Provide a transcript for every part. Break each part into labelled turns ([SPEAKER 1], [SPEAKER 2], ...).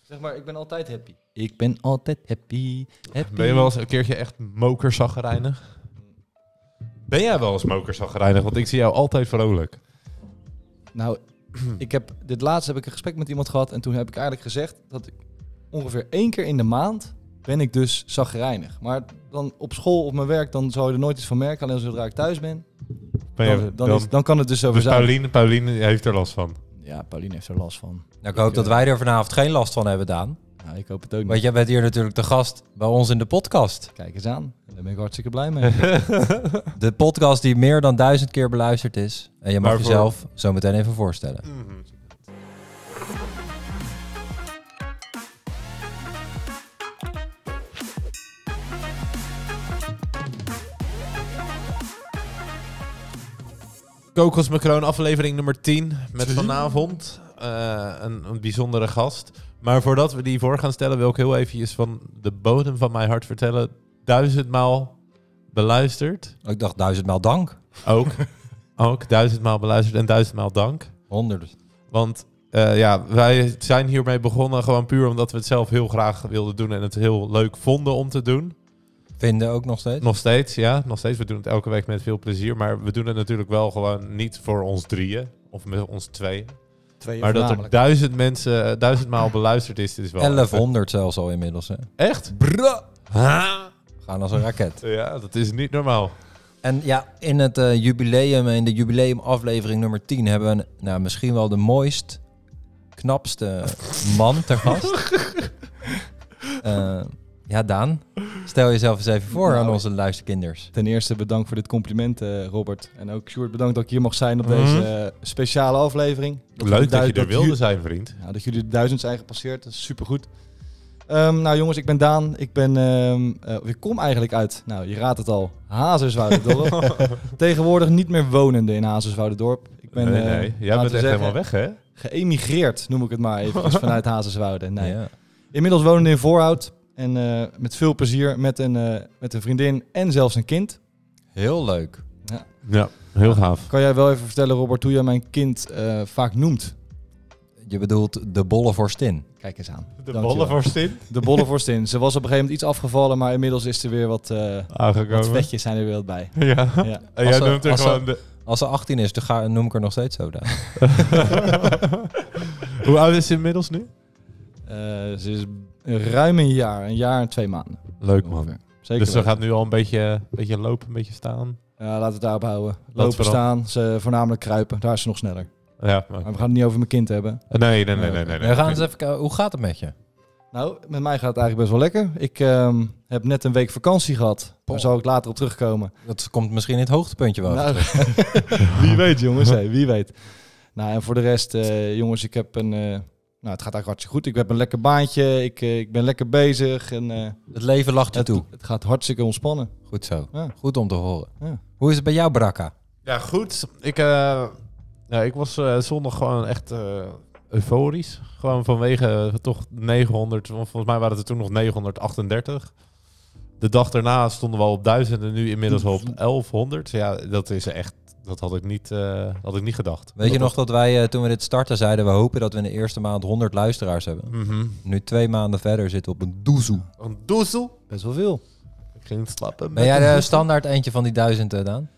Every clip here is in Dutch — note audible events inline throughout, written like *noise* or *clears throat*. [SPEAKER 1] Zeg maar, ik ben altijd happy. Ik ben altijd happy. happy.
[SPEAKER 2] Ben je wel eens een keertje echt mokerzaggerijnig? Ben jij wel eens mokerzaggerijnig? Want ik zie jou altijd vrolijk.
[SPEAKER 1] Nou, ik heb, dit laatst heb ik een gesprek met iemand gehad en toen heb ik eigenlijk gezegd dat ik ongeveer één keer in de maand ben ik dus zagrijnig. Maar dan op school, op mijn werk, dan zou je er nooit iets van merken. Alleen zodra ik thuis ben,
[SPEAKER 2] Ben je,
[SPEAKER 1] dan, dan, is, dan kan het dus over
[SPEAKER 2] dus
[SPEAKER 1] zijn.
[SPEAKER 2] Pauline, Pauline heeft er last van.
[SPEAKER 1] Ja, Pauline heeft er last van.
[SPEAKER 3] Nou, ik hoop dat wij er vanavond geen last van hebben, Daan.
[SPEAKER 1] Nou, ik hoop het ook niet.
[SPEAKER 3] Want jij bent hier natuurlijk de gast bij ons in de
[SPEAKER 1] *laughs*
[SPEAKER 3] podcast.
[SPEAKER 1] Kijk eens aan. Daar ben ik hartstikke blij mee.
[SPEAKER 2] *laughs*
[SPEAKER 3] De podcast die meer dan duizend keer beluisterd is. En je mag
[SPEAKER 2] Waarvoor?
[SPEAKER 3] jezelf zo meteen even voorstellen.
[SPEAKER 2] Kokos Macroon, aflevering nummer 10. Met vanavond eh, een, een bijzondere gast. Maar voordat we die voor gaan stellen, wil ik heel eventjes van de bodem van mijn hart vertellen. Duizendmaal beluisterd.
[SPEAKER 3] Ik dacht duizendmaal
[SPEAKER 2] *laughs*
[SPEAKER 3] dank.
[SPEAKER 2] Ook. ook duizendmaal beluisterd en duizendmaal dank.
[SPEAKER 3] Honderd.
[SPEAKER 2] Want eh, ja, wij zijn hiermee begonnen gewoon puur omdat we het zelf heel graag wilden doen en het heel leuk vonden om te doen.
[SPEAKER 3] Vinden ook nog steeds.
[SPEAKER 2] Nog steeds, ja, nog steeds. We doen het elke week met veel plezier, maar we doen het natuurlijk wel gewoon niet voor ons drieën of met ons tweeën.
[SPEAKER 1] Twee
[SPEAKER 2] Maar dat er duizend mensen, eh, duizendmaal beluisterd is, dit is wel...
[SPEAKER 3] 1100 zelfs al inmiddels. Hè.
[SPEAKER 2] Echt? Ha!
[SPEAKER 3] Gaan als een raket.
[SPEAKER 2] Ja, dat is niet normaal.
[SPEAKER 3] En ja, in het eh, jubileum, in de jubileumaflevering nummer 10 hebben we een- nou, misschien wel de mooist, knapste man ter gast. Eh, ja, Daan, stel jezelf eens even voor
[SPEAKER 1] Nou,
[SPEAKER 3] aan onze luisterkinders.
[SPEAKER 1] Ten eerste bedankt voor dit compliment, eh, Robert. En ook Sjoerd, bedankt dat ik hier mag zijn op
[SPEAKER 2] Mhm.
[SPEAKER 1] deze eh, speciale aflevering.
[SPEAKER 2] Leuk dat je
[SPEAKER 1] duid-
[SPEAKER 2] er wilde
[SPEAKER 1] ju-
[SPEAKER 2] zijn, vriend.
[SPEAKER 1] ja, dat jullie de duizend zijn gepasseerd, dat is supergoed. Ehm, nou jongens, ik ben Daan. Ik ben, ehm, eh, of ik kom eigenlijk uit, nou je raadt het al, Hazerswouderdorp.
[SPEAKER 2] *laughs*
[SPEAKER 1] Tegenwoordig niet meer wonende in Hazerswouderdorp. Ik ben
[SPEAKER 2] nee,
[SPEAKER 1] eh,
[SPEAKER 2] nee. Jij
[SPEAKER 1] laten
[SPEAKER 2] bent
[SPEAKER 1] we
[SPEAKER 2] echt
[SPEAKER 1] zeggen,
[SPEAKER 2] helemaal weg, hè?
[SPEAKER 1] geëmigreerd, noem ik het maar even,
[SPEAKER 2] *laughs*
[SPEAKER 1] vanuit Hazerswoude. Nee.
[SPEAKER 3] Ja.
[SPEAKER 1] Inmiddels wonende in Voorhout en eh, met veel plezier met een, eh, met een vriendin en zelfs een kind.
[SPEAKER 3] Heel leuk.
[SPEAKER 2] Ja, heel gaaf.
[SPEAKER 1] Kan jij wel even vertellen, Robert, hoe jij mijn kind eh, vaak noemt?
[SPEAKER 3] Je bedoelt de bolle vorstin.
[SPEAKER 1] Kijk eens aan.
[SPEAKER 2] De
[SPEAKER 1] Dankjewel.
[SPEAKER 2] bollen voor Stin
[SPEAKER 1] De bollenvorstin. Ze was op een gegeven moment iets afgevallen, maar inmiddels is er weer wat, eh wat
[SPEAKER 2] aangekomen.
[SPEAKER 1] vetjes zijn er weer wat bij.
[SPEAKER 2] Ja.
[SPEAKER 1] Ja.
[SPEAKER 2] En
[SPEAKER 3] Als
[SPEAKER 2] jij
[SPEAKER 3] ze-
[SPEAKER 2] noemt er
[SPEAKER 3] als ze-
[SPEAKER 2] gewoon de... *laughs*
[SPEAKER 3] Als ze 18 is, dan ga, noem ik er nog steeds zo, Daan.
[SPEAKER 2] Hoe oud is ze inmiddels nu?
[SPEAKER 1] Eh, ze is ruim een jaar, een jaar en twee maanden.
[SPEAKER 2] Leuk
[SPEAKER 1] ongeveer. Zeker.
[SPEAKER 2] Dus ze
[SPEAKER 1] weten.
[SPEAKER 2] gaat nu al een beetje, een beetje lopen, een beetje staan.
[SPEAKER 1] Ja, laten we het daarop houden. Lopen,
[SPEAKER 2] vooral.
[SPEAKER 1] staan, ze voornamelijk kruipen. Daar is ze nog sneller.
[SPEAKER 2] Ja, maar-
[SPEAKER 1] Maar we gaan het niet over mijn kind hebben.
[SPEAKER 2] Nee, nee, nee, nee. nee,
[SPEAKER 3] We gaan eens even kijken, hoe gaat het met je?
[SPEAKER 1] Nou, met mij gaat het eigenlijk best wel lekker. Ik ehm, heb net een week vakantie gehad. Daar
[SPEAKER 3] Poh.
[SPEAKER 2] Oh.
[SPEAKER 1] zal ik later op terugkomen.
[SPEAKER 3] Dat komt misschien in het hoogtepuntje
[SPEAKER 1] *laughs*
[SPEAKER 3] wel.
[SPEAKER 1] Nou, wie weet, jongens. hé, wie weet. Nou, en voor de rest, eh, jongens, ik heb een... eh, nou, het gaat eigenlijk hartstikke goed. Ik heb een lekker baantje. Ik, eh, ik ben lekker bezig. En, eh,
[SPEAKER 3] Het leven lacht je
[SPEAKER 1] het,
[SPEAKER 3] toe.
[SPEAKER 1] het gaat hartstikke ontspannen.
[SPEAKER 3] Goed zo.
[SPEAKER 1] Ja.
[SPEAKER 3] Goed om te horen.
[SPEAKER 1] Ja.
[SPEAKER 3] Hoe is het bij jou, Brakka?
[SPEAKER 2] Ja, goed. Ik, eh, ja, ik was eh, zondag gewoon echt eh, euforisch. Gewoon vanwege eh, toch 900, want volgens mij waren het er toen nog 938. De dag daarna stonden we al op 1000 en nu inmiddels al op 1100. Ja, dat is echt, dat had ik niet, eh, had ik niet gedacht.
[SPEAKER 3] Weet je
[SPEAKER 2] Dat
[SPEAKER 3] nog dat wij eh, toen we dit starten zeiden, we hopen dat we in de eerste maand 100 luisteraars hebben.
[SPEAKER 2] dat- Mhm.
[SPEAKER 3] Nu twee maanden verder zitten we op een doezoe.
[SPEAKER 2] Een doezel.
[SPEAKER 1] Best wel veel.
[SPEAKER 2] Ik ging slapen.
[SPEAKER 3] Ben jij
[SPEAKER 2] *laughs*
[SPEAKER 3] de standaard eentje van die duizend, eh, Daan?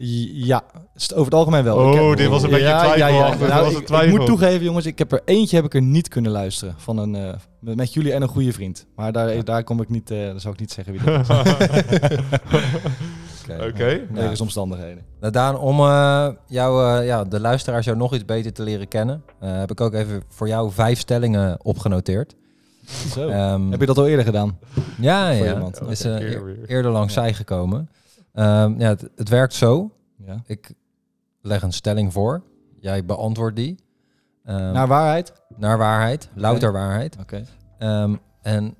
[SPEAKER 1] Ja, st- over het algemeen wel.
[SPEAKER 2] Oh,
[SPEAKER 1] Ik heb-
[SPEAKER 2] dit was een beetje twijfelachtig. Dit
[SPEAKER 1] Nou,
[SPEAKER 2] was een
[SPEAKER 1] ik- Ik,
[SPEAKER 2] twijfel.
[SPEAKER 1] moet toegeven, jongens, ik heb er eentje heb ik er niet kunnen luisteren. Van een, eh, met, met jullie en een goede vriend. Maar daar, daar kom ik niet, eh daar zal ik niet zeggen wie *laughs* dat is.
[SPEAKER 3] Oké.
[SPEAKER 2] Oké.
[SPEAKER 1] Wegens omstandigheden.
[SPEAKER 3] Nou, Daan, om eh, jou, eh, ja, de luisteraars jou nog iets beter te leren kennen, eh, heb ik ook even voor jou vijf stellingen opgenoteerd.
[SPEAKER 1] Zo.
[SPEAKER 3] Ehm,
[SPEAKER 1] Oh. heb je dat al eerder gedaan?
[SPEAKER 3] ja,
[SPEAKER 1] voor
[SPEAKER 3] ja.
[SPEAKER 1] iemand?
[SPEAKER 3] Is
[SPEAKER 2] Elke
[SPEAKER 3] eh,
[SPEAKER 2] keer
[SPEAKER 3] eer-
[SPEAKER 2] weer.
[SPEAKER 3] eerder langs zij gekomen. Ehm, ja, het, het werkt zo.
[SPEAKER 1] Ja.
[SPEAKER 3] Ik leg een stelling voor. Jij beantwoordt die. Ehm,
[SPEAKER 1] Naar waarheid?
[SPEAKER 3] naar waarheid. Louter waarheid.
[SPEAKER 1] Oké.
[SPEAKER 3] Ehm, en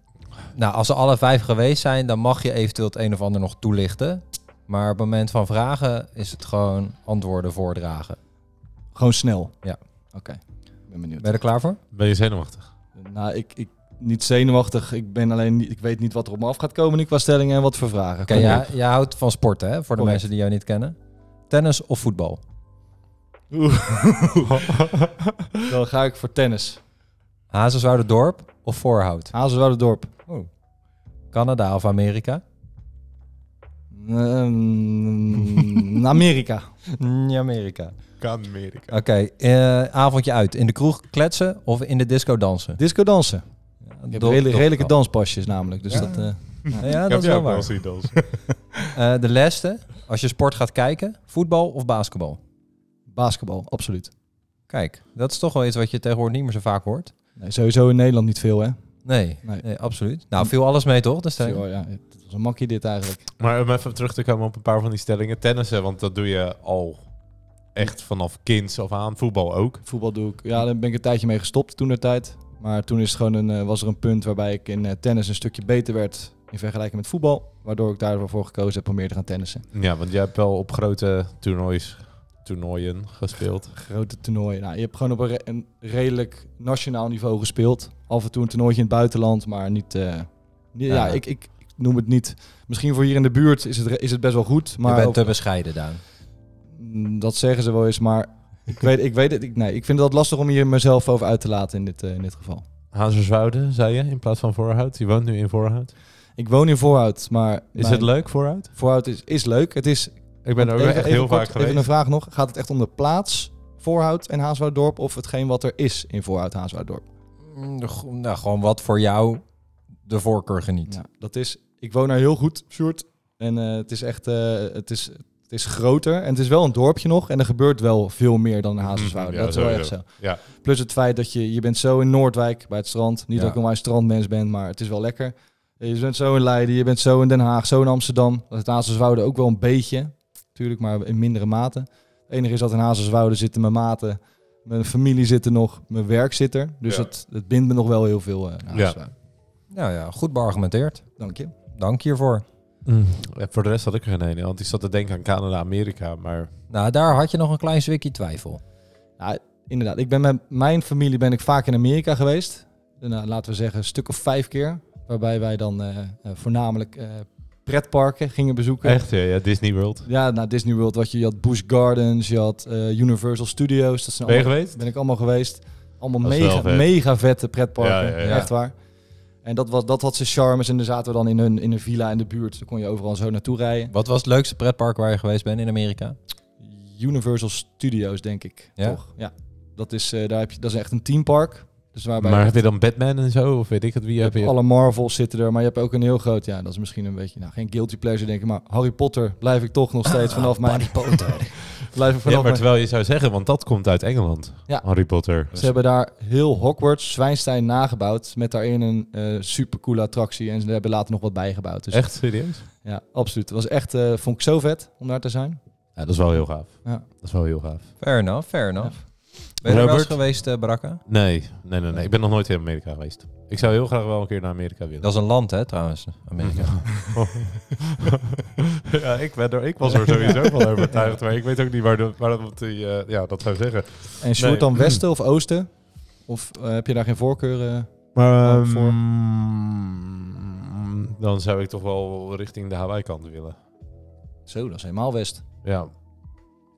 [SPEAKER 3] nou, als ze alle vijf geweest zijn, dan mag je eventueel het een of ander nog toelichten. Maar op het moment van vragen is het gewoon antwoorden voordragen.
[SPEAKER 1] Gewoon snel.
[SPEAKER 3] Ja.
[SPEAKER 1] Oké. Ik ben benieuwd.
[SPEAKER 3] Ben je er klaar voor?
[SPEAKER 2] Ben je zenuwachtig?
[SPEAKER 1] Nou, ik, ik niet zenuwachtig. Ik ben alleen niet, ik weet niet wat er op me af gaat komen nu qua stellingen en wat voor vragen.
[SPEAKER 3] Oké,
[SPEAKER 1] Kom
[SPEAKER 3] ja,
[SPEAKER 1] op.
[SPEAKER 3] jij houdt van sporten, hè? Voor de
[SPEAKER 1] Correct.
[SPEAKER 3] mensen die jou niet kennen. Tennis of voetbal?
[SPEAKER 1] Dan ga ik voor tennis.
[SPEAKER 3] Dorp of Voorhout?
[SPEAKER 1] Hazelwouderdorp.
[SPEAKER 3] Canada of Amerika?
[SPEAKER 1] *laughs* Ehm, Amerika.
[SPEAKER 3] Amerika.
[SPEAKER 2] Amerika.
[SPEAKER 3] Oké, eh, avondje uit. In de kroeg kletsen of in de disco dansen?
[SPEAKER 1] Disco dansen.
[SPEAKER 3] Ja,
[SPEAKER 1] Ik heb
[SPEAKER 3] do-
[SPEAKER 1] redelijk-
[SPEAKER 3] do-
[SPEAKER 1] redelijke danspasjes namelijk. Dus
[SPEAKER 2] Ja.
[SPEAKER 1] dat, eh,
[SPEAKER 3] Ja, dat is wel waar.
[SPEAKER 2] zien dansen.
[SPEAKER 3] Eh, de laatste, als je sport gaat kijken, voetbal of basketbal?
[SPEAKER 1] basketbal, absoluut.
[SPEAKER 3] Kijk, dat is toch wel iets wat je tegenwoordig niet meer zo vaak hoort.
[SPEAKER 1] Nee, sowieso in Nederland niet veel, hè?
[SPEAKER 3] Nee,
[SPEAKER 1] Nee.
[SPEAKER 3] nee, absoluut. Nou, viel alles mee toch? Dus
[SPEAKER 1] Zo, oh ja, het was een makkie dit eigenlijk.
[SPEAKER 2] *laughs* Maar om even terug te komen op een paar van die stellingen. Tennissen, want dat doe je al echt vanaf kinds af aan. Voetbal ook.
[SPEAKER 1] Voetbal doe ik. Ja, daar ben ik een tijdje mee gestopt toen de tijd. Maar toen is het gewoon een, eh, was er een punt waarbij ik in eh, tennis een stukje beter werd in vergelijking met voetbal. Waardoor ik daarvoor gekozen heb om meer te gaan tennissen.
[SPEAKER 2] Ja, want jij hebt wel op grote toernoois, toernooien gespeeld.
[SPEAKER 1] Grote toernooien. Nou, je hebt gewoon op een, re- een redelijk nationaal niveau gespeeld. Af en toe een toernooitje in het buitenland, maar niet. eh, niet- ja,
[SPEAKER 3] Ja.
[SPEAKER 1] ik, ik, ik noem het niet. Misschien voor hier in de buurt is het, re- is het best wel goed. Maar
[SPEAKER 3] je bent
[SPEAKER 1] over-
[SPEAKER 3] te bescheiden, Daan.
[SPEAKER 1] Mm, Dat zeggen ze wel eens, maar ik weet, ik weet het. Ik, nee, ik vind dat lastig om hier mezelf over uit te laten in dit, eh, in dit geval.
[SPEAKER 2] Hazerswoude, zei je, in plaats van Voorhout. Je woont nu in Voorhout.
[SPEAKER 1] Ik woon in Voorhout, maar...
[SPEAKER 2] Is
[SPEAKER 1] mijn-
[SPEAKER 2] het leuk, Voorhout?
[SPEAKER 1] Voorhout is, is leuk. Het is,
[SPEAKER 2] Ik ben er ook
[SPEAKER 1] even-
[SPEAKER 2] echt
[SPEAKER 1] even
[SPEAKER 2] heel
[SPEAKER 1] kort,
[SPEAKER 2] vaak geweest.
[SPEAKER 1] Even een vraag nog. Gaat het echt om de plaats Voorhout en Haaswouddorp of hetgeen wat er is in Voorhout en Haaswouddorp?
[SPEAKER 3] Mm, go- Nou, gewoon wat voor jou de voorkeur geniet.
[SPEAKER 1] Nou, dat is... Ik woon daar heel goed, Sjoerd. En eh, het is echt... eh, het, is, het is groter en het is wel een dorpje nog. En er gebeurt wel veel meer dan in Haaswouddorp.
[SPEAKER 2] Mhm, ja,
[SPEAKER 1] dat is wel echt
[SPEAKER 2] sowieso.
[SPEAKER 1] zo.
[SPEAKER 2] Ja.
[SPEAKER 1] Plus het feit dat je... Je bent zo in Noordwijk bij het strand. Niet
[SPEAKER 3] Ja.
[SPEAKER 1] dat ik een wijs strandmens ben, maar het is wel lekker. Je bent zo in Leiden, je bent zo in Den Haag, zo in Amsterdam. Dat is in Hazelswoude ook wel een beetje. Natuurlijk, maar in mindere mate. Het enige is dat in Hazelswoude zitten mijn maten. Mijn familie zit er nog, mijn werk zit er. Dus
[SPEAKER 2] Ja.
[SPEAKER 1] het, het bindt me nog wel heel veel eh naar
[SPEAKER 2] Ja.
[SPEAKER 1] Hazelswoude.
[SPEAKER 3] Nou ja, goed beargumenteerd.
[SPEAKER 1] Dank je.
[SPEAKER 3] Dank hiervoor.
[SPEAKER 2] Mm. Ja, Voor de rest had ik er geen ene, want ik zat te denken aan Canada, Amerika, maar...
[SPEAKER 3] Nou, daar had je nog een klein zwikje twijfel.
[SPEAKER 1] Inderdaad, ik ben met mijn familie ben ik vaak in Amerika geweest. Eh, nou, laten we zeggen een stuk of vijf keer. Waarbij wij dan eh, eh, voornamelijk eh, pretparken gingen bezoeken.
[SPEAKER 2] Echt, ja, ja, Disney World.
[SPEAKER 1] Ja, nou Disney World, wat je, je had Busch Gardens, je had eh, Universal Studios. Dat zijn
[SPEAKER 2] Ben je
[SPEAKER 1] allemaal,
[SPEAKER 2] geweest?
[SPEAKER 1] ben ik allemaal geweest. Allemaal
[SPEAKER 2] Dat is wel
[SPEAKER 1] mega,
[SPEAKER 2] vet.
[SPEAKER 1] mega vette pretparken,
[SPEAKER 2] Ja, ja, ja.
[SPEAKER 1] echt waar. En dat, was, dat had zijn charmes. En daar zaten we dan in hun in een villa in de buurt. Dan kon je overal zo naartoe rijden.
[SPEAKER 3] Wat was het leukste pretpark waar je geweest bent in Amerika?
[SPEAKER 1] Universal Studios, denk ik.
[SPEAKER 3] Ja?
[SPEAKER 1] Toch? Ja. Dat is, eh, daar heb je, dat is echt een teampark. Dus waarbij
[SPEAKER 2] Maar
[SPEAKER 1] je
[SPEAKER 2] heb je dan Batman en zo, of weet ik het, wie heb
[SPEAKER 1] hebt
[SPEAKER 2] je?
[SPEAKER 1] alle Marvels zitten er. Maar je hebt ook een heel groot... Ja, dat is misschien een beetje... Nou, geen guilty pleasure, denk ik. Maar Harry Potter blijf ik toch nog steeds vanaf mijn... Harry Potter. *laughs* blijf ik vanaf
[SPEAKER 2] Ja, maar
[SPEAKER 1] mijn-
[SPEAKER 2] terwijl je zou zeggen, want dat komt uit Engeland,
[SPEAKER 1] Ja.
[SPEAKER 2] Harry Potter.
[SPEAKER 1] Ze hebben daar heel Hogwarts, Zwijnstein nagebouwd. Met daarin een eh supercoole attractie. En ze hebben later nog wat bijgebouwd. Dus
[SPEAKER 2] Echt serieus?
[SPEAKER 1] ja, absoluut. Het was echt, eh, vond ik zo vet om daar te zijn.
[SPEAKER 2] Ja, dat is wel heel gaaf.
[SPEAKER 1] Ja.
[SPEAKER 2] Dat is wel heel gaaf.
[SPEAKER 3] Fair enough, fair enough. Ben je er wel eens
[SPEAKER 2] Robert?
[SPEAKER 3] geweest, eh Barakka?
[SPEAKER 2] Nee, nee, nee, nee. Ik ben nog nooit in Amerika geweest. Ik zou heel graag wel een keer naar Amerika willen.
[SPEAKER 3] Dat is een land, hè, trouwens, Amerika.
[SPEAKER 2] *laughs* ja, ik, ben er, ik was er sowieso van overtuigd, maar ik weet ook niet waar, de, waar dat, die, eh, ja, dat zou zeggen.
[SPEAKER 1] En Sjoerd
[SPEAKER 2] Nee.
[SPEAKER 1] dan westen of oosten? Of eh, heb je daar geen voorkeur? eh?
[SPEAKER 2] Maar ehm,
[SPEAKER 1] ehm, voor-
[SPEAKER 2] dan zou ik toch wel richting de Hawaii-kant willen.
[SPEAKER 1] Zo, dat is helemaal west.
[SPEAKER 2] Ja.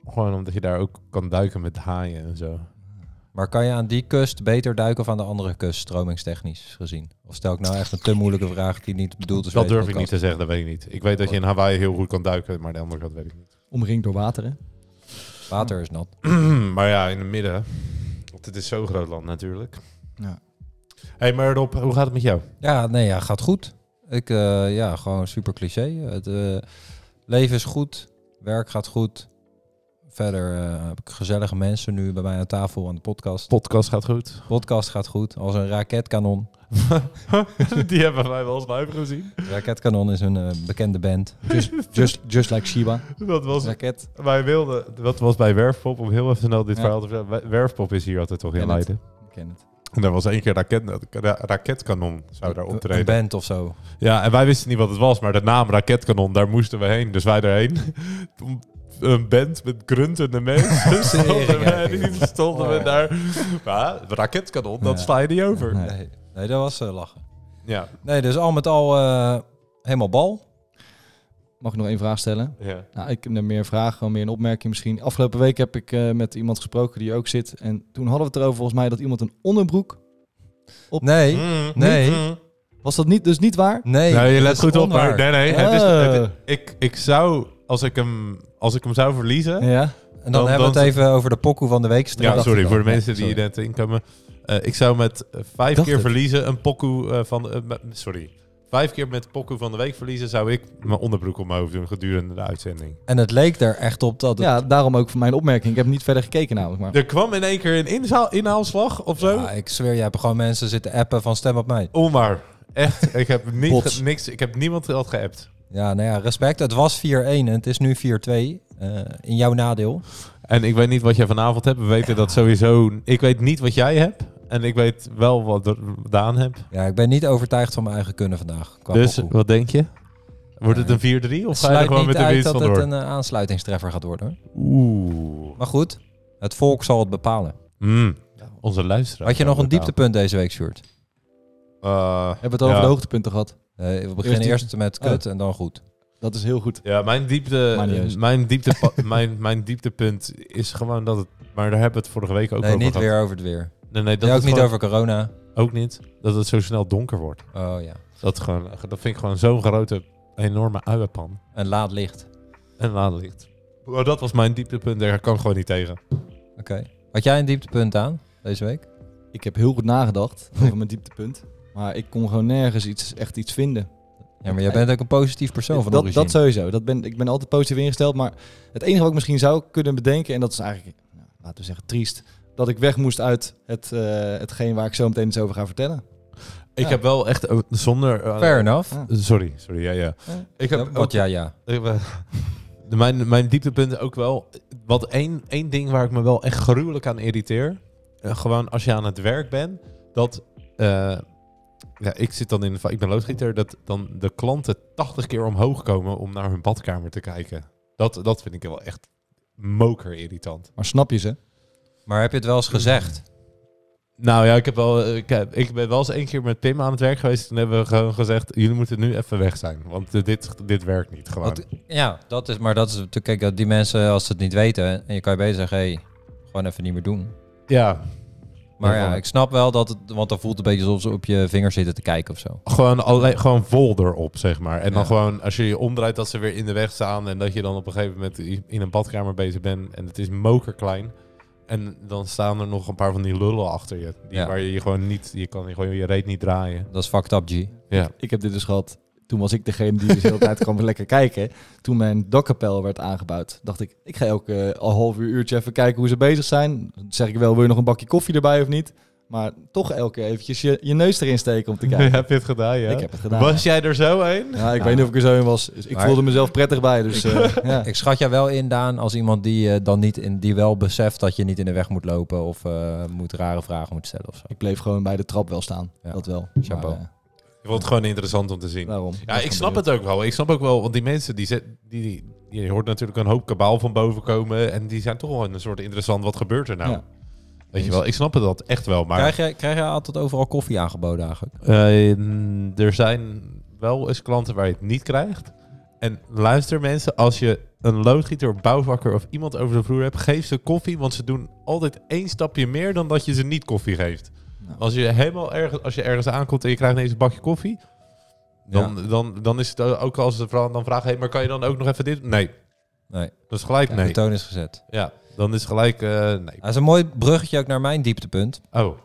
[SPEAKER 2] Gewoon omdat je daar ook kan duiken met haaien en zo.
[SPEAKER 3] Maar kan je aan die kust beter duiken of aan de andere kust, stromingstechnisch gezien? Of stel ik nou echt een te moeilijke vraag die niet bedoeld
[SPEAKER 1] Dus
[SPEAKER 3] is?
[SPEAKER 2] dat
[SPEAKER 3] voor
[SPEAKER 2] durf
[SPEAKER 3] deze
[SPEAKER 2] ik niet te
[SPEAKER 3] podcast?
[SPEAKER 2] zeggen, dat weet ik niet. Ik weet dat je in Hawaii heel goed kan duiken, maar de andere kant weet ik niet. *clears throat*
[SPEAKER 1] Omringd door water, hè?
[SPEAKER 3] Water is nat.
[SPEAKER 2] maar ja, in het midden. Want het is zo'n groot land natuurlijk.
[SPEAKER 1] Ja.
[SPEAKER 2] hey, maar Rob, hoe gaat het met jou?
[SPEAKER 3] Ja, nee, ja, gaat goed. Ik, eh, ja, gewoon super cliché. Het eh, leven is goed, werk gaat goed. Verder eh, heb ik gezellige mensen nu bij mij aan tafel aan de podcast.
[SPEAKER 2] Podcast gaat goed.
[SPEAKER 3] Podcast gaat goed, als een raketkanon.
[SPEAKER 2] *laughs* Die hebben wij wel eens live gezien.
[SPEAKER 3] Raketkanon is een eh, bekende band.
[SPEAKER 1] Just, just like Shiba.
[SPEAKER 2] Dat was,
[SPEAKER 1] Raket.
[SPEAKER 2] wij wilden, dat was bij Werfpop, om heel even snel dit
[SPEAKER 1] Ja.
[SPEAKER 2] verhaal te vertellen. Werfpop is hier altijd toch in
[SPEAKER 1] Ken het.
[SPEAKER 2] Leiden.
[SPEAKER 1] Ik ken het.
[SPEAKER 2] En daar was één keer raket, ra- raketkanon zou daar
[SPEAKER 3] Een-
[SPEAKER 2] optreden.
[SPEAKER 3] Een band of zo.
[SPEAKER 2] Ja, en wij wisten niet wat het was, maar de naam Raketkanon, daar moesten we heen. Dus wij erheen. *laughs* Om- Een band met
[SPEAKER 3] *laughs*
[SPEAKER 2] gruntende mensen. stonden
[SPEAKER 3] Tering,
[SPEAKER 2] wij,
[SPEAKER 3] ja.
[SPEAKER 2] die stonden we
[SPEAKER 3] Oh.
[SPEAKER 2] daar. Maar raketkanon, dat
[SPEAKER 1] Ja.
[SPEAKER 2] sla je niet over.
[SPEAKER 1] Ja,
[SPEAKER 2] Ja.
[SPEAKER 1] Nee.
[SPEAKER 3] Nee, nee dat was eh, lachen.
[SPEAKER 2] ja.
[SPEAKER 3] Nee, dus al met al eh, helemaal bal.
[SPEAKER 1] Mag ik nog één vraag stellen?
[SPEAKER 2] Ja.
[SPEAKER 1] Nou, ik heb nog meer een vraag, gewoon meer een opmerking misschien. Afgelopen week heb ik eh, met iemand gesproken die ook zit. En toen hadden we het erover volgens mij dat iemand een onderbroek...
[SPEAKER 3] Nee,
[SPEAKER 2] Mm,
[SPEAKER 3] nee.
[SPEAKER 2] mm.
[SPEAKER 1] Was dat niet, dus niet waar?
[SPEAKER 3] nee.
[SPEAKER 2] Nee, je
[SPEAKER 3] dat
[SPEAKER 2] let
[SPEAKER 3] is
[SPEAKER 2] goed op.
[SPEAKER 3] onwaar. Oh.
[SPEAKER 2] Maar nee, nee.
[SPEAKER 1] Ah.
[SPEAKER 2] Het is, het- ik, ik zou, als ik hem, als ik hem zou verliezen...
[SPEAKER 1] Ja.
[SPEAKER 3] En dan,
[SPEAKER 2] Dan-
[SPEAKER 3] hebben we
[SPEAKER 2] dan-
[SPEAKER 3] het even over de pokoe van de week.
[SPEAKER 2] Ja,
[SPEAKER 3] Dacht ik
[SPEAKER 2] sorry
[SPEAKER 3] al.
[SPEAKER 2] voor de mensen die
[SPEAKER 3] sorry.
[SPEAKER 2] net inkomen. Eh, ik zou met eh, vijf
[SPEAKER 1] Dacht
[SPEAKER 2] keer
[SPEAKER 1] het.
[SPEAKER 2] verliezen een pokoe eh, van... de- eh, me- sorry. Vijf keer met pokoe van de week verliezen zou ik mijn onderbroek op mijn hoofd doen gedurende de uitzending.
[SPEAKER 3] En het leek er echt op dat het...
[SPEAKER 1] ja, daarom ook mijn opmerking. Ik heb niet verder gekeken namelijk, maar...
[SPEAKER 2] Er kwam in één keer een inzaal, inhaalslag of zo.
[SPEAKER 3] Ja, Ah, ik zweer, jij hebt gewoon mensen zitten appen van stem op mij.
[SPEAKER 2] Onwaar.
[SPEAKER 3] *laughs*
[SPEAKER 2] Echt, ik heb, niet,
[SPEAKER 1] Bots.
[SPEAKER 2] ge- niks, ik heb niemand had geappt.
[SPEAKER 3] Ja, nou ja, respect. Het was 4-1 en het is nu 4-2. eh, in jouw nadeel.
[SPEAKER 2] En ik weet niet wat jij vanavond hebt. We weten dat sowieso... Ik weet niet wat jij hebt. En ik weet wel wat Daan hebt.
[SPEAKER 3] Ja, ik ben niet overtuigd van mijn eigen kunnen vandaag. qua
[SPEAKER 2] Dus
[SPEAKER 3] pokoe.
[SPEAKER 2] wat denk je? Wordt
[SPEAKER 3] Nee.
[SPEAKER 2] het een 4-3 of
[SPEAKER 3] Het
[SPEAKER 2] ga je er
[SPEAKER 3] sluit
[SPEAKER 2] gewoon
[SPEAKER 3] niet
[SPEAKER 2] met de
[SPEAKER 3] uit
[SPEAKER 2] winst
[SPEAKER 3] dat het
[SPEAKER 2] vandoor?
[SPEAKER 3] een eh, aansluitingstreffer gaat worden. hoor.
[SPEAKER 2] Oeh.
[SPEAKER 3] Maar goed, het volk zal het bepalen.
[SPEAKER 2] Mm. Onze luisteraar.
[SPEAKER 3] Had je nog een dieptepunt deze week, Sjoerd?
[SPEAKER 2] Eh,
[SPEAKER 1] Hebben we het over
[SPEAKER 2] Ja.
[SPEAKER 1] de hoogtepunten gehad?
[SPEAKER 3] Eh, we beginnen
[SPEAKER 1] diepte.
[SPEAKER 3] eerst met
[SPEAKER 1] Oh.
[SPEAKER 3] kut en dan goed.
[SPEAKER 1] Dat is heel goed.
[SPEAKER 2] Ja, mijn, diepte,
[SPEAKER 1] Maar niet juist.
[SPEAKER 2] mijn, diepte, *laughs* mijn, mijn dieptepunt is gewoon dat het... Maar daar hebben we het vorige week ook
[SPEAKER 3] nee,
[SPEAKER 2] over
[SPEAKER 3] niet
[SPEAKER 2] gehad.
[SPEAKER 3] weer over het weer.
[SPEAKER 2] Nee, nee, dat
[SPEAKER 3] Nee, ook
[SPEAKER 2] het
[SPEAKER 3] niet
[SPEAKER 2] gewoon-
[SPEAKER 3] over corona.
[SPEAKER 2] Ook niet. Dat het zo snel donker wordt.
[SPEAKER 3] Oh ja.
[SPEAKER 2] Dat, gewoon, dat vind ik gewoon zo'n grote, enorme uienpan.
[SPEAKER 3] En laat licht.
[SPEAKER 2] En laan ligt. Maar dat was mijn dieptepunt. Daar kan ik gewoon niet tegen.
[SPEAKER 3] Oké. Had jij een dieptepunt aan deze week?
[SPEAKER 1] Ik heb heel goed nagedacht over mijn dieptepunt. Maar ik kon gewoon nergens iets, echt iets vinden.
[SPEAKER 3] Ja, maar jij bent ook een positief persoon van
[SPEAKER 1] dat,
[SPEAKER 3] origine.
[SPEAKER 1] dat sowieso. Dat ben, ik ben altijd positief ingesteld. Maar het enige wat ik misschien zou kunnen bedenken, en dat is eigenlijk, nou, laten we zeggen, triest. Dat ik weg moest uit het, eh, hetgeen waar ik zo meteen iets over ga vertellen.
[SPEAKER 2] Ik
[SPEAKER 1] Ja.
[SPEAKER 2] heb wel echt eh, zonder... eh,
[SPEAKER 3] Fair enough.
[SPEAKER 1] Ja.
[SPEAKER 2] Sorry, sorry. Ja, ja.
[SPEAKER 1] Ja.
[SPEAKER 2] Ik heb ook-
[SPEAKER 3] Wat ja, ja.
[SPEAKER 2] Ik ben- Eh, De- mijn, mijn dieptepunten ook wel. Wat één, één ding waar ik me wel echt gruwelijk aan irriteer. eh, gewoon als je aan het werk bent. Dat. eh, ja, ik zit dan in. de va- Ik ben loodgieter. Dat dan de klanten 80 keer omhoog komen om naar hun badkamer te kijken. Dat, dat vind ik wel echt moker irritant.
[SPEAKER 1] Maar snap je ze?
[SPEAKER 3] Maar heb je het wel eens gezegd?
[SPEAKER 2] Nou ja, ik, heb wel, eh, ik, heb- ik ben wel eens één keer met Pim aan het werk geweest. Toen hebben we gewoon gezegd: jullie moeten nu even weg zijn. Want eh, dit, dit werkt niet gewoon.
[SPEAKER 3] Wat- ja, dat is, maar dat is natuurlijk, kijk, dat die mensen als ze het niet weten, en je kan je beter zeggen, hé, gewoon even niet meer doen.
[SPEAKER 2] ja,
[SPEAKER 3] Maar
[SPEAKER 2] Ja,
[SPEAKER 3] ja,
[SPEAKER 2] gewoon.
[SPEAKER 3] ik snap wel dat het, want dan voelt het een beetje alsof ze op je vingers zitten te kijken of zo.
[SPEAKER 2] Gewoon, alleen, gewoon vol erop, zeg maar. En dan
[SPEAKER 3] Ja.
[SPEAKER 2] gewoon, als je je omdraait, dat ze weer in de weg staan. En dat je dan op een gegeven moment i- in een badkamer bezig bent. En het is mokerklein. En dan staan er nog een paar van die lullen achter je. Die,
[SPEAKER 3] Ja.
[SPEAKER 2] Waar je je gewoon niet, je kan je gewoon je reet niet draaien.
[SPEAKER 3] Dat is fucked up, G.
[SPEAKER 2] Ja.
[SPEAKER 1] Ik heb dit dus gehad. Toen was ik degene die dus de hele tijd kwam lekker kijken. Toen mijn dakkapel werd aangebouwd, dacht ik, ik ga elke eh, een half uur uurtje even kijken hoe ze bezig zijn. Dan zeg ik wel, wil je nog een bakje koffie erbij of niet? Maar toch elke keer eventjes je, je neus erin steken om te kijken.
[SPEAKER 2] Heb je het gedaan, ja? *laughs*
[SPEAKER 1] Ik heb het gedaan.
[SPEAKER 2] Was jij er zo een?
[SPEAKER 1] Ja, ik weet niet of ik er zo in was. Dus ik
[SPEAKER 3] Maar-
[SPEAKER 1] voelde mezelf prettig bij. Dus, eh, ja.
[SPEAKER 3] Ik schat jou wel in, Daan, als iemand die eh, dan niet in, die wel beseft dat je niet in de weg moet lopen of eh, moet rare vragen moet stellen of zo.
[SPEAKER 1] Ik bleef gewoon bij de trap wel staan.
[SPEAKER 3] Ja.
[SPEAKER 1] Dat wel.
[SPEAKER 3] Chapeau.
[SPEAKER 1] Maar, eh,
[SPEAKER 2] Ik vond het gewoon interessant om te zien.
[SPEAKER 1] daarom.
[SPEAKER 2] Ja, Nou, ik snap het ook wel. Ik snap ook wel, want die mensen, die, zet, die, die, je hoort natuurlijk een hoop kabaal van boven komen. En die zijn toch wel een soort interessant, wat gebeurt er nou?
[SPEAKER 1] Ja.
[SPEAKER 2] Weet je wel, ik snap het dat echt wel. Maar
[SPEAKER 3] Krijg, je, krijg je altijd overal koffie aangeboden eigenlijk?
[SPEAKER 2] Eh, mm, er zijn wel eens klanten waar je het niet krijgt. En luister mensen, als je een loodgieter, bouwvakker of iemand over de vloer hebt, geef ze koffie, want ze doen altijd één stapje meer dan dat je ze niet koffie geeft.
[SPEAKER 1] Nou.
[SPEAKER 2] Als je helemaal ergens, als je ergens aankomt en je krijgt ineens een bakje koffie, dan, dan, dan is het ook als ze vra- dan vragen, hey, maar kan je dan ook nog even dit? Nee,
[SPEAKER 3] Nee,
[SPEAKER 2] dat is gelijk
[SPEAKER 3] Ja,
[SPEAKER 2] nee.
[SPEAKER 3] de toon is gezet.
[SPEAKER 2] Ja, dan is gelijk eh, nee.
[SPEAKER 3] Dat is een mooi bruggetje ook naar mijn dieptepunt.
[SPEAKER 2] Oh,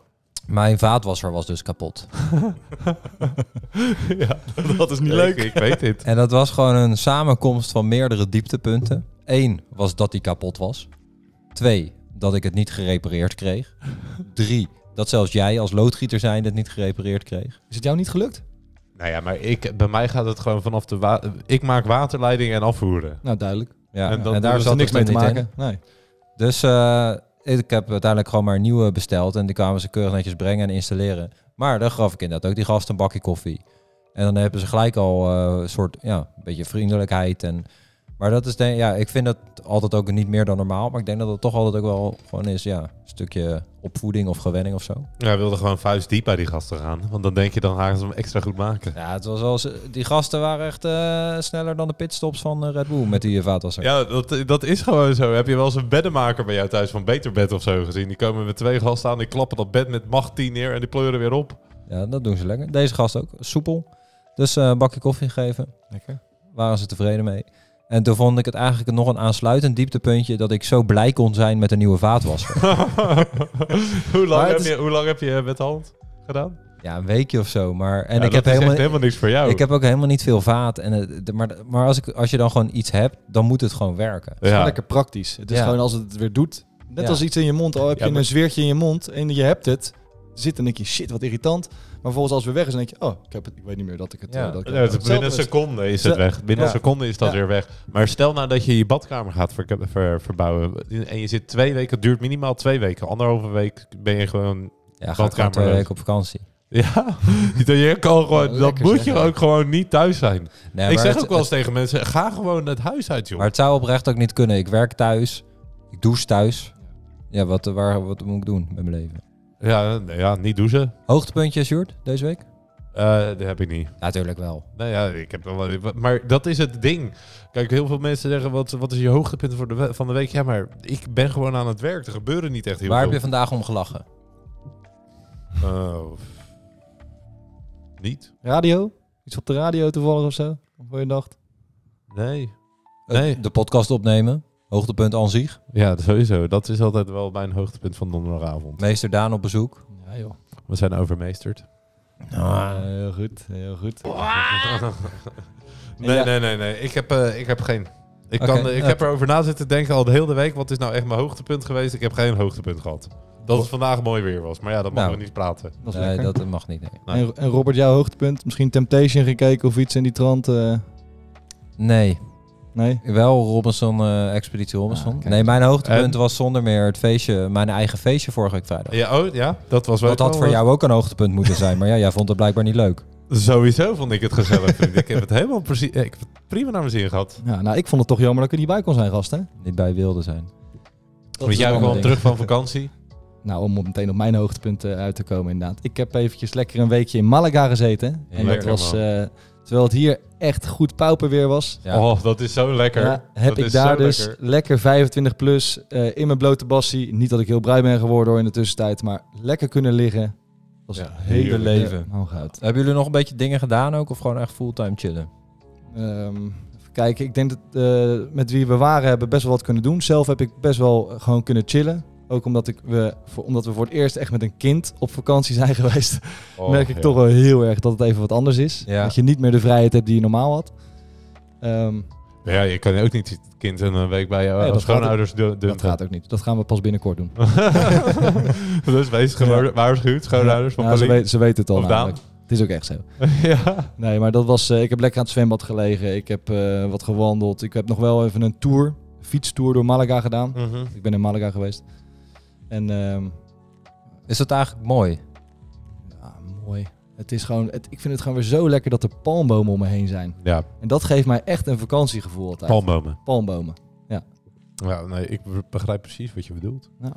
[SPEAKER 3] Mijn vaatwasser was dus kapot.
[SPEAKER 2] ja, *laughs* dat is
[SPEAKER 1] niet
[SPEAKER 2] Ik, ik weet dit.
[SPEAKER 3] En dat was gewoon een samenkomst van meerdere dieptepunten. Eén was dat die kapot was. Twee, dat ik het niet gerepareerd kreeg. Drie, dat zelfs jij als loodgieter zijn het niet gerepareerd kreeg.
[SPEAKER 1] Is het jou niet gelukt?
[SPEAKER 2] Nou ja, maar ik, bij mij gaat het gewoon vanaf de... wa- ik maak waterleidingen en afvoeren.
[SPEAKER 1] Nou, duidelijk.
[SPEAKER 3] Ja,
[SPEAKER 2] En
[SPEAKER 3] en,
[SPEAKER 2] dat- dat
[SPEAKER 3] daar
[SPEAKER 1] heeft
[SPEAKER 2] was
[SPEAKER 1] er niks
[SPEAKER 3] zat
[SPEAKER 1] mee
[SPEAKER 3] het
[SPEAKER 1] te
[SPEAKER 3] er niet in.
[SPEAKER 1] maken. Nee.
[SPEAKER 3] Dus eh, ik heb uiteindelijk gewoon maar een nieuwe besteld. En die kwamen ze keurig netjes brengen en installeren. Maar dan gaf ik inderdaad ook die gast een bakje koffie. En dan hebben ze gelijk al eh, een soort, ja, een beetje vriendelijkheid. En Maar dat is denk ja, ik vind dat altijd ook niet meer dan normaal. Maar ik denk dat het toch altijd ook wel gewoon is, ja, een stukje opvoeding of gewenning of zo.
[SPEAKER 2] Ja, hij wilde gewoon vuist diep bij die gasten gaan. Want dan denk je, dan gaan ze hem extra goed maken.
[SPEAKER 3] Ja, het was wel, z- die gasten waren echt eh, sneller dan de pitstops van eh, Red Bull met die eh, vaatwasser.
[SPEAKER 2] Ja, dat, dat is gewoon zo. Heb je wel eens een beddenmaker bij jou thuis van Beter Bed of zo gezien? Die komen met twee gasten aan, die klappen dat bed met macht 10 neer en die pleuren weer op. *laughs*
[SPEAKER 3] Ja, dat doen ze lekker. Deze gast ook, soepel. Dus eh, een bakje koffie gegeven,
[SPEAKER 1] Lekker.
[SPEAKER 3] waren ze tevreden mee. En toen vond ik het eigenlijk nog een aansluitend dieptepuntje dat ik zo blij kon zijn met een nieuwe
[SPEAKER 2] *laughs*
[SPEAKER 3] vaatwasser.
[SPEAKER 2] hoe, lang
[SPEAKER 1] Maar
[SPEAKER 2] heb
[SPEAKER 1] het is-
[SPEAKER 2] je, hoe lang heb je met de hand gedaan?
[SPEAKER 3] ja, een weekje of zo. Maar, en
[SPEAKER 2] Ja, dat
[SPEAKER 3] ik heb
[SPEAKER 2] is echt
[SPEAKER 3] helemaal,
[SPEAKER 2] helemaal niks voor jou.
[SPEAKER 3] ik heb ook helemaal niet veel vaat. En, eh, d- maar maar als, ik, als je dan gewoon iets hebt, dan moet het gewoon werken.
[SPEAKER 1] Het is
[SPEAKER 2] ja.
[SPEAKER 1] gewoon lekker praktisch. Het is
[SPEAKER 3] Ja.
[SPEAKER 1] gewoon als het het weer doet. Net
[SPEAKER 3] Ja.
[SPEAKER 1] als iets in je mond. Al heb
[SPEAKER 2] Ja,
[SPEAKER 1] je
[SPEAKER 2] maar-
[SPEAKER 1] een zweertje in je mond en je hebt het. Zit dan denk je, shit, wat irritant. Maar vervolgens als het weer weg is, dan denk je, oh, ik, heb het, ik weet niet meer dat ik het...
[SPEAKER 3] Ja.
[SPEAKER 1] eh, dat ik
[SPEAKER 2] Ja, het- binnen
[SPEAKER 1] Hetzelfde
[SPEAKER 2] een
[SPEAKER 1] is-
[SPEAKER 2] seconde is het
[SPEAKER 1] Ze-
[SPEAKER 2] weg. Binnen
[SPEAKER 1] Ja.
[SPEAKER 2] een seconde is dat
[SPEAKER 1] Ja.
[SPEAKER 2] weer weg. Maar stel nou dat je je badkamer gaat ver- ver- verbouwen. En je zit twee weken, het duurt minimaal twee weken. Anderhalve week ben je gewoon...
[SPEAKER 3] Ja, gaat gewoon
[SPEAKER 2] Badkamer
[SPEAKER 3] twee
[SPEAKER 2] leuk.
[SPEAKER 3] weken op vakantie.
[SPEAKER 2] Ja, je kan gewoon, dat
[SPEAKER 1] lekker
[SPEAKER 2] moet je
[SPEAKER 1] zeg.
[SPEAKER 2] ook gewoon niet thuis zijn.
[SPEAKER 3] Nee,
[SPEAKER 2] ik
[SPEAKER 3] maar
[SPEAKER 2] zeg
[SPEAKER 3] het-
[SPEAKER 2] ook wel eens tegen mensen, ga gewoon het huis uit, joh.
[SPEAKER 3] Maar het zou oprecht ook niet kunnen. Ik werk thuis. Ik douche thuis. Ja, wat, waar, wat moet ik doen met mijn leven?
[SPEAKER 2] Ja, nee, ja, niet douchen.
[SPEAKER 3] Hoogtepuntje, Sjoerd, deze week?
[SPEAKER 2] Eh dat heb ik niet.
[SPEAKER 3] Natuurlijk wel.
[SPEAKER 2] Nou ja, ik heb wel, wat- maar dat is het ding. Kijk, heel veel mensen zeggen, wat, wat is je hoogtepunt voor de, we- van de week? Ja, maar ik ben gewoon aan het werk. Er gebeuren niet echt heel
[SPEAKER 3] Waar heb
[SPEAKER 2] veel.
[SPEAKER 3] je vandaag om gelachen?
[SPEAKER 2] Eh, niet?
[SPEAKER 1] Radio? Iets op de radio toevallig of zo? Of Voor je dacht?
[SPEAKER 2] Nee.
[SPEAKER 3] Eh,
[SPEAKER 2] Nee.
[SPEAKER 3] De podcast opnemen. Hoogtepunt aan zich.
[SPEAKER 2] Ja, sowieso. Dat is altijd wel mijn hoogtepunt van donderdagavond.
[SPEAKER 3] Meester Daan op bezoek.
[SPEAKER 1] Ja joh.
[SPEAKER 2] We zijn overmeesterd.
[SPEAKER 1] Nou,
[SPEAKER 2] Ah.
[SPEAKER 1] heel goed, heel goed.
[SPEAKER 2] Nee,
[SPEAKER 1] *laughs* Ja. nou,
[SPEAKER 2] nee, nee, nee. Ik heb, eh, ik heb geen. Ik,
[SPEAKER 3] Oké,
[SPEAKER 2] kan, ik
[SPEAKER 3] eh,
[SPEAKER 2] heb erover na zitten denken al de hele week. Wat is nou echt mijn hoogtepunt geweest? Ik heb geen hoogtepunt gehad. Dat het vandaag mooi weer was. Maar ja, dat mogen
[SPEAKER 3] Nou.
[SPEAKER 2] we niet praten.
[SPEAKER 1] Dat is
[SPEAKER 3] Nee,
[SPEAKER 1] lekker.
[SPEAKER 3] dat mag niet. Nee.
[SPEAKER 2] Nee.
[SPEAKER 1] En, en Robert, jouw hoogtepunt? Misschien Temptation gekeken of iets in die trant? eh,
[SPEAKER 3] nee.
[SPEAKER 1] nee?
[SPEAKER 3] Wel Robinson, eh, Expeditie Robinson.
[SPEAKER 1] Ah, kijk.
[SPEAKER 3] nee, mijn hoogtepunt was zonder meer het feestje, mijn eigen feestje vorige week vrijdag.
[SPEAKER 2] Ja, oh, ja dat was wel...
[SPEAKER 3] Dat had
[SPEAKER 2] wel
[SPEAKER 3] voor
[SPEAKER 2] wat-
[SPEAKER 3] jou ook een hoogtepunt moeten zijn, maar ja, jij vond het blijkbaar niet leuk.
[SPEAKER 2] Sowieso vond ik het gezellig. vriend. ik heb het helemaal precies... eh, Ik heb het prima naar mijn zin gehad.
[SPEAKER 1] Ja, nou, ik vond het toch jammer dat ik er niet bij kon zijn, gast, hè?
[SPEAKER 3] Niet bij wilde zijn.
[SPEAKER 1] Dat
[SPEAKER 2] Want
[SPEAKER 1] is
[SPEAKER 2] jij
[SPEAKER 1] wel
[SPEAKER 3] een
[SPEAKER 2] kwam
[SPEAKER 1] ding.
[SPEAKER 2] terug van vakantie.
[SPEAKER 1] Nou, om op- meteen op mijn hoogtepunten uit te komen inderdaad. Ik heb eventjes lekker een weekje in Malaga gezeten. En dat
[SPEAKER 2] Lekker,
[SPEAKER 1] was,
[SPEAKER 2] man.
[SPEAKER 1] eh, terwijl het hier echt goed pauper weer was...
[SPEAKER 3] Ja.
[SPEAKER 2] Oh, dat is zo lekker.
[SPEAKER 1] ja, heb
[SPEAKER 2] Dat
[SPEAKER 1] ik
[SPEAKER 2] is
[SPEAKER 1] daar
[SPEAKER 2] zo
[SPEAKER 1] dus
[SPEAKER 2] lekker.
[SPEAKER 1] lekker, 25 plus eh, in mijn blote bassie. Niet dat ik heel bruin ben geworden hoor in de tussentijd, maar lekker kunnen liggen. Dat is
[SPEAKER 2] Ja,
[SPEAKER 1] het hele
[SPEAKER 2] heerlijk.
[SPEAKER 1] leven.
[SPEAKER 3] Ja.
[SPEAKER 1] Oh, goud.
[SPEAKER 3] Hebben jullie nog een beetje dingen gedaan ook, of gewoon echt fulltime chillen?
[SPEAKER 1] Ehm, even kijken, ik denk dat eh, met wie we waren hebben best wel wat kunnen doen. Zelf heb ik best wel eh, gewoon kunnen chillen. Ook omdat, ik, we, voor, omdat we voor het eerst echt met een kind op vakantie zijn *laughs* geweest,
[SPEAKER 2] Oh,
[SPEAKER 1] merk ik
[SPEAKER 2] ja.
[SPEAKER 1] toch wel heel erg dat het even wat anders is.
[SPEAKER 3] Ja.
[SPEAKER 1] Dat je niet meer de vrijheid hebt die je normaal had. Ehm,
[SPEAKER 2] Ja, je kan ook niet het kind een eh, week bij jou
[SPEAKER 1] Nee,
[SPEAKER 2] als
[SPEAKER 1] dat gaat ook-
[SPEAKER 2] schoonouders doen.
[SPEAKER 1] dat gaat ook niet. Dat gaan we pas binnenkort doen.
[SPEAKER 2] *laughs* dus wees
[SPEAKER 1] Ja.
[SPEAKER 2] gewoon waarschuwd, schoonouders van
[SPEAKER 1] Ja, ze,
[SPEAKER 2] Paulien.
[SPEAKER 1] weet, ze weten het al
[SPEAKER 2] Of Daan.
[SPEAKER 1] namelijk. Het is ook echt zo.
[SPEAKER 2] *laughs* ja.
[SPEAKER 1] Nee, maar dat was. eh, ik heb lekker aan het zwembad gelegen. Ik heb eh, wat gewandeld. Ik heb nog wel even een tour, fietstour door Malaga gedaan.
[SPEAKER 2] Mhm.
[SPEAKER 1] Ik ben in Malaga geweest. En ehm,
[SPEAKER 3] Is dat eigenlijk mooi?
[SPEAKER 1] ja, mooi. Het is gewoon. Het, ik vind het gewoon weer zo lekker dat er palmbomen om me heen zijn.
[SPEAKER 2] Ja,
[SPEAKER 1] En dat geeft mij echt een vakantiegevoel altijd.
[SPEAKER 2] palmbomen.
[SPEAKER 1] Palmbomen.
[SPEAKER 2] Ja, nee, ik be- begrijp precies wat je bedoelt.
[SPEAKER 1] Ja.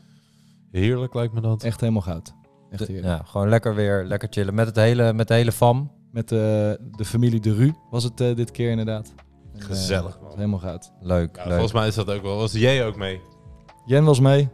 [SPEAKER 2] Heerlijk lijkt me dat.
[SPEAKER 1] Echt helemaal goud. Echt
[SPEAKER 3] De-
[SPEAKER 1] heerlijk.
[SPEAKER 3] ja, gewoon lekker weer, lekker chillen. Met, het hele, met de hele fam.
[SPEAKER 1] Met eh, de familie De Ru was het eh, dit keer inderdaad. En, eh,
[SPEAKER 2] Gezellig,
[SPEAKER 1] was
[SPEAKER 2] man.
[SPEAKER 1] helemaal goud.
[SPEAKER 3] Leuk,
[SPEAKER 2] Ja,
[SPEAKER 3] leuk.
[SPEAKER 2] volgens mij is dat ook wel. Was jij ook mee?
[SPEAKER 1] Jen was mee.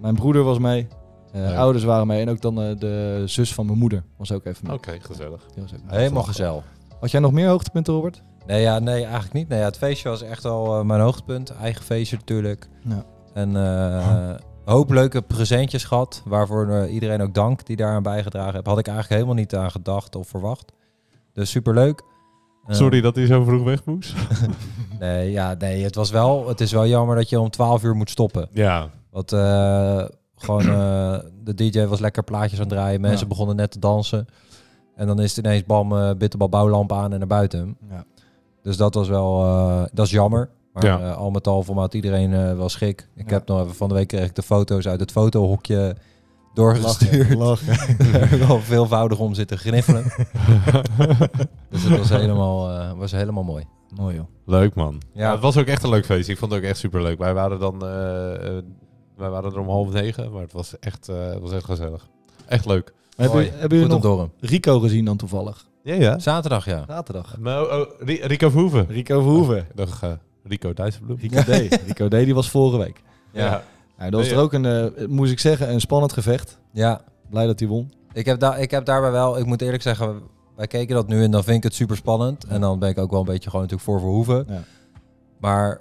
[SPEAKER 1] Mijn broeder was mee. eh,
[SPEAKER 2] Leuk.
[SPEAKER 1] Ouders waren mee. En ook dan eh, de zus van mijn moeder was ook even
[SPEAKER 2] Oké,
[SPEAKER 1] mee.
[SPEAKER 2] gezellig.
[SPEAKER 1] Die was ook mee.
[SPEAKER 3] Helemaal gezellig.
[SPEAKER 1] Had jij nog meer hoogtepunten, Robert?
[SPEAKER 3] Nee, ja, nee, eigenlijk niet. Nee, ja, het feestje was echt al eh, mijn hoogtepunt. Eigen feestje natuurlijk.
[SPEAKER 1] Ja.
[SPEAKER 3] En eh, een hoop leuke presentjes gehad. Waarvoor eh, iedereen ook dank die daaraan bijgedragen heeft. Had ik eigenlijk helemaal niet aan gedacht of verwacht. Dus superleuk. Eh,
[SPEAKER 2] Sorry dat hij zo vroeg weg moest.
[SPEAKER 3] Nee, ja, nee het, was wel, het is wel jammer dat je om 12 uur moet stoppen.
[SPEAKER 2] Ja,
[SPEAKER 3] Want eh, gewoon eh, de DJ was lekker plaatjes aan het draaien. Mensen
[SPEAKER 1] Ja.
[SPEAKER 3] begonnen net te dansen. En dan is het ineens bam, eh bitterbal bouwlamp aan en naar buiten.
[SPEAKER 1] Ja.
[SPEAKER 3] Dus dat was wel, eh, dat is jammer. Maar
[SPEAKER 2] Ja.
[SPEAKER 3] eh, al met al voor mij had iedereen eh, wel schik. Ik
[SPEAKER 1] Ja.
[SPEAKER 3] heb nog even van de week kreeg ik de foto's uit het fotohokje doorgestuurd.
[SPEAKER 1] Lachen.
[SPEAKER 3] *laughs* Daar heb ik
[SPEAKER 2] *laughs*
[SPEAKER 3] al veelvoudig om zitten gniffelen. dus het was helemaal, eh, was helemaal mooi. Mooi joh.
[SPEAKER 2] Leuk man.
[SPEAKER 3] Ja.
[SPEAKER 2] Ja. het was ook echt een leuk feest. Ik vond het ook echt super leuk. Wij waren dan eh, eh, wij waren er om half negen, maar het was echt, eh, het was echt gezellig. Echt leuk.
[SPEAKER 1] Hebben,
[SPEAKER 3] Mooi.
[SPEAKER 1] jullie- hebben jullie
[SPEAKER 3] Goed om
[SPEAKER 1] nog
[SPEAKER 3] te horen.
[SPEAKER 1] Rico gezien dan toevallig?
[SPEAKER 2] Ja, ja.
[SPEAKER 3] Zaterdag, ja.
[SPEAKER 1] Zaterdag.
[SPEAKER 2] Maar, oh, oh, Ri- Rico Verhoeven.
[SPEAKER 1] Rico Verhoeven.
[SPEAKER 2] Dag eh, Rico Dijsselbloem.
[SPEAKER 1] Rico
[SPEAKER 3] *laughs*
[SPEAKER 1] D. Rico D die was vorige week.
[SPEAKER 3] Ja.
[SPEAKER 1] Nou, dat was
[SPEAKER 2] Nee,
[SPEAKER 1] er ook een, eh, moest ik zeggen, een spannend gevecht.
[SPEAKER 3] ja.
[SPEAKER 1] Blij dat hij won.
[SPEAKER 3] Ik, heb daar ik heb daarbij wel, ik moet eerlijk zeggen, wij keken dat nu en dan vind ik het super spannend. En dan ben ik ook wel een beetje gewoon natuurlijk voor Verhoeven.
[SPEAKER 1] Ja.
[SPEAKER 3] Maar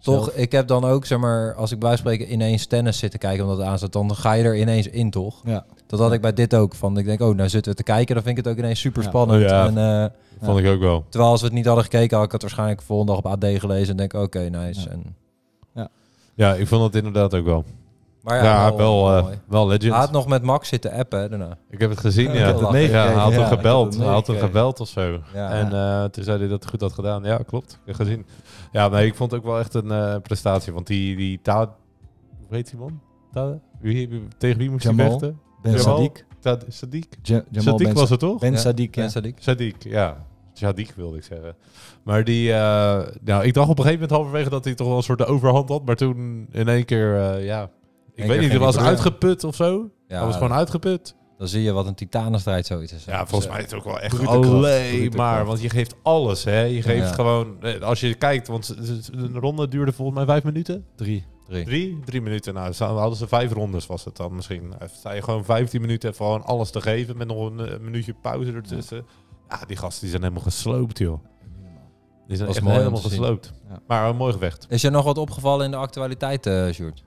[SPEAKER 3] toch,
[SPEAKER 1] Zelf.
[SPEAKER 3] ik heb dan ook, zeg maar, als ik bij wijze van spreken ineens tennis zit te kijken omdat het aanstaat, dan ga je er ineens in, toch?
[SPEAKER 1] Ja.
[SPEAKER 3] Dat had ik bij dit ook. Van ik denk, oh, nou zitten we te kijken, dan vind ik het ook ineens super spannend.
[SPEAKER 2] Ja.
[SPEAKER 3] En, eh,
[SPEAKER 2] Vond ik ook wel.
[SPEAKER 3] terwijl als we het niet hadden gekeken, had ik het waarschijnlijk de volgende dag op AD gelezen en denk, oké, nice.
[SPEAKER 1] Ja.
[SPEAKER 3] En,
[SPEAKER 2] Ja, ik vond het inderdaad ook wel.
[SPEAKER 3] maar
[SPEAKER 2] Ja,
[SPEAKER 3] ja, wel,
[SPEAKER 2] wel, eh,
[SPEAKER 3] mooi.
[SPEAKER 2] wel legend.
[SPEAKER 3] Hij had nog met Max zitten appen hè, daarna.
[SPEAKER 2] Ik heb het gezien,
[SPEAKER 3] Ja,
[SPEAKER 2] ja.
[SPEAKER 3] ik heb het
[SPEAKER 2] Ja,
[SPEAKER 1] meegekregen,
[SPEAKER 2] hij had
[SPEAKER 1] ja.
[SPEAKER 2] hem
[SPEAKER 1] Ik heb
[SPEAKER 2] gebeld.
[SPEAKER 1] het
[SPEAKER 2] Hij had hem
[SPEAKER 1] meegekregen.
[SPEAKER 2] gebeld of zo.
[SPEAKER 3] Ja.
[SPEAKER 2] En eh, toen zei hij dat hij goed had gedaan. Ja, klopt. Ik heb gezien. Ja, nee, ik vond het ook wel echt een eh, prestatie. Want die, die Ta... Hoe heet die man? Ta... Wie, wie- tegen wie moest hij
[SPEAKER 1] Jamal.
[SPEAKER 2] vechten?
[SPEAKER 1] Ben
[SPEAKER 2] Jamal?
[SPEAKER 1] Sadiq.
[SPEAKER 2] Ta... Sadiq?
[SPEAKER 1] Ja- Jamal
[SPEAKER 2] Sadiq
[SPEAKER 1] Ben,
[SPEAKER 2] was het toch?
[SPEAKER 1] ben
[SPEAKER 3] Ja.
[SPEAKER 1] Sadiq, ja.
[SPEAKER 3] Ken Sadiq?
[SPEAKER 2] Sadiq, ja. Sadiq wilde ik zeggen. Maar die... eh, nou, ik dacht op een gegeven moment halverwege dat hij toch wel een soort de overhand had. Maar toen in één keer, eh, ja... Ik weet niet,
[SPEAKER 3] keer ging
[SPEAKER 2] hij
[SPEAKER 3] hij
[SPEAKER 2] was
[SPEAKER 3] door.
[SPEAKER 2] uitgeput of zo.
[SPEAKER 3] Ja,
[SPEAKER 2] hij was gewoon uitgeput.
[SPEAKER 3] Dan zie je wat een titanenstrijd zoiets is. Dus,
[SPEAKER 2] Ja, volgens mij is het ook wel echt
[SPEAKER 1] brute kracht,
[SPEAKER 2] alleen
[SPEAKER 1] brute
[SPEAKER 2] maar.
[SPEAKER 1] kracht.
[SPEAKER 2] Want je geeft alles, hè. Je geeft
[SPEAKER 3] Ja.
[SPEAKER 2] gewoon... eh, Als je kijkt, want z- z- een ronde duurde volgens mij vijf minuten.
[SPEAKER 1] Drie.
[SPEAKER 3] Drie.
[SPEAKER 2] Drie? Drie minuten. Nou, ze hadden ze vijf rondes was het dan misschien. Eh, Sta je gewoon vijftien minuten even gewoon alles te geven... met nog een eh, minuutje pauze ertussen. Ja, die gasten die zijn helemaal gesloopt, joh. Die zijn
[SPEAKER 3] Was
[SPEAKER 2] echt
[SPEAKER 3] mooi om
[SPEAKER 2] helemaal
[SPEAKER 3] te zien.
[SPEAKER 2] gesloopt.
[SPEAKER 1] Ja.
[SPEAKER 2] Maar een mooi gevecht.
[SPEAKER 3] eh, Is je nog wat opgevallen in de actualiteit, eh Sjoerd?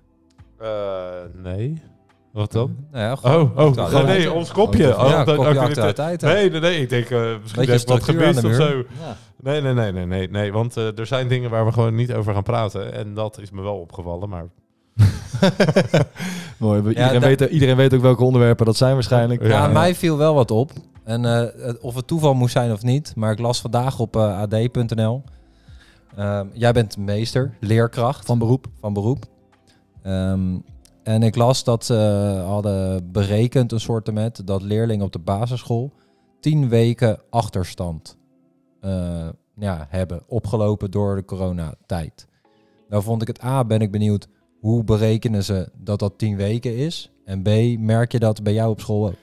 [SPEAKER 2] Eh, nee. Wat dan?
[SPEAKER 3] Nou ja,
[SPEAKER 2] Oh, oh,
[SPEAKER 3] actualiteit.
[SPEAKER 2] nee, ons kopje.
[SPEAKER 3] Ja,
[SPEAKER 2] Oh, dat-
[SPEAKER 3] kopje
[SPEAKER 2] actualiteit.
[SPEAKER 3] actualiteit. hè.
[SPEAKER 2] Nee, nee, nee. Ik denk, eh, misschien
[SPEAKER 3] Beetje
[SPEAKER 2] heb ik wat
[SPEAKER 3] structuur aan de
[SPEAKER 2] gemist of
[SPEAKER 3] muur.
[SPEAKER 2] zo.
[SPEAKER 1] Ja.
[SPEAKER 2] Nee, nee, nee, nee, nee, nee. Want eh, er zijn dingen waar we gewoon niet over gaan praten. En dat is me wel opgevallen. Maar
[SPEAKER 1] *laughs* Mooi. we-
[SPEAKER 3] Ja,
[SPEAKER 1] Iedereen,
[SPEAKER 3] daar-
[SPEAKER 1] weet, iedereen weet ook welke onderwerpen dat zijn waarschijnlijk.
[SPEAKER 2] Ja,
[SPEAKER 3] Ja,
[SPEAKER 2] ja.
[SPEAKER 3] mij viel wel wat op. En eh, het- of het toeval moest zijn of niet, maar ik las vandaag op eh, ad.nl. Ehm, jij bent meester, leerkracht
[SPEAKER 1] Van beroep.
[SPEAKER 3] van beroep. Ehm, en ik las dat ze eh, hadden berekend een soort met dat leerlingen op de basisschool tien weken achterstand eh, ja, hebben opgelopen door de coronatijd. Nou vond ik het A, ben ik benieuwd hoe berekenen ze dat dat tien weken is? En B, merk je dat bij jou op school ook?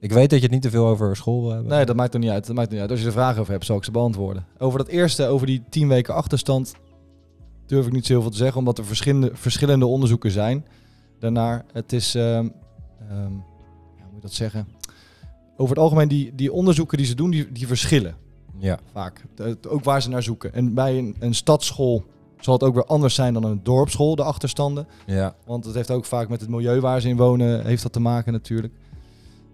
[SPEAKER 3] Ik weet dat je het niet te veel over school wil hebben.
[SPEAKER 1] Nee, dat maakt er niet uit. Dat maakt niet uit. Als je er vragen over hebt, zal ik ze beantwoorden. Over dat eerste, over die tien weken achterstand, durf ik niet zoveel te zeggen, omdat er verschillende, verschillende onderzoeken zijn. Daarnaar, het is, ehm, ehm, ja, hoe moet je dat zeggen? Over het algemeen, die, die onderzoeken die ze doen, die, die verschillen
[SPEAKER 3] Ja,
[SPEAKER 1] vaak. Het- ook waar ze naar zoeken. En bij een, een stadsschool zal het ook weer anders zijn dan een dorpsschool, de achterstanden.
[SPEAKER 3] ja,
[SPEAKER 1] Want dat heeft ook vaak met het milieu waar ze in wonen, heeft dat te maken natuurlijk.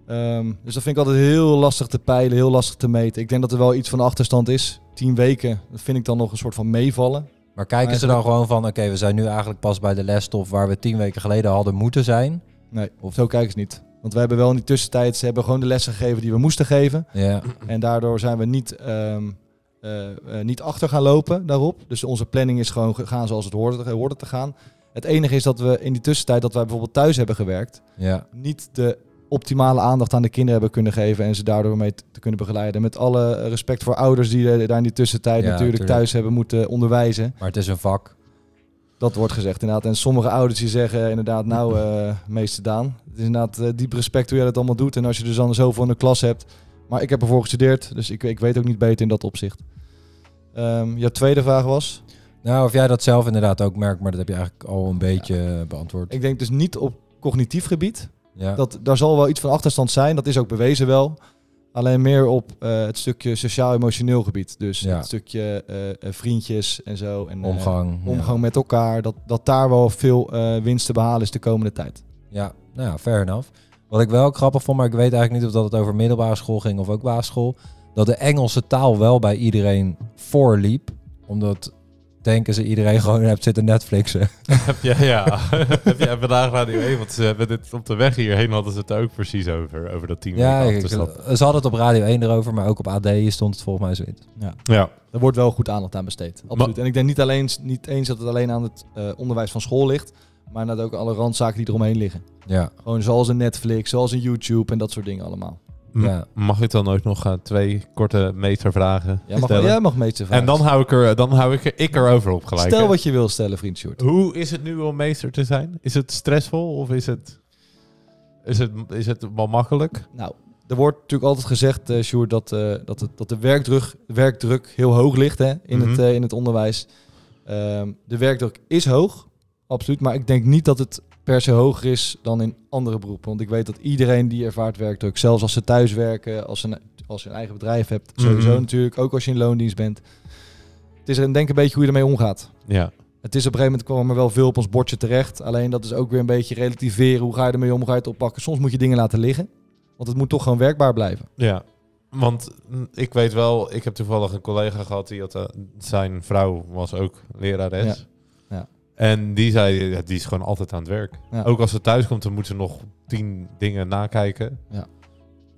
[SPEAKER 1] Ehm, dus dat vind ik altijd heel lastig te peilen, heel lastig te meten. Ik denk dat er wel iets van achterstand is. Tien weken, dat vind ik dan nog een soort van meevallen.
[SPEAKER 3] Maar kijken ze dan gewoon van, oké, we zijn nu eigenlijk pas bij de lesstof waar we tien weken geleden hadden moeten zijn.
[SPEAKER 1] Nee,
[SPEAKER 3] Of-
[SPEAKER 1] zo kijken ze niet. Want we hebben wel in die tussentijd, ze hebben gewoon de lessen gegeven die we moesten geven.
[SPEAKER 3] Ja,
[SPEAKER 1] En daardoor zijn we niet, ehm, eh, eh, niet achter gaan lopen daarop. Dus onze planning is gewoon gegaan zoals het hoorde, hoorde te gaan. Het enige is dat we in die tussentijd, dat wij bijvoorbeeld thuis hebben gewerkt,
[SPEAKER 3] ja,
[SPEAKER 1] niet de optimale aandacht aan de kinderen hebben kunnen geven en ze daardoor mee te kunnen begeleiden. Met alle respect voor ouders die eh, daar in die tussentijd
[SPEAKER 3] Ja,
[SPEAKER 1] natuurlijk
[SPEAKER 3] tuurlijk.
[SPEAKER 1] thuis hebben moeten onderwijzen.
[SPEAKER 3] maar het is een vak.
[SPEAKER 1] Dat wordt gezegd inderdaad. En sommige ouders die zeggen eh, inderdaad,
[SPEAKER 3] *laughs*
[SPEAKER 1] nou eh meester Daan, het is inderdaad eh, diep respect hoe jij dat allemaal doet. En als je dus dan zoveel in de klas hebt. Maar ik heb ervoor gestudeerd, dus ik, ik weet ook niet beter in dat opzicht. Ehm jouw tweede vraag was?
[SPEAKER 3] Nou, of jij dat zelf inderdaad ook merkt, maar dat heb je eigenlijk al een beetje eh, beantwoord.
[SPEAKER 1] Ik denk dus niet op cognitief gebied.
[SPEAKER 3] Ja,
[SPEAKER 1] Dat, daar zal wel iets van achterstand zijn, dat is ook bewezen wel. Alleen meer op eh, het stukje sociaal-emotioneel gebied. Dus
[SPEAKER 3] Ja.
[SPEAKER 1] het stukje eh, eh, vriendjes en zo. En, eh,
[SPEAKER 3] omgang. ja.
[SPEAKER 1] omgang met elkaar. Dat, dat daar wel veel eh, winst te behalen is de komende tijd.
[SPEAKER 3] Ja, nou ja, fair enough. Wat ik wel grappig vond, maar ik weet eigenlijk niet of dat het over middelbare school ging of ook basisschool. Dat de Engelse taal wel bij iedereen voorliep. Omdat denken ze iedereen *laughs* gewoon hebt zitten Netflixen.
[SPEAKER 2] heb jij, ja, *laughs* heb jij vandaag Radio 1, want ze hebben dit op de weg hierheen hadden ze het er ook precies over, over dat team.
[SPEAKER 3] Ja, ik, ze hadden het op Radio 1 erover, maar ook op AD stond het volgens mij zoiets.
[SPEAKER 2] ja.
[SPEAKER 1] Daar wordt wel goed aandacht aan besteed. Absoluut. En ik denk niet, alleen, niet eens dat het alleen aan het eh, onderwijs van school ligt. Maar dat ook alle randzaken die eromheen liggen.
[SPEAKER 3] Ja,
[SPEAKER 1] Gewoon zoals een Netflix, zoals een YouTube en dat soort dingen allemaal.
[SPEAKER 2] M-
[SPEAKER 3] Ja.
[SPEAKER 2] Mag ik dan ook nog eh, twee korte metervragen
[SPEAKER 1] Jij mag,
[SPEAKER 2] stellen?
[SPEAKER 1] jij mag meester vragen.
[SPEAKER 2] en dan hou ik er, eh, dan hou ik er, ik er over op gelijk. hè?
[SPEAKER 1] Stel wat je wil stellen, vriend Sjoerd.
[SPEAKER 2] Hoe is het nu om meester te zijn? Is het stressvol of is het, is het, is het wel makkelijk?
[SPEAKER 1] Nou, er wordt natuurlijk altijd gezegd, eh Sjoerd, dat, eh, dat, het, dat de werkdruk, werkdruk heel hoog ligt hè, in, het,
[SPEAKER 2] Mhm.
[SPEAKER 1] eh, in het onderwijs. Ehm, de werkdruk is hoog, absoluut. Maar ik denk niet dat het per se hoger is dan in andere beroepen. Want ik weet dat iedereen die ervaart werkdruk, zelfs als ze thuis werken, als ze, een- als je een eigen bedrijf hebt, sowieso
[SPEAKER 2] Mhm.
[SPEAKER 1] natuurlijk, ook als je in loondienst bent. Het is een denk een beetje hoe je ermee omgaat.
[SPEAKER 2] Ja.
[SPEAKER 1] Het is op een gegeven moment kwam er wel veel op ons bordje terecht. Alleen dat is ook weer een beetje relativeren. Hoe ga je ermee om? Hoe ga je het oppakken? Soms moet je dingen laten liggen. Want het moet toch gewoon werkbaar blijven.
[SPEAKER 2] Ja. Want mm, ik weet wel, ik heb toevallig een collega gehad die had, eh, zijn vrouw was ook lerares.
[SPEAKER 1] Ja. Ja.
[SPEAKER 2] En die zei, ja, die is gewoon altijd aan het werk.
[SPEAKER 1] Ja.
[SPEAKER 2] Ook als ze thuis komt, dan moet ze nog tien dingen nakijken.
[SPEAKER 1] Ja.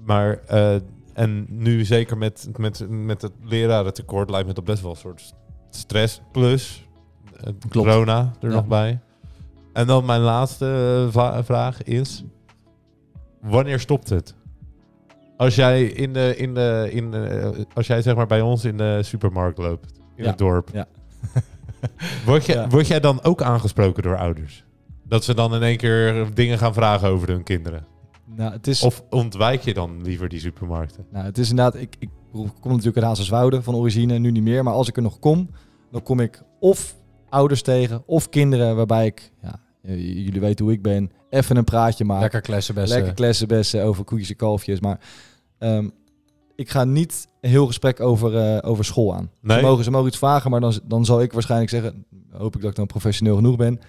[SPEAKER 2] Maar, eh, en nu zeker met, met, met het lerarentekort lijkt me dat best wel een soort stress plus eh,
[SPEAKER 1] Klopt.
[SPEAKER 2] corona er
[SPEAKER 1] Ja.
[SPEAKER 2] nog bij. En dan mijn laatste eh, va- vraag is, wanneer stopt het? Als jij in de, in de, in de- als jij zeg maar bij ons in de supermarkt loopt, in
[SPEAKER 1] Ja.
[SPEAKER 2] het dorp,
[SPEAKER 1] Ja.
[SPEAKER 2] *laughs* word, je,
[SPEAKER 1] Ja.
[SPEAKER 2] word jij dan ook aangesproken door ouders? Dat ze dan in één keer dingen gaan vragen over hun kinderen?
[SPEAKER 1] Nou, het is,
[SPEAKER 2] Of ontwijk je dan liever die supermarkten?
[SPEAKER 1] nou, het is inderdaad... Ik, ik kom natuurlijk uit Hazenswoude van origine. Nu niet meer. Maar als ik er nog kom, dan kom ik of ouders tegen... of kinderen waarbij ik... Ja, eh, j- jullie weten hoe ik ben. Even een praatje maken.
[SPEAKER 3] Lekker klessenbessen.
[SPEAKER 1] Lekker klessenbessen over koekjes en kalfjes. Maar ehm, ik ga niet een heel gesprek over, eh, over school aan.
[SPEAKER 2] Nee?
[SPEAKER 1] Ze, mogen, ze mogen iets vragen, maar dan, z- dan zal ik waarschijnlijk zeggen... hoop ik dat ik dan professioneel genoeg ben.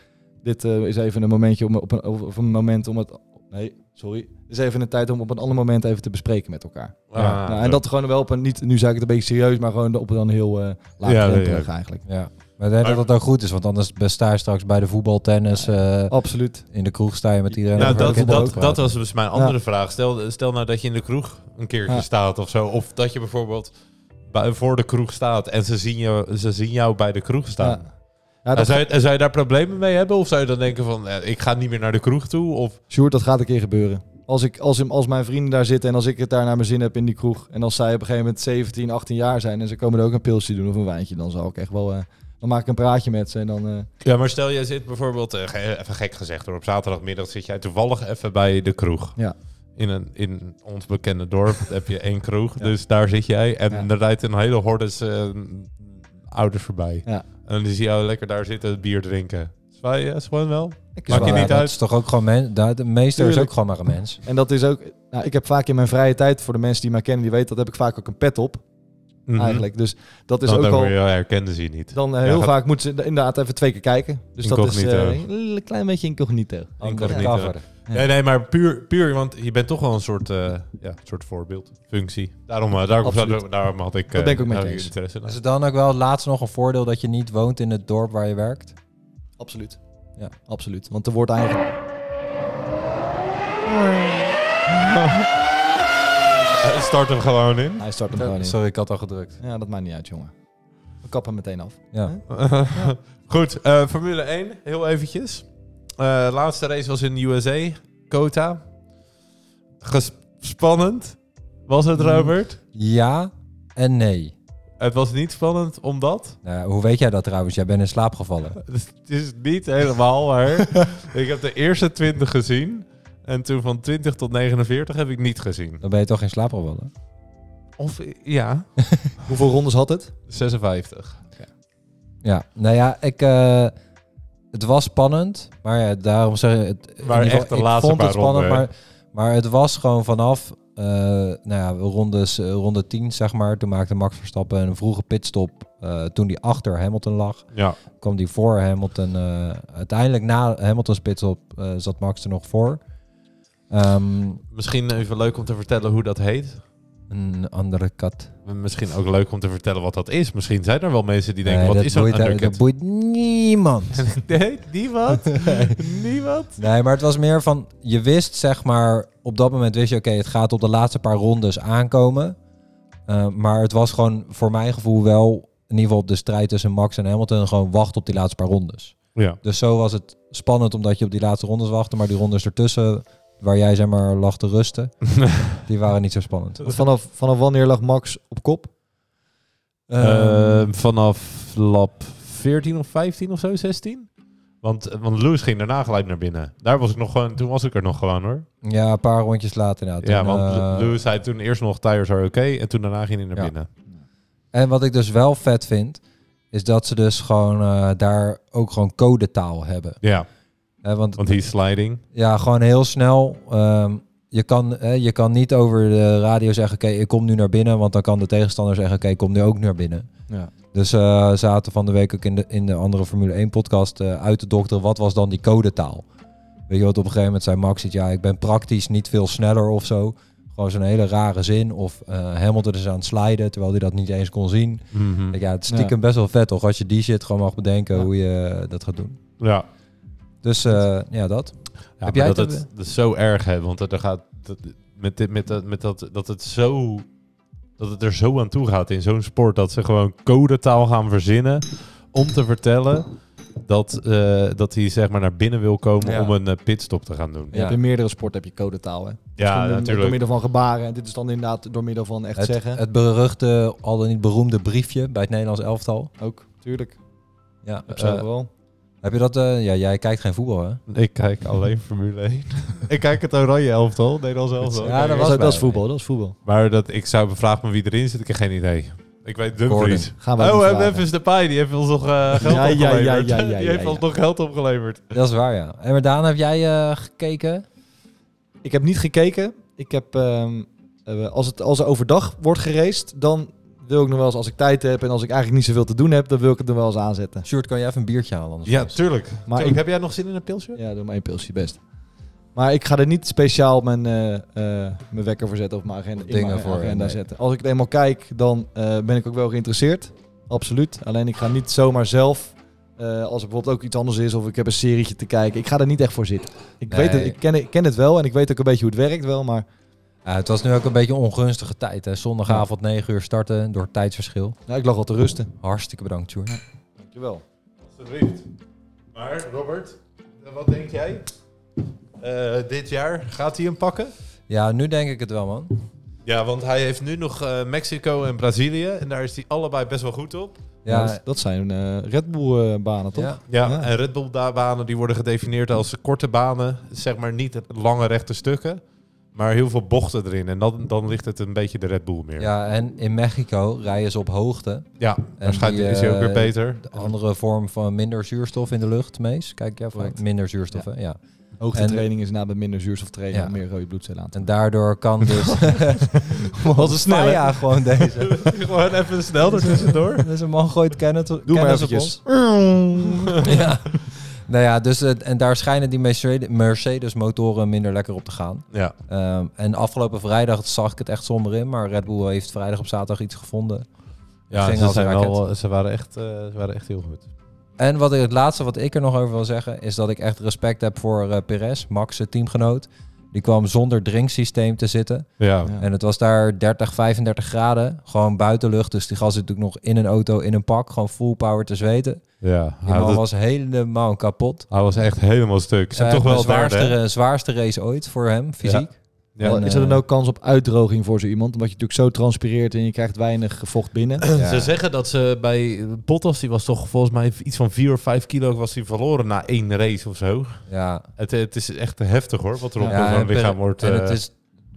[SPEAKER 1] Dit eh, is even een momentje om op een, of een moment om het... Nee, sorry. Dit is even een tijd om op een ander moment even te bespreken met elkaar.
[SPEAKER 2] Ah,
[SPEAKER 1] Ja. Nou, en
[SPEAKER 2] zo.
[SPEAKER 1] dat gewoon wel op een... Niet, nu zei ik het een beetje serieus, maar gewoon op een heel eh laagdrempelig
[SPEAKER 2] ja.
[SPEAKER 1] eigenlijk.
[SPEAKER 3] Ja. Maar ik denk dat dat ook goed is, want anders sta je straks bij de voetbaltennis. eh,
[SPEAKER 1] Absoluut.
[SPEAKER 3] in de kroeg sta je met iedereen.
[SPEAKER 2] Nou,
[SPEAKER 3] over de
[SPEAKER 2] dat,
[SPEAKER 3] voetbal
[SPEAKER 2] dat,
[SPEAKER 3] te
[SPEAKER 2] dat
[SPEAKER 3] praten.
[SPEAKER 2] was dus mijn andere vraag. Stel, stel nou dat je in de kroeg een keertje
[SPEAKER 1] Ja.
[SPEAKER 2] staat of zo. Of dat je bijvoorbeeld bij, voor de kroeg staat en ze zien, je, ze zien jou bij de kroeg staan.
[SPEAKER 1] Ja. Ja,
[SPEAKER 2] En
[SPEAKER 1] dat,
[SPEAKER 2] zou, je, en zou je daar problemen mee hebben? Of zou je dan denken van, eh, ik ga niet meer naar de kroeg toe? Of,
[SPEAKER 1] Sjoerd, dat gaat een keer gebeuren. Als, ik, als, hem- als mijn vrienden daar zitten en als ik het daar naar mijn zin heb in die kroeg... en als zij op een gegeven moment 17, 18 jaar zijn... en ze komen er ook een pilsje doen of een wijntje... dan zal ik echt wel... eh, dan maak ik een praatje met ze en dan... eh,
[SPEAKER 2] ja, maar stel, jij zit bijvoorbeeld, eh, ge- even gek gezegd hoor, op zaterdagmiddag zit jij toevallig even bij de kroeg.
[SPEAKER 1] Ja.
[SPEAKER 2] In, een, in ons bekende dorp
[SPEAKER 1] *laughs*
[SPEAKER 2] heb je één kroeg, dus daar zit jij. En
[SPEAKER 1] Ja.
[SPEAKER 2] er rijdt een hele hordes eh, ouders voorbij.
[SPEAKER 1] Ja.
[SPEAKER 2] En dan zie je jou lekker daar zitten, bier drinken. Zwaai je gewoon wel?
[SPEAKER 1] ik
[SPEAKER 2] Maak je
[SPEAKER 1] zwaai.
[SPEAKER 2] niet
[SPEAKER 3] Ja, dat
[SPEAKER 2] uit.
[SPEAKER 3] is toch ook gewoon men, dat- de meester is
[SPEAKER 1] Tuurlijk.
[SPEAKER 3] ook gewoon maar een mens.
[SPEAKER 1] En dat is ook... Nou, ik heb vaak in mijn vrije tijd, voor de mensen die mij kennen... die weten, dat heb ik vaak ook een pet op,
[SPEAKER 2] Mhm.
[SPEAKER 1] eigenlijk. Dus dat is
[SPEAKER 2] Want
[SPEAKER 1] ook
[SPEAKER 2] dan
[SPEAKER 1] al...
[SPEAKER 2] word je- herkenden ze je niet.
[SPEAKER 1] Dan eh, heel
[SPEAKER 2] Ja, gaat-
[SPEAKER 1] vaak moeten ze inderdaad even twee keer kijken. Dus dat is eh,
[SPEAKER 2] Incognito.
[SPEAKER 1] een klein beetje incognito.
[SPEAKER 2] Andere
[SPEAKER 1] Ja.
[SPEAKER 2] niet,
[SPEAKER 3] Cover.
[SPEAKER 1] Ja.
[SPEAKER 2] Nee, nee, maar puur, puur, want je bent toch wel een soort, eh, ja, soort voorbeeld, functie. Daarom, eh, daarom,
[SPEAKER 1] Absoluut.
[SPEAKER 2] zou- daarom had ik, eh,
[SPEAKER 1] Dat ben ik ook met
[SPEAKER 2] had
[SPEAKER 1] je eens.
[SPEAKER 2] interesse. in.
[SPEAKER 3] Is het dan ook wel laatst nog een voordeel dat je niet woont in het dorp waar je werkt?
[SPEAKER 1] Absoluut.
[SPEAKER 3] Ja.
[SPEAKER 1] Absoluut. Want er wordt eigenlijk...
[SPEAKER 2] Eh, Start hem gewoon in.
[SPEAKER 1] Hij start hem gewoon in.
[SPEAKER 3] Sorry, ik had al gedrukt.
[SPEAKER 1] Ja, dat maakt niet uit, jongen. We kappen meteen af.
[SPEAKER 3] Ja.
[SPEAKER 1] Hè?
[SPEAKER 2] *laughs* Goed, eh, Formule 1, heel eventjes. Eh, laatste race was in de USA, Kota. Ges- spannend was het,
[SPEAKER 3] Mm.
[SPEAKER 2] Robert.
[SPEAKER 3] Ja en nee.
[SPEAKER 2] Het was niet spannend, omdat...
[SPEAKER 3] Nou, hoe weet jij dat trouwens? Jij bent in slaap gevallen.
[SPEAKER 2] Het is niet helemaal waar. *laughs* ik heb de eerste 20 gezien. En toen van 20 tot 49 heb ik niet gezien.
[SPEAKER 3] Dan ben je toch in slaap gevallen?
[SPEAKER 2] Of, ja...
[SPEAKER 1] Hoeveel rondes had het?
[SPEAKER 2] 56.
[SPEAKER 3] Ja, nou ja, ik, eh, het was spannend, maar ja, daarom zeg ik... Het, in ieder geval,
[SPEAKER 2] echt de
[SPEAKER 3] ik
[SPEAKER 2] laatste
[SPEAKER 3] vond
[SPEAKER 2] paar
[SPEAKER 3] het spannend,
[SPEAKER 2] ronden, hè?
[SPEAKER 3] maar, maar het was gewoon vanaf eh nou ja, rondes, eh, ronde 10, zeg maar. Toen maakte Max Verstappen een vroege pitstop eh, toen die achter Hamilton lag.
[SPEAKER 2] Ja.
[SPEAKER 3] kwam die voor Hamilton. eh, uiteindelijk na Hamilton's pitstop eh, zat Max er nog voor. Ehm,
[SPEAKER 2] Misschien even leuk om te vertellen hoe dat heet.
[SPEAKER 3] een andere kat.
[SPEAKER 2] Misschien ook leuk om te vertellen wat dat is. Misschien zijn er wel mensen die denken,
[SPEAKER 3] Nee,
[SPEAKER 2] wat
[SPEAKER 3] dat
[SPEAKER 2] is zo'n
[SPEAKER 3] boeit- Dat
[SPEAKER 2] undercut?
[SPEAKER 3] boeit
[SPEAKER 2] *laughs*
[SPEAKER 3] niemand.
[SPEAKER 2] Nee, *laughs* niemand. niemand.
[SPEAKER 3] nee, maar het was meer van, je wist zeg maar, op dat moment wist je, oké, het gaat op de laatste paar rondes aankomen. Eh, maar het was gewoon voor mijn gevoel wel, in ieder geval op de strijd tussen Max en Hamilton, gewoon wachten op die laatste paar rondes.
[SPEAKER 2] Ja.
[SPEAKER 3] Dus zo was het spannend omdat je op die laatste rondes wachtte, maar die rondes ertussen waar jij zeg maar lag te
[SPEAKER 2] *laughs*
[SPEAKER 3] rusten, die waren niet zo spannend.
[SPEAKER 1] Vanaf, vanaf wanneer lag Max op kop?
[SPEAKER 3] Ehm,
[SPEAKER 2] Ehm, vanaf lab 14 of 15 of zo, 16. Want, want Lewis ging daarna gelijk naar binnen. Daar was ik nog gewoon, toen was ik er nog gewoon hoor.
[SPEAKER 3] ja, een paar rondjes later inderdaad.
[SPEAKER 2] ja,
[SPEAKER 3] Toen,
[SPEAKER 2] want
[SPEAKER 3] eh,
[SPEAKER 2] Lewis zei toen eerst nog tires are oké en toen daarna ging hij naar
[SPEAKER 3] Ja.
[SPEAKER 2] binnen.
[SPEAKER 3] En wat ik dus wel vet vind, is dat ze dus gewoon eh, daar ook gewoon codetaal hebben.
[SPEAKER 2] Ja,
[SPEAKER 3] Hè, want
[SPEAKER 2] want hij is sliding.
[SPEAKER 3] ja, gewoon heel snel. ehm, je, kan, hè, je kan niet over de radio zeggen, oké, ik kom nu naar binnen. Want dan kan de tegenstander zeggen, oké, ik kom nu ook naar binnen.
[SPEAKER 1] Ja.
[SPEAKER 3] Dus eh zaten van de week ook in de, in de andere Formule 1 podcast eh, uit te dokteren. Wat was dan die codetaal? Weet je wat, op een gegeven moment zei Max het, ja, ik ben praktisch niet veel sneller of zo. Gewoon zo'n hele rare zin. Of eh, Hamilton is aan het sliden, terwijl hij dat niet eens kon zien.
[SPEAKER 2] Mhm.
[SPEAKER 3] Ja, het is stiekem best wel vet toch? Als je die shit gewoon mag bedenken
[SPEAKER 1] Ja.
[SPEAKER 3] hoe je dat gaat doen.
[SPEAKER 2] Ja.
[SPEAKER 3] Dus eh, ja, dat.
[SPEAKER 2] Ja,
[SPEAKER 3] Heb
[SPEAKER 2] maar
[SPEAKER 3] jij
[SPEAKER 2] dat
[SPEAKER 3] het
[SPEAKER 2] het, dat is zo erg hè, want dat er gaat dat, met dit met dat met dat dat het zo dat het er zo aan toe gaat in zo'n sport dat ze gewoon codetaal gaan verzinnen om te vertellen dat eh, dat hij zeg maar naar binnen wil komen
[SPEAKER 1] Ja.
[SPEAKER 2] om een eh, pitstop te gaan doen.
[SPEAKER 1] Je hebt in meerdere sporten heb je codetaal. Hè?
[SPEAKER 2] Ja,
[SPEAKER 1] Gewoon door- Door
[SPEAKER 2] natuurlijk.
[SPEAKER 1] middel van gebaren. En dit is dan inderdaad door middel van echt
[SPEAKER 3] Het,
[SPEAKER 1] zeggen.
[SPEAKER 3] het beruchte, al dan niet beroemde briefje bij het Nederlands elftal.
[SPEAKER 1] ook, tuurlijk.
[SPEAKER 3] Ja,
[SPEAKER 1] Op zich
[SPEAKER 3] eh,
[SPEAKER 1] wel.
[SPEAKER 3] heb je dat? eh, ja, jij kijkt geen voetbal, hè?
[SPEAKER 2] Ik kijk alleen Formule 1. *laughs* ik kijk het oranje elftal, Nederlands *laughs* elftal.
[SPEAKER 3] Ja, dat
[SPEAKER 1] Dat,
[SPEAKER 3] was
[SPEAKER 1] is-
[SPEAKER 3] bij
[SPEAKER 1] dat is
[SPEAKER 3] me.
[SPEAKER 1] voetbal, dat is voetbal.
[SPEAKER 2] Maar dat ik zou bevragen me wie erin zit, ik heb geen idee. Ik weet Dumfries.
[SPEAKER 1] Gaan we
[SPEAKER 2] Oh,
[SPEAKER 1] even
[SPEAKER 2] en
[SPEAKER 1] vragen.
[SPEAKER 2] Memphis Depay, die heeft ons
[SPEAKER 1] *laughs*
[SPEAKER 2] nog eh, geld
[SPEAKER 1] Ja, ja, ja,
[SPEAKER 2] opgeleverd.
[SPEAKER 1] ja,
[SPEAKER 2] *laughs*
[SPEAKER 1] ja, ja,
[SPEAKER 2] die heeft
[SPEAKER 1] ja.
[SPEAKER 2] ons nog geld opgeleverd.
[SPEAKER 3] Dat is waar, ja. En maar Daan, heb jij eh, gekeken?
[SPEAKER 1] Ik heb niet gekeken. Ik heb, ehm, eh, als, het, als er overdag wordt geraced, dan wil ik nog wel eens, als ik tijd heb en als ik eigenlijk niet zoveel te doen heb, dan wil ik het nog wel eens aanzetten.
[SPEAKER 3] Sjoerd, kan jij even een biertje halen? Anders
[SPEAKER 2] Ja, tuurlijk.
[SPEAKER 1] Maar
[SPEAKER 2] Tuurlijk.
[SPEAKER 1] ik,
[SPEAKER 2] Heb jij nog zin in een pilsje?
[SPEAKER 1] ja, doe maar één pilsje, best. Maar ik ga er niet speciaal mijn, eh, eh, mijn wekker voor zetten of mijn agenda, in
[SPEAKER 3] Dingen
[SPEAKER 1] mijn
[SPEAKER 3] voor,
[SPEAKER 1] agenda
[SPEAKER 3] nee.
[SPEAKER 1] zetten. Als ik het eenmaal kijk, dan eh, ben ik ook wel geïnteresseerd. Absoluut. Alleen ik ga niet zomaar zelf, eh, als er bijvoorbeeld ook iets anders is of ik heb een serietje te kijken, ik ga er niet echt voor zitten. Ik,
[SPEAKER 3] Nee.
[SPEAKER 1] weet het, ik, ken, ik ken het wel en ik weet ook een beetje hoe het werkt wel, maar
[SPEAKER 3] Ja, het was nu ook een beetje een ongunstige tijd, hè? Zondagavond 9 uur starten door tijdsverschil.
[SPEAKER 1] nou, ik lag al te rusten.
[SPEAKER 3] Hartstikke bedankt, Sjoerd.
[SPEAKER 1] Dankjewel.
[SPEAKER 2] Alsjeblieft. Maar, Robert, eh, wat denk jij? Eh, dit jaar gaat hij hem pakken?
[SPEAKER 3] Ja, nu denk ik het wel, man.
[SPEAKER 2] Ja, want hij heeft nu nog eh, Mexico en Brazilië. En daar is hij allebei best wel goed op.
[SPEAKER 1] Ja,
[SPEAKER 3] Ja,
[SPEAKER 1] dat, dat zijn eh, Red Bull-banen, toch?
[SPEAKER 3] ja.
[SPEAKER 2] Ja,
[SPEAKER 1] Ja.
[SPEAKER 2] en Red Bull da- banen die worden gedefinieerd als korte banen. Zeg maar niet het lange rechte stukken. Maar heel veel bochten erin. En dan, dan ligt het een beetje de Red Bull meer. Ja,
[SPEAKER 3] ja, en in Mexico rijden ze op hoogte.
[SPEAKER 2] waarschijnlijk
[SPEAKER 3] die,
[SPEAKER 2] is hij ook weer
[SPEAKER 3] eh,
[SPEAKER 2] beter.
[SPEAKER 3] De andere vorm van minder zuurstof in de lucht, Mees. Kijk jij vaak?
[SPEAKER 1] Correct.
[SPEAKER 3] Minder zuurstof, ja. Hè? ja.
[SPEAKER 1] Hoogtetraining is na met minder zuurstof trainen,
[SPEAKER 3] Ja.
[SPEAKER 1] om meer rode bloedcellen aan te
[SPEAKER 3] En daardoor kan dus...
[SPEAKER 1] Wat een snelle.
[SPEAKER 3] Ja, gewoon deze.
[SPEAKER 2] Gewoon even snel er tussendoor.
[SPEAKER 3] *laughs* Dus een man gooit kennis
[SPEAKER 1] Doe maar eventjes.
[SPEAKER 3] Oh. *laughs* ja. Nou ja, dus, eh, en daar schijnen die Mercedes- Mercedes-motoren minder lekker op te gaan.
[SPEAKER 2] Ja,
[SPEAKER 3] Ehm, en afgelopen vrijdag zag ik het echt somber in, maar Red Bull heeft vrijdag op zaterdag iets gevonden.
[SPEAKER 2] ja
[SPEAKER 3] Ging
[SPEAKER 2] ze,
[SPEAKER 3] als
[SPEAKER 2] zijn
[SPEAKER 3] een
[SPEAKER 2] wel, ze, waren echt, eh, ze waren echt heel goed.
[SPEAKER 3] En wat ik, het laatste wat ik er nog over wil zeggen, is dat ik echt respect heb voor eh Perez, Max, zijn teamgenoot. Die kwam zonder drinksysteem te zitten.
[SPEAKER 2] Ja,
[SPEAKER 1] Ja.
[SPEAKER 3] En het was daar 30, 35 graden. Gewoon buitenlucht. Dus die gast zit natuurlijk nog in een auto, in een pak. Gewoon full power te zweten.
[SPEAKER 2] ja.
[SPEAKER 3] Die
[SPEAKER 2] Hij, was,
[SPEAKER 3] man was helemaal kapot.
[SPEAKER 2] hij was echt helemaal stuk. Ze
[SPEAKER 3] Eh,
[SPEAKER 2] hebben toch wel
[SPEAKER 3] de
[SPEAKER 2] zwaar
[SPEAKER 3] zwaarste, zwaarste race ooit voor hem, fysiek.
[SPEAKER 2] Ja.
[SPEAKER 1] is er dan ook kans op uitdroging voor zo iemand? Omdat je natuurlijk zo transpireert en je krijgt weinig vocht binnen. Eh,
[SPEAKER 3] Ja.
[SPEAKER 2] *clears throat* Ze zeggen dat ze bij Bottas, die was toch volgens mij iets van 4 of 5 kilo was hij verloren na één race of zo.
[SPEAKER 3] Ja.
[SPEAKER 2] Het, het is echt heftig hoor, wat er op
[SPEAKER 1] Ja,
[SPEAKER 2] zo'n
[SPEAKER 3] en
[SPEAKER 2] lichaam
[SPEAKER 3] Per-
[SPEAKER 2] wordt.
[SPEAKER 3] En
[SPEAKER 2] eh,
[SPEAKER 3] het is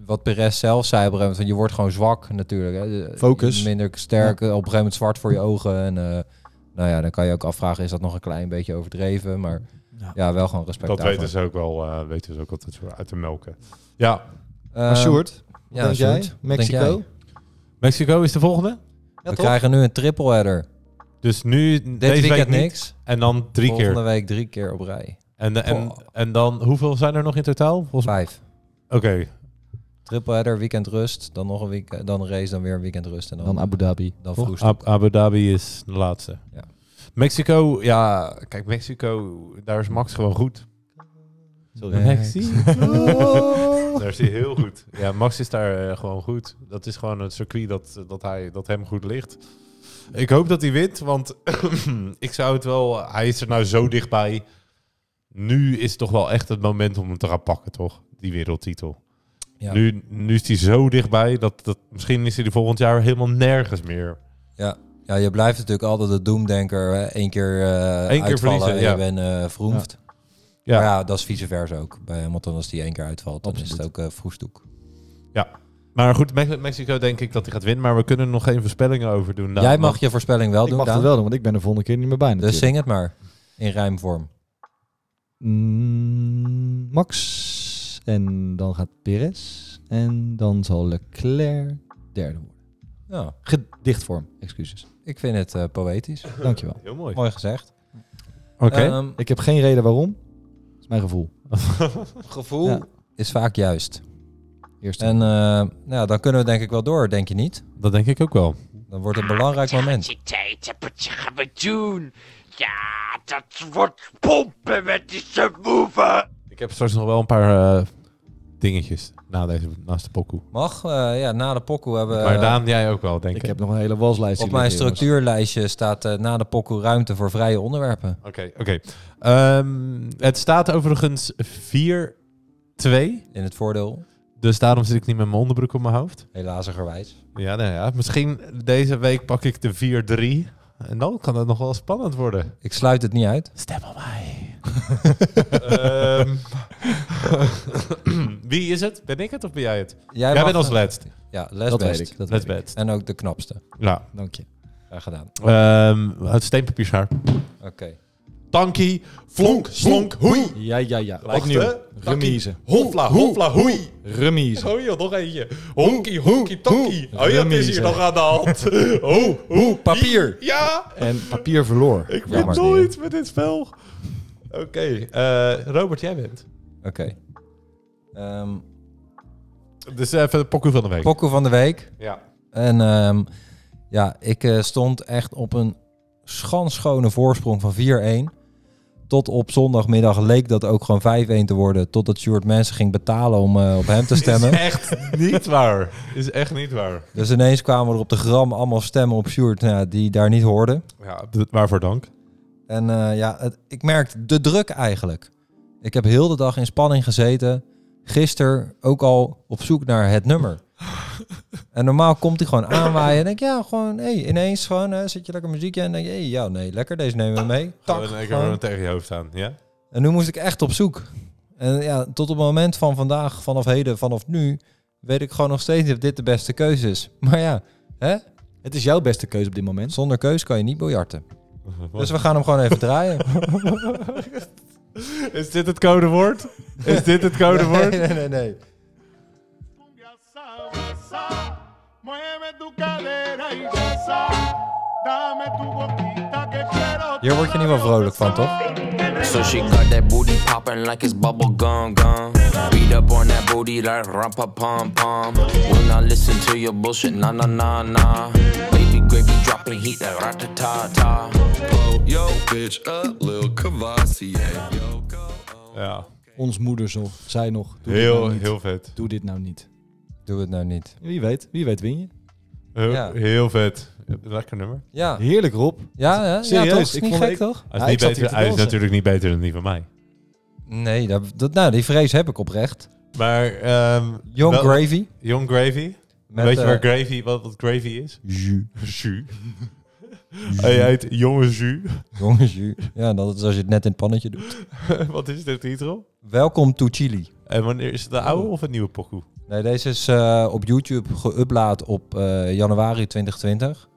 [SPEAKER 3] wat Perez zelf zei op een gegeven moment, van je wordt gewoon zwak natuurlijk. Hè. Je-
[SPEAKER 1] Focus.
[SPEAKER 3] Minder sterk, op een gegeven moment zwart voor je ogen. En eh, nou ja, dan kan je ook afvragen, is dat nog een klein beetje overdreven? Maar
[SPEAKER 1] Ja.
[SPEAKER 3] ja, wel gewoon respect
[SPEAKER 2] dat
[SPEAKER 3] daarvoor.
[SPEAKER 2] weten ze ook wel, eh, weten ze ook altijd zo uit de melken. Ja,
[SPEAKER 1] Maar
[SPEAKER 3] Ehm,
[SPEAKER 1] Sjoerd,
[SPEAKER 3] ja,
[SPEAKER 1] denk
[SPEAKER 3] Sjoerd,
[SPEAKER 1] jij?
[SPEAKER 3] wat denk
[SPEAKER 1] Mexico?
[SPEAKER 3] jij?
[SPEAKER 2] Mexico is de volgende.
[SPEAKER 1] Ja,
[SPEAKER 3] We
[SPEAKER 1] toch?
[SPEAKER 3] krijgen nu een triple header.
[SPEAKER 2] Dus nu
[SPEAKER 3] Dit
[SPEAKER 2] deze
[SPEAKER 3] weekend
[SPEAKER 2] week niet.
[SPEAKER 3] niks.
[SPEAKER 2] En dan drie
[SPEAKER 3] Volgende
[SPEAKER 2] keer.
[SPEAKER 3] week drie keer op rij.
[SPEAKER 2] En, en,
[SPEAKER 3] Oh.
[SPEAKER 2] en dan, hoeveel zijn er nog in totaal? Volgens mij.
[SPEAKER 3] Vijf.
[SPEAKER 2] Oké,
[SPEAKER 3] Triple header, weekend rust, dan nog een week, eh, dan een race, dan weer een weekend rust en dan,
[SPEAKER 1] Dan Abu Dhabi.
[SPEAKER 3] dan
[SPEAKER 1] toch?
[SPEAKER 3] vroeg.
[SPEAKER 2] Ab- Abu Dhabi is de laatste.
[SPEAKER 3] Ja.
[SPEAKER 2] Mexico, ja, kijk, Mexico, daar is Max gewoon goed.
[SPEAKER 1] Sorry.
[SPEAKER 2] *laughs* Daar is hij heel goed. Ja, Max is daar eh, gewoon goed. Dat is gewoon een circuit dat, dat, hij, dat hem goed ligt. Ik hoop dat hij wint, want *clears throat* ik zou het wel... Hij is er nou zo dichtbij. Nu is toch wel echt het moment om hem te gaan pakken, toch? die wereldtitel.
[SPEAKER 3] Ja.
[SPEAKER 2] Nu, nu is hij zo dichtbij dat, dat misschien is hij er volgend jaar helemaal nergens meer.
[SPEAKER 3] Ja, je blijft natuurlijk altijd de doemdenker. hè. Eén keer, eh
[SPEAKER 2] keer
[SPEAKER 3] uitvallen
[SPEAKER 2] verliezen,
[SPEAKER 3] en
[SPEAKER 2] ja.
[SPEAKER 3] je bent eh verroemd.
[SPEAKER 2] Ja.
[SPEAKER 3] Maar ja, dat is vice versa ook. Bij Hamilton, als die één keer uitvalt, dan is het
[SPEAKER 1] Absoluut.
[SPEAKER 3] ook eh vroegstoek.
[SPEAKER 2] Nou, Maar goed, Mex- Mexico denk ik dat hij gaat winnen, maar we kunnen er nog geen voorspellingen over doen. Nou,
[SPEAKER 3] Jij mag je voorspelling wel
[SPEAKER 1] ik
[SPEAKER 3] doen,
[SPEAKER 1] mag
[SPEAKER 3] Daan.
[SPEAKER 1] het wel doen, want ik ben er volgende keer niet meer bij
[SPEAKER 3] Dus
[SPEAKER 1] natuurlijk.
[SPEAKER 3] zing het maar. In rijmvorm.
[SPEAKER 1] Mm, Max en dan gaat Perez en dan zal Leclerc derde worden.
[SPEAKER 3] Ja,
[SPEAKER 1] Gedichtvorm, excuses.
[SPEAKER 3] ik vind het eh, poëtisch.
[SPEAKER 1] Dankjewel.
[SPEAKER 2] Heel mooi.
[SPEAKER 3] Mooi gezegd.
[SPEAKER 2] Oké.
[SPEAKER 3] Ehm,
[SPEAKER 1] Ik heb geen reden waarom. Dat is mijn gevoel.
[SPEAKER 3] gevoel
[SPEAKER 1] Ja.
[SPEAKER 3] is vaak juist.
[SPEAKER 1] Eerst
[SPEAKER 3] En eh, nou, ja, dan kunnen we denk ik wel door, denk je niet?
[SPEAKER 2] dat denk ik ook wel.
[SPEAKER 3] Dan wordt het een belangrijk moment.
[SPEAKER 4] Intensiteit, wat gaan we doen? Ja, dat wordt pompen met die subwoofer.
[SPEAKER 2] Ik heb straks nog wel een paar eh, dingetjes na deze, naast de pokoe.
[SPEAKER 3] Mag, eh, ja, na de pokoe hebben we...
[SPEAKER 2] maar Daan, jij ook wel, denk ik.
[SPEAKER 1] ik heb nog een hele waslijst.
[SPEAKER 3] Op
[SPEAKER 1] hier
[SPEAKER 3] mijn
[SPEAKER 1] liggen, jongens.
[SPEAKER 3] structuurlijstje staat eh, na de pokoe ruimte voor vrije onderwerpen.
[SPEAKER 2] Oké, oké. Ehm, het staat overigens 4-2.
[SPEAKER 3] In het voordeel,
[SPEAKER 2] Dus daarom zit ik niet met mijn onderbroek op mijn hoofd.
[SPEAKER 3] helaasigerwijs.
[SPEAKER 2] Ja, nou ja. Misschien deze week pak ik de 4-3. En dan kan het nog wel spannend worden.
[SPEAKER 3] Ik sluit het niet uit.
[SPEAKER 2] Stem op mij. Ehm, *coughs* Wie is het? Ben ik het of ben jij het?
[SPEAKER 3] Jij,
[SPEAKER 2] jij
[SPEAKER 3] mag- eh,
[SPEAKER 2] bent als laatst.
[SPEAKER 3] Ja, les
[SPEAKER 1] Dat
[SPEAKER 3] best.
[SPEAKER 1] weet ik. Dat
[SPEAKER 2] Let's
[SPEAKER 1] weet
[SPEAKER 2] bet.
[SPEAKER 3] En ook de knapste.
[SPEAKER 2] Nou,
[SPEAKER 1] ik. Dank je.
[SPEAKER 3] Ja, gedaan.
[SPEAKER 2] ehm, het steenpapier schaar.
[SPEAKER 3] Oké.
[SPEAKER 2] Tankie, flonk, slonk, hoei.
[SPEAKER 1] Ja, ja, ja.
[SPEAKER 2] Wacht, hè.
[SPEAKER 1] Opnieuw.
[SPEAKER 2] Takkie.
[SPEAKER 1] Remise.
[SPEAKER 2] Hofla, hofla, hoei.
[SPEAKER 1] Remise.
[SPEAKER 2] Oh joh, nog eentje. Honkie, honkie, tankie.
[SPEAKER 1] hoe.
[SPEAKER 2] Oh ja, het is hier
[SPEAKER 1] Remise.
[SPEAKER 2] nog aan de hand. *laughs* Hoe, hoe.
[SPEAKER 3] papier.
[SPEAKER 2] Ja,
[SPEAKER 1] En papier verloor.
[SPEAKER 2] ik win
[SPEAKER 3] Jammer.
[SPEAKER 2] nooit met dit spel. Oké, eh, Robert, jij bent.
[SPEAKER 3] Oké. Ehm,
[SPEAKER 2] Dus even de pokoe van de week.
[SPEAKER 3] pokoe van de week.
[SPEAKER 2] ja.
[SPEAKER 3] En ehm, ja, ik eh, stond echt op een schanschone voorsprong van 4-1. Tot op zondagmiddag leek dat ook gewoon 5-1 te worden. Totdat Stuart mensen ging betalen om eh, op hem te
[SPEAKER 2] *laughs*
[SPEAKER 3] stemmen.
[SPEAKER 2] Is echt niet waar. Is echt niet waar.
[SPEAKER 3] Dus ineens kwamen er op de gram allemaal stemmen op Sjoerd nou ja, die daar niet hoorden.
[SPEAKER 2] Ja, d- waarvoor dank.
[SPEAKER 3] En eh, ja, het- ik merkte de druk eigenlijk. Ik heb heel de dag in spanning gezeten. Gisteren ook al op zoek naar het nummer. En normaal komt hij gewoon aanwaaien. En denk ik, ja, gewoon, hé, ineens gewoon, hè, zit je lekker muziekje. En denk je, hey, ja, nee, lekker, deze nemen we mee. Tak,
[SPEAKER 2] Gewoon, ik
[SPEAKER 3] gewoon.
[SPEAKER 2] gewoon tegen je hoofd aan, ja?
[SPEAKER 3] En nu moest ik echt op zoek. En ja, tot op het moment van vandaag, vanaf heden, vanaf nu, weet ik gewoon nog steeds niet of dit de beste keuze is. Maar ja, hè?
[SPEAKER 1] Het is jouw beste keuze op dit moment.
[SPEAKER 3] zonder keus kan je niet biljarten. Dus we gaan hem gewoon even draaien.
[SPEAKER 2] Is dit het codewoord? Is dit het *laughs* codewoord?
[SPEAKER 3] *laughs* nee, nee, nee.
[SPEAKER 5] Mueve tu cadera y goza. Dame tu boquita que quiero.
[SPEAKER 3] Hier word je niet wel vrolijk van, toch?
[SPEAKER 6] So she got that booty poppin' like it's bubble gum gum. Beat up on that booty like rumpa pom pom. Will not listen to your bullshit, nah nah nah nah. Baby gravy dropping heat like rata ta ta.
[SPEAKER 7] Yo, bitch, up, Lil Cavassier. Yo, go.
[SPEAKER 2] Ja,
[SPEAKER 1] Ons moeder zo, zij nog. Doe dit
[SPEAKER 2] heel,
[SPEAKER 1] nou niet.
[SPEAKER 2] heel vet.
[SPEAKER 1] Doe dit nou niet.
[SPEAKER 3] Doe het nou niet.
[SPEAKER 1] Wie weet. Wie weet win je.
[SPEAKER 2] Heel,
[SPEAKER 3] Ja.
[SPEAKER 2] heel vet. Lekker nummer.
[SPEAKER 3] Ja,
[SPEAKER 1] Heerlijk Rob.
[SPEAKER 3] ja, ja, ja
[SPEAKER 1] Serieus,
[SPEAKER 3] toch? Is
[SPEAKER 1] ik
[SPEAKER 3] niet
[SPEAKER 1] vond
[SPEAKER 3] gek,
[SPEAKER 1] ik-
[SPEAKER 3] toch?
[SPEAKER 2] Hij is,
[SPEAKER 1] Ja,
[SPEAKER 2] niet
[SPEAKER 1] ik zat hier
[SPEAKER 2] beter,
[SPEAKER 1] te
[SPEAKER 2] hij is
[SPEAKER 1] dansen.
[SPEAKER 2] natuurlijk niet beter dan die van mij.
[SPEAKER 3] Nee, dat, dat, nou, die vrees heb ik oprecht.
[SPEAKER 2] Maar ehm
[SPEAKER 3] Young
[SPEAKER 2] wel-
[SPEAKER 3] Gravy.
[SPEAKER 2] Young Gravy.
[SPEAKER 3] Met,
[SPEAKER 2] Weet je
[SPEAKER 3] eh,
[SPEAKER 2] waar gravy, wat, wat gravy is? Jus. Jus. Hij heet Jonge Jus.
[SPEAKER 3] *laughs* Jongens, ju- ja, dat is als je het net in het pannetje doet.
[SPEAKER 2] *laughs* wat is de titel?
[SPEAKER 3] Welkom to Chili.
[SPEAKER 2] En wanneer is het de oude of het nieuwe pokoe?
[SPEAKER 3] Nee, deze is eh, op YouTube geüpload op eh, januari 2020.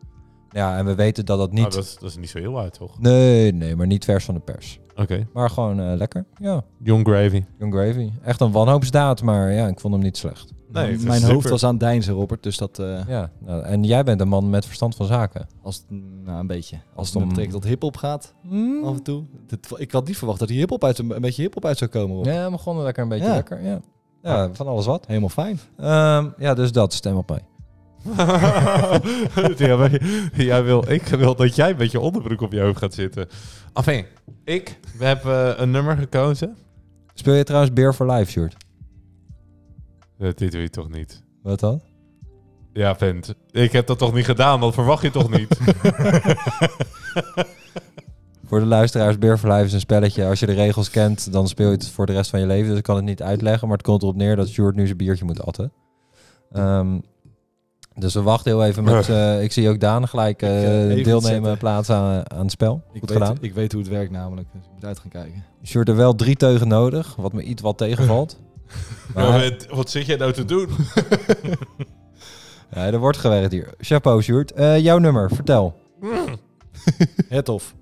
[SPEAKER 3] Ja, en we weten dat dat niet...
[SPEAKER 2] Ah, dat, is, dat is niet zo heel oud, toch?
[SPEAKER 3] Nee, nee, maar niet vers van de pers.
[SPEAKER 2] Oké.
[SPEAKER 3] Maar gewoon eh, lekker. Ja,
[SPEAKER 2] Young Gravy.
[SPEAKER 3] Young Gravy. Echt een wanhoopsdaad, maar ja, ik vond hem niet slecht.
[SPEAKER 2] Nee, het is
[SPEAKER 1] Mijn
[SPEAKER 2] super.
[SPEAKER 1] hoofd was aan het deinzen, Robert. Dus dat eh,
[SPEAKER 3] Ja, nou, en jij bent een man met verstand van zaken.
[SPEAKER 1] als het- nou, een beetje. Als het
[SPEAKER 3] dan-
[SPEAKER 2] Mm.
[SPEAKER 1] om betekent dat hip-hop gaat af en toe. Dit- ik had niet verwacht dat die hip-hop uit een beetje hip-hop uit zou komen. Rob.
[SPEAKER 3] Ja, we begonnen lekker een beetje
[SPEAKER 1] Ja.
[SPEAKER 3] lekker. Ja. ja, van alles wat.
[SPEAKER 1] Helemaal fijn.
[SPEAKER 3] Ehm, ja, dus dat, stem op mij.
[SPEAKER 2] *laughs* Ja, maar jij wil, ik wil dat jij met je onderbroek op je hoofd gaat zitten. Enfin, ik heb eh, een nummer gekozen.
[SPEAKER 3] Speel je trouwens Beer for Life, Sjoerd?
[SPEAKER 2] Eh, Dit doe je toch niet?
[SPEAKER 3] Wat dan?
[SPEAKER 2] Ja, vent. *laughs* Ik heb dat toch niet gedaan? Dat verwacht je toch niet?
[SPEAKER 3] Voor de luisteraars, Beer for Life is een spelletje. Als je de regels kent, dan speel je het voor de rest van je leven. Dus ik kan het niet uitleggen, maar het komt erop neer dat Sjoerd nu zijn biertje moet atten. Ehm, dus we wachten heel even *laughs* met... eh, ik zie ook Daan gelijk eh,
[SPEAKER 1] eh, even
[SPEAKER 3] deelnemen
[SPEAKER 1] zetten.
[SPEAKER 3] plaats aan, aan het spel.
[SPEAKER 1] Ik
[SPEAKER 3] Goed
[SPEAKER 1] weet,
[SPEAKER 3] gedaan.
[SPEAKER 1] ik weet hoe het werkt namelijk, dus ik moet uit gaan
[SPEAKER 2] *laughs*
[SPEAKER 1] kijken.
[SPEAKER 3] Sjoerd er wel drie teugen nodig, wat me iets wat *laughs* tegenvalt. Maar
[SPEAKER 2] wat, wat zit jij nou te doen? *laughs*
[SPEAKER 3] ja, er wordt gewerkt hier. Chapeau, Sjoerd. Eh, jouw nummer, vertel.
[SPEAKER 1] Het of.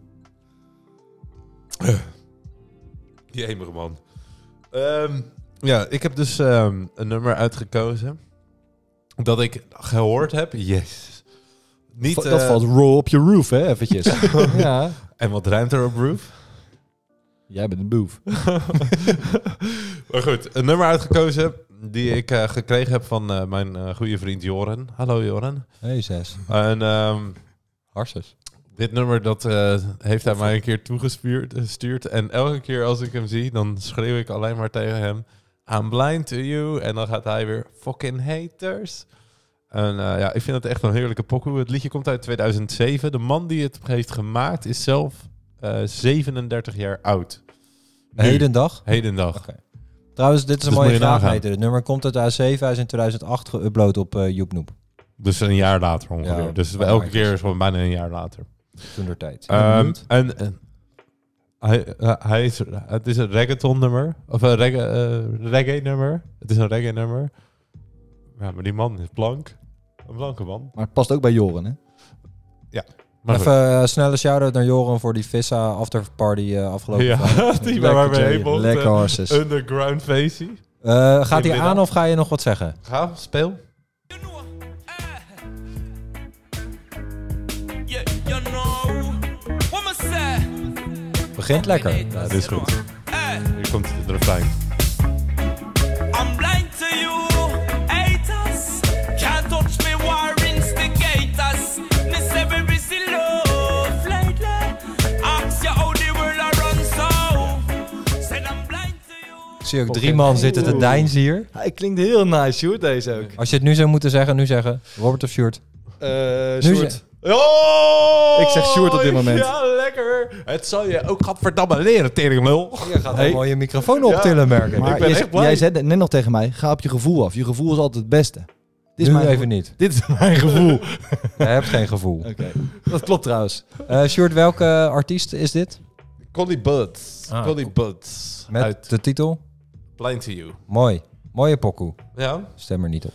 [SPEAKER 2] Jemig man. Ehm, ja, ik heb dus ehm, een nummer uitgekozen. Dat ik gehoord heb. Yes. Niet,
[SPEAKER 1] Va- dat
[SPEAKER 2] eh,
[SPEAKER 1] valt roll op je roof, hè, eventjes.
[SPEAKER 2] *laughs*
[SPEAKER 1] ja.
[SPEAKER 2] En wat ruimt er op Roof?
[SPEAKER 1] Jij bent een boef.
[SPEAKER 2] maar goed, een nummer uitgekozen die ik eh, gekregen heb van eh, mijn eh, goede vriend Joren. Hallo Joren.
[SPEAKER 3] Hey, zes.
[SPEAKER 2] En ehm,
[SPEAKER 3] Harses.
[SPEAKER 2] dit nummer dat, eh, heeft hij mij een keer toegestuurd. eh, gestuurd. En elke keer als ik hem zie, dan schreeuw ik alleen maar tegen hem... I'm blind to you. En dan gaat hij weer fucking haters. En eh, ja, ik vind het echt een heerlijke pokoe. Het liedje komt uit 2007. De man die het heeft gemaakt is zelf eh, 37 jaar oud. Nu.
[SPEAKER 3] Hedendag.
[SPEAKER 2] Hedendag.
[SPEAKER 3] Oké. Trouwens, dit is een
[SPEAKER 2] Dus
[SPEAKER 3] mooie
[SPEAKER 2] moet je
[SPEAKER 3] vraag,
[SPEAKER 2] nagaan.
[SPEAKER 3] Peter. Het nummer komt uit de A7. Hij is in 2008 geüpload op eh Joepnoep.
[SPEAKER 2] Dus een jaar later ongeveer.
[SPEAKER 3] Ja,
[SPEAKER 2] dus
[SPEAKER 3] wel
[SPEAKER 2] elke
[SPEAKER 3] netjes.
[SPEAKER 2] keer is gewoon bijna een jaar later.
[SPEAKER 3] Toen der tijd.
[SPEAKER 2] Ehm, en en hij, eh, hij is, het is een reggaeton nummer. Of een reggae, eh, reggae nummer. Het is een reggae nummer. Ja, maar die man is blank. Een blanke man.
[SPEAKER 1] Maar het past ook bij Joren, hè?
[SPEAKER 2] Maar
[SPEAKER 3] Even eh, snelle shout-out naar Joran voor die Vissa afterparty eh,
[SPEAKER 2] goed.
[SPEAKER 3] afgelopen vrijdag.
[SPEAKER 2] ja, *laughs* die waar waar we
[SPEAKER 1] Jerry.
[SPEAKER 2] heen mochten. Eh,
[SPEAKER 1] Lekker horses.
[SPEAKER 2] Underground Facey.
[SPEAKER 3] Eh, gaat hij
[SPEAKER 2] Middag.
[SPEAKER 3] aan of ga je nog wat zeggen?
[SPEAKER 2] Ga, speel.
[SPEAKER 8] You, you know, woman said,
[SPEAKER 3] Begint lekker.
[SPEAKER 8] Ja,
[SPEAKER 2] dit is goed.
[SPEAKER 8] hey,
[SPEAKER 2] Hier komt de refrein.
[SPEAKER 8] I'm blind to you, haters. Can't touch me, war instigators. Miss every busy love lately. Ask you how the world I run so. Said I'm blind to you.
[SPEAKER 3] Ik zie ook drie man zitten te deinzen hier.
[SPEAKER 1] Hij klinkt heel nice, Sjoerd, deze ook.
[SPEAKER 3] Als je het nu zou moeten zeggen, nu zeggen. Robert of Sjoerd? Nu ze-
[SPEAKER 2] Oh!
[SPEAKER 1] Eh, Ik zeg Sjoerd op dit moment.
[SPEAKER 2] Ja, lekker. Het zal je ook gadverdamme leren, teringlul.
[SPEAKER 3] Je gaat
[SPEAKER 1] Hey.
[SPEAKER 3] mooie microfoon optillen, merken.
[SPEAKER 1] Maar
[SPEAKER 2] Ik ben
[SPEAKER 1] jij,
[SPEAKER 2] echt
[SPEAKER 1] ze-
[SPEAKER 2] blij.
[SPEAKER 1] jij zei net nog tegen mij, ga op je gevoel af. Je gevoel is altijd het beste. Dit is
[SPEAKER 3] nu
[SPEAKER 1] mijn
[SPEAKER 3] even niet.
[SPEAKER 1] Dit is *laughs* mijn
[SPEAKER 3] *laughs*
[SPEAKER 1] gevoel.
[SPEAKER 3] Je hebt geen gevoel.
[SPEAKER 1] Oké, dat klopt trouwens.
[SPEAKER 3] Eh Sjoerd, welke artiest is dit?
[SPEAKER 2] Connie Buds.
[SPEAKER 3] Ah,
[SPEAKER 2] Connie Buds.
[SPEAKER 3] Met
[SPEAKER 2] Uit
[SPEAKER 3] de titel?
[SPEAKER 2] Blind to You.
[SPEAKER 3] Mooi. Mooie pokoe.
[SPEAKER 2] Ja?
[SPEAKER 3] Stem er niet op.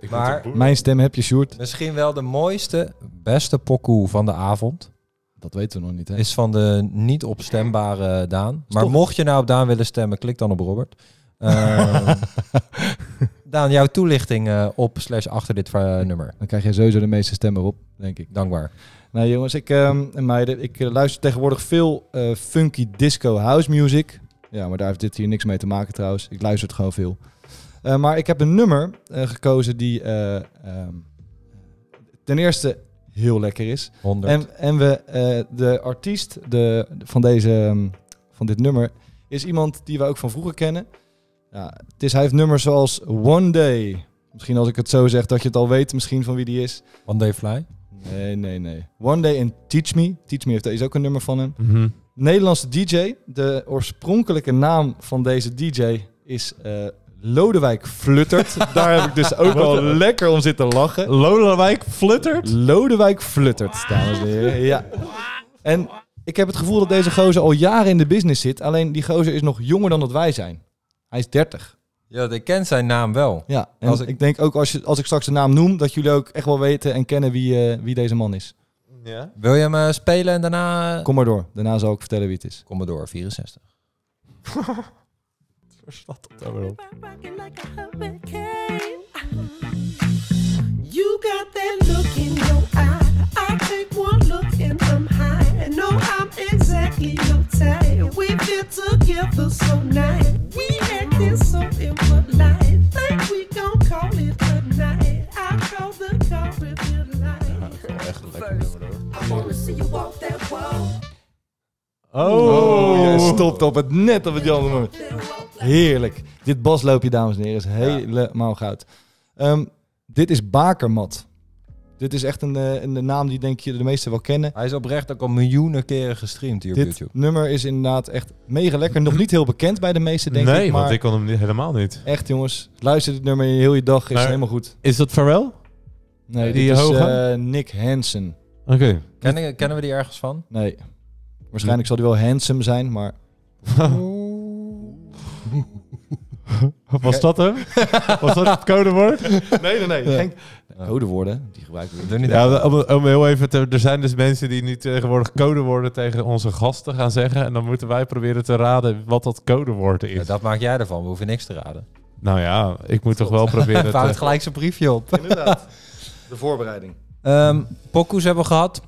[SPEAKER 2] Ik
[SPEAKER 3] Maar-
[SPEAKER 2] moet een boer-
[SPEAKER 1] Mijn stem heb je, Sjoerd.
[SPEAKER 3] Misschien wel de mooiste, beste pokoe van de avond.
[SPEAKER 1] Dat weten we nog niet, hè?
[SPEAKER 3] Is van de niet opstembare Daan. Maar
[SPEAKER 1] toch-
[SPEAKER 3] mocht je nou op Daan willen stemmen, klik dan op Robert. *laughs* Eh, Daan, jouw toelichting eh, op slash achter dit eh, nummer.
[SPEAKER 1] Dan krijg jij sowieso de meeste stemmen op, denk ik.
[SPEAKER 3] Dankbaar.
[SPEAKER 1] Nou jongens, ik, ehm, en meiden, ik eh, luister tegenwoordig veel eh, funky disco house music. Ja, maar daar heeft dit hier niks mee te maken trouwens. Ik luister het gewoon veel. Eh, maar ik heb een nummer eh, gekozen die eh, ehm, ten eerste heel lekker is.
[SPEAKER 3] 100.
[SPEAKER 1] En, en we, eh, de artiest de, van, deze, ehm, van dit nummer is iemand die we ook van vroeger kennen. Ja, het is, hij heeft nummers zoals One Day. Misschien als ik het zo zeg dat je het al weet misschien van wie die is.
[SPEAKER 3] One Day Fly.
[SPEAKER 1] Nee, nee, nee. One Day in Teach Me. Teach Me heeft is ook een nummer van hem. Nederlandse DJ. De oorspronkelijke naam van deze DJ is eh, Lodewijk Fluttert. Daar heb ik dus ook al lekker om zitten lachen.
[SPEAKER 2] Lodewijk fluttert.
[SPEAKER 1] Lodewijk Fluttert, dames en heren. Ja. En ik heb het gevoel dat deze gozer al jaren in de business zit. Alleen die gozer is nog jonger dan dat wij zijn. Hij is 30.
[SPEAKER 3] Ja, ik ken zijn naam wel.
[SPEAKER 1] Ja, en
[SPEAKER 3] Als ik-
[SPEAKER 1] ik... denk ook als, je, als ik straks de naam noem, dat jullie ook echt wel weten en kennen wie, eh, wie deze man is.
[SPEAKER 2] Ja.
[SPEAKER 3] Wil je hem eh, spelen en daarna...
[SPEAKER 1] Kom maar door, daarna zal ik vertellen wie het is.
[SPEAKER 3] Kom maar door, 64.
[SPEAKER 1] nou
[SPEAKER 9] Rockin' like a hurricane. You got that look in your eye. I take one look and I'm high. And no, I'm exactly your type. We fit together so nice. We acting so impolite. Think we gon' call it a night. I call the car if you like. I wanna see you walk that wall.
[SPEAKER 1] Oh, jij stopt op het net op het andere moment. Heerlijk. Dit basloopje, dames en heren, is helemaal goud. Ehm, dit is Bakermat. Dit is echt een, eh, een naam die denk je de meesten wel kennen.
[SPEAKER 3] Hij is oprecht ook al miljoenen keren gestreamd hier op
[SPEAKER 1] Dit
[SPEAKER 3] YouTube.
[SPEAKER 1] nummer is inderdaad echt mega lekker. Nog niet heel bekend bij de meesten, denk
[SPEAKER 2] nee,
[SPEAKER 1] ik. Maar
[SPEAKER 2] want ik kon hem niet, helemaal niet.
[SPEAKER 1] echt, jongens, luister dit nummer in heel je dag. Is
[SPEAKER 2] Maar-
[SPEAKER 1] helemaal goed.
[SPEAKER 2] Is dat Pharrell?
[SPEAKER 1] Nee,
[SPEAKER 2] die
[SPEAKER 1] dit is
[SPEAKER 2] hoge?
[SPEAKER 1] eh, Nick Hansen.
[SPEAKER 2] Oké.
[SPEAKER 3] Kennen, kennen we die ergens van?
[SPEAKER 1] Nee. Waarschijnlijk zal hij wel handsome zijn, maar...
[SPEAKER 3] Oh.
[SPEAKER 1] *laughs*
[SPEAKER 2] Was dat hem? Was dat het codewoord?
[SPEAKER 1] Nee, nee, nee. Geen... Codewoorden, die gebruiken we
[SPEAKER 3] Doe niet
[SPEAKER 2] Ja, om, om heel even te, er zijn dus mensen die nu tegenwoordig codewoorden tegen onze gasten gaan zeggen. En dan moeten wij proberen te raden wat dat codewoord is.
[SPEAKER 3] Ja, dat maak jij ervan, we hoeven niks te raden.
[SPEAKER 2] Nou ja, ik moet toch wel *laughs* proberen
[SPEAKER 3] Hij houdt
[SPEAKER 2] te...
[SPEAKER 3] gelijk zijn briefje op. *laughs*
[SPEAKER 1] Inderdaad. De voorbereiding.
[SPEAKER 3] Ehm pokoes hebben we gehad.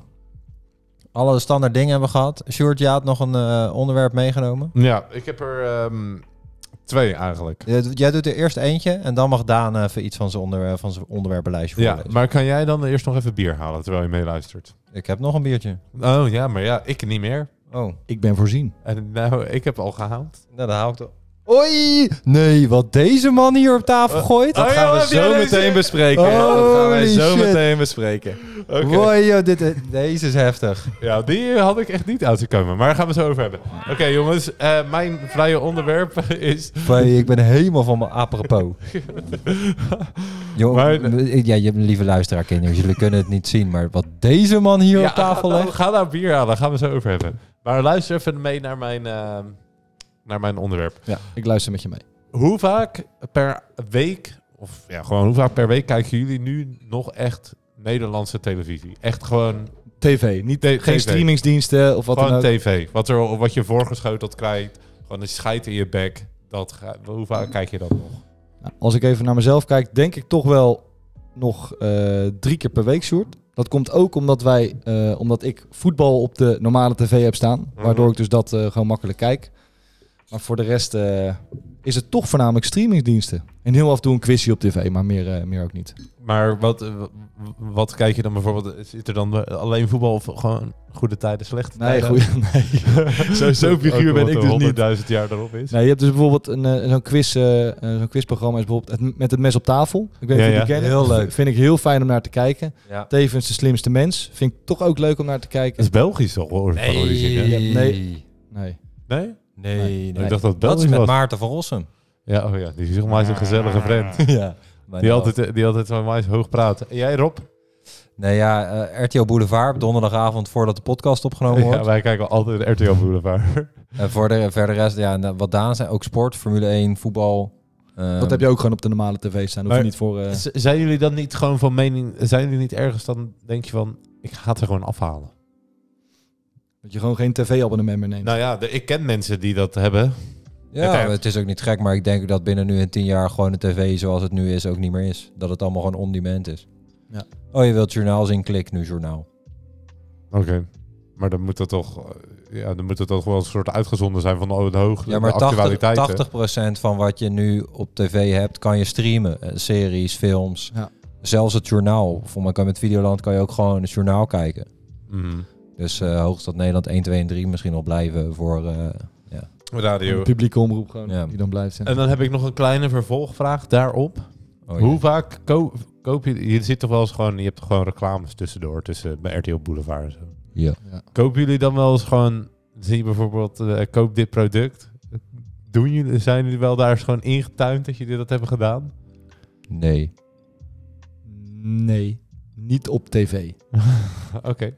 [SPEAKER 3] Alle standaard dingen hebben we gehad. Sjoerd, jij had nog een eh, onderwerp meegenomen.
[SPEAKER 2] Ja, ik heb er ehm, twee eigenlijk.
[SPEAKER 3] Jij doet- Jij doet er eerst eentje en dan mag Daan even iets van zijn, onderwerp, van zijn onderwerpenlijstje
[SPEAKER 2] Ja,
[SPEAKER 3] voorlezen.
[SPEAKER 2] maar kan jij dan eerst nog even bier halen terwijl je meeluistert?
[SPEAKER 3] Ik heb nog een biertje.
[SPEAKER 2] Oh ja, maar ja, ik niet meer.
[SPEAKER 3] Oh,
[SPEAKER 1] Ik ben voorzien.
[SPEAKER 2] En nou, ik heb al gehaald.
[SPEAKER 3] nou, dan hou ik het op. Oei! Nee, wat deze man hier op tafel gooit.
[SPEAKER 2] Oh, ja, heb jij deze?
[SPEAKER 1] bespreken.
[SPEAKER 3] Holy shit.
[SPEAKER 1] bespreken.
[SPEAKER 2] Oké.
[SPEAKER 3] Wow, joh, dit, eh, deze is heftig.
[SPEAKER 2] Ja, die had ik echt niet uit te komen. Maar daar gaan we het zo over hebben. Oké, jongens. eh, mijn vrije onderwerp *laughs* is...
[SPEAKER 3] Hey, ik ben helemaal van mijn
[SPEAKER 1] *laughs*
[SPEAKER 3] apropos. Joh,
[SPEAKER 2] Maar-
[SPEAKER 3] m- ja, je hebt een lieve luisteraar, kinderen. Jullie kunnen het niet zien, maar wat deze man hier op tafel
[SPEAKER 2] ga, nou-
[SPEAKER 3] legt.
[SPEAKER 2] ga nou bier halen. Daar gaan we het zo over hebben. Maar luister even mee naar mijn, eh, naar mijn onderwerp.
[SPEAKER 1] Ja, ik luister met je mee.
[SPEAKER 2] Hoe vaak per week... Of ja, gewoon hoe vaak per week kijken jullie nu nog echt Nederlandse televisie? Echt gewoon,
[SPEAKER 1] TV, niet,
[SPEAKER 2] T-
[SPEAKER 1] geen
[SPEAKER 2] TV.
[SPEAKER 1] streamingsdiensten of wat dan
[SPEAKER 2] gewoon
[SPEAKER 1] ook.
[SPEAKER 2] tv. Wat, er, wat je voorgeschoteld krijgt. Gewoon een scheid in je bek. Dat, ga- hoe vaak kijk je dat nog?
[SPEAKER 1] Nou, als ik even naar mezelf kijk, denk ik toch wel nog eh, drie keer per week, Sjoerd. Dat komt ook omdat, wij, eh, omdat ik voetbal op de normale tv heb staan.
[SPEAKER 2] Mhm.
[SPEAKER 1] Waardoor ik dus dat eh, gewoon makkelijk kijk. Maar voor de rest eh, is het toch voornamelijk streamingsdiensten. En heel af en toe een quizje op tv, maar meer, eh, meer ook niet.
[SPEAKER 2] Maar wat, eh, w- wat kijk je dan bijvoorbeeld? Zit er dan eh, alleen voetbal of gewoon goede tijden, slechte
[SPEAKER 1] Nee,
[SPEAKER 2] tijden?
[SPEAKER 1] goed. *laughs* Nee.
[SPEAKER 2] Zo,
[SPEAKER 1] zo'n figuur ben ik dus niet.
[SPEAKER 2] duizend jaar erop is.
[SPEAKER 1] Nee, je hebt dus bijvoorbeeld een, eh, zo'n, quiz, eh, eh, zo'n quizprogramma is bijvoorbeeld het, met het mes op tafel. Ik weet niet
[SPEAKER 2] Ja,
[SPEAKER 1] of
[SPEAKER 2] ja.
[SPEAKER 1] jullie kennen.
[SPEAKER 3] Heel leuk.
[SPEAKER 1] V- Vind ik heel fijn om naar te kijken.
[SPEAKER 3] Ja.
[SPEAKER 1] Tevens de slimste mens. Vind ik toch ook leuk om naar te
[SPEAKER 2] Dat
[SPEAKER 1] kijken.
[SPEAKER 2] is Belgisch toch? Hoor, van origine?
[SPEAKER 1] Ja,
[SPEAKER 3] Nee. Nee.
[SPEAKER 1] nee. Nee.
[SPEAKER 2] Nee?
[SPEAKER 3] nee,
[SPEAKER 2] Ik dacht dat
[SPEAKER 3] Dat is
[SPEAKER 2] Belgisch
[SPEAKER 3] met
[SPEAKER 2] was.
[SPEAKER 3] Maarten van
[SPEAKER 2] *laughs*
[SPEAKER 3] Rossum.
[SPEAKER 2] Ja, oh ja, die is volgens mij zo'n gezellige vent.
[SPEAKER 3] ja. maar
[SPEAKER 2] Die
[SPEAKER 3] nou.
[SPEAKER 2] altijd, eh, die altijd van mij hoog praat. En jij Rob?
[SPEAKER 3] Nee, ja, eh, RTL Boulevard op donderdagavond voordat de podcast opgenomen
[SPEAKER 2] *laughs*
[SPEAKER 3] wordt.
[SPEAKER 2] Ja, wij kijken altijd RTL Boulevard.
[SPEAKER 3] En voor de verder rest, ja, en wat Daan zei, ook sport, Formule 1, voetbal. ehm,
[SPEAKER 1] Dat heb je ook gewoon op de normale tv staan. Hoef je
[SPEAKER 2] Maar-
[SPEAKER 1] niet voor... eh,
[SPEAKER 2] Z- Zijn jullie dan niet gewoon van mening... Zijn jullie niet ergens dan denk je van... Ik ga het er gewoon afhalen.
[SPEAKER 1] dat je gewoon geen tv-abonnement meer neemt.
[SPEAKER 2] Nou ja, de- ik ken mensen die dat hebben.
[SPEAKER 3] Ja,
[SPEAKER 2] Oké.
[SPEAKER 3] het is ook niet gek, maar ik denk dat binnen nu en tien jaar gewoon de tv zoals het nu is ook niet meer is. Dat het allemaal gewoon on-demand is.
[SPEAKER 1] Ja.
[SPEAKER 3] Oh, je wilt journaal zien, klik nu journaal.
[SPEAKER 2] Oké. Maar dan moet dat toch... eh, Ja, dan moet dat toch wel een soort uitgezonden zijn van de, de hoogte,
[SPEAKER 3] Ja, maar
[SPEAKER 2] de actualiteiten.
[SPEAKER 3] 80, 80% van wat je nu op tv hebt, kan je streamen. Eh, series, films,
[SPEAKER 1] Ja.
[SPEAKER 3] zelfs het journaal. Voor mij kan met Videoland kan je ook gewoon het journaal kijken.
[SPEAKER 2] Mhm.
[SPEAKER 3] Dus eh hoogst dat Nederland 1, 2 en 3 misschien al blijven voor... eh,
[SPEAKER 2] Radio.
[SPEAKER 1] Een publieke omroep gewoon,
[SPEAKER 3] Ja.
[SPEAKER 1] die dan blijft zijn.
[SPEAKER 2] En dan heb ik nog een kleine vervolgvraag daarop.
[SPEAKER 3] oh ja.
[SPEAKER 2] Hoe vaak ko- koop je... Je zit toch wel eens gewoon... Je hebt toch gewoon reclames tussendoor. Tussen bij RTL Boulevard en zo.
[SPEAKER 3] Ja.
[SPEAKER 1] Ja.
[SPEAKER 2] Kopen jullie dan wel eens gewoon... Zie je bijvoorbeeld... eh, koop dit product. Doen jullie, zijn jullie wel daar eens gewoon ingetuind dat jullie dat hebben gedaan? *laughs*
[SPEAKER 3] Nee.
[SPEAKER 1] Nee, niet op tv.
[SPEAKER 2] Oké.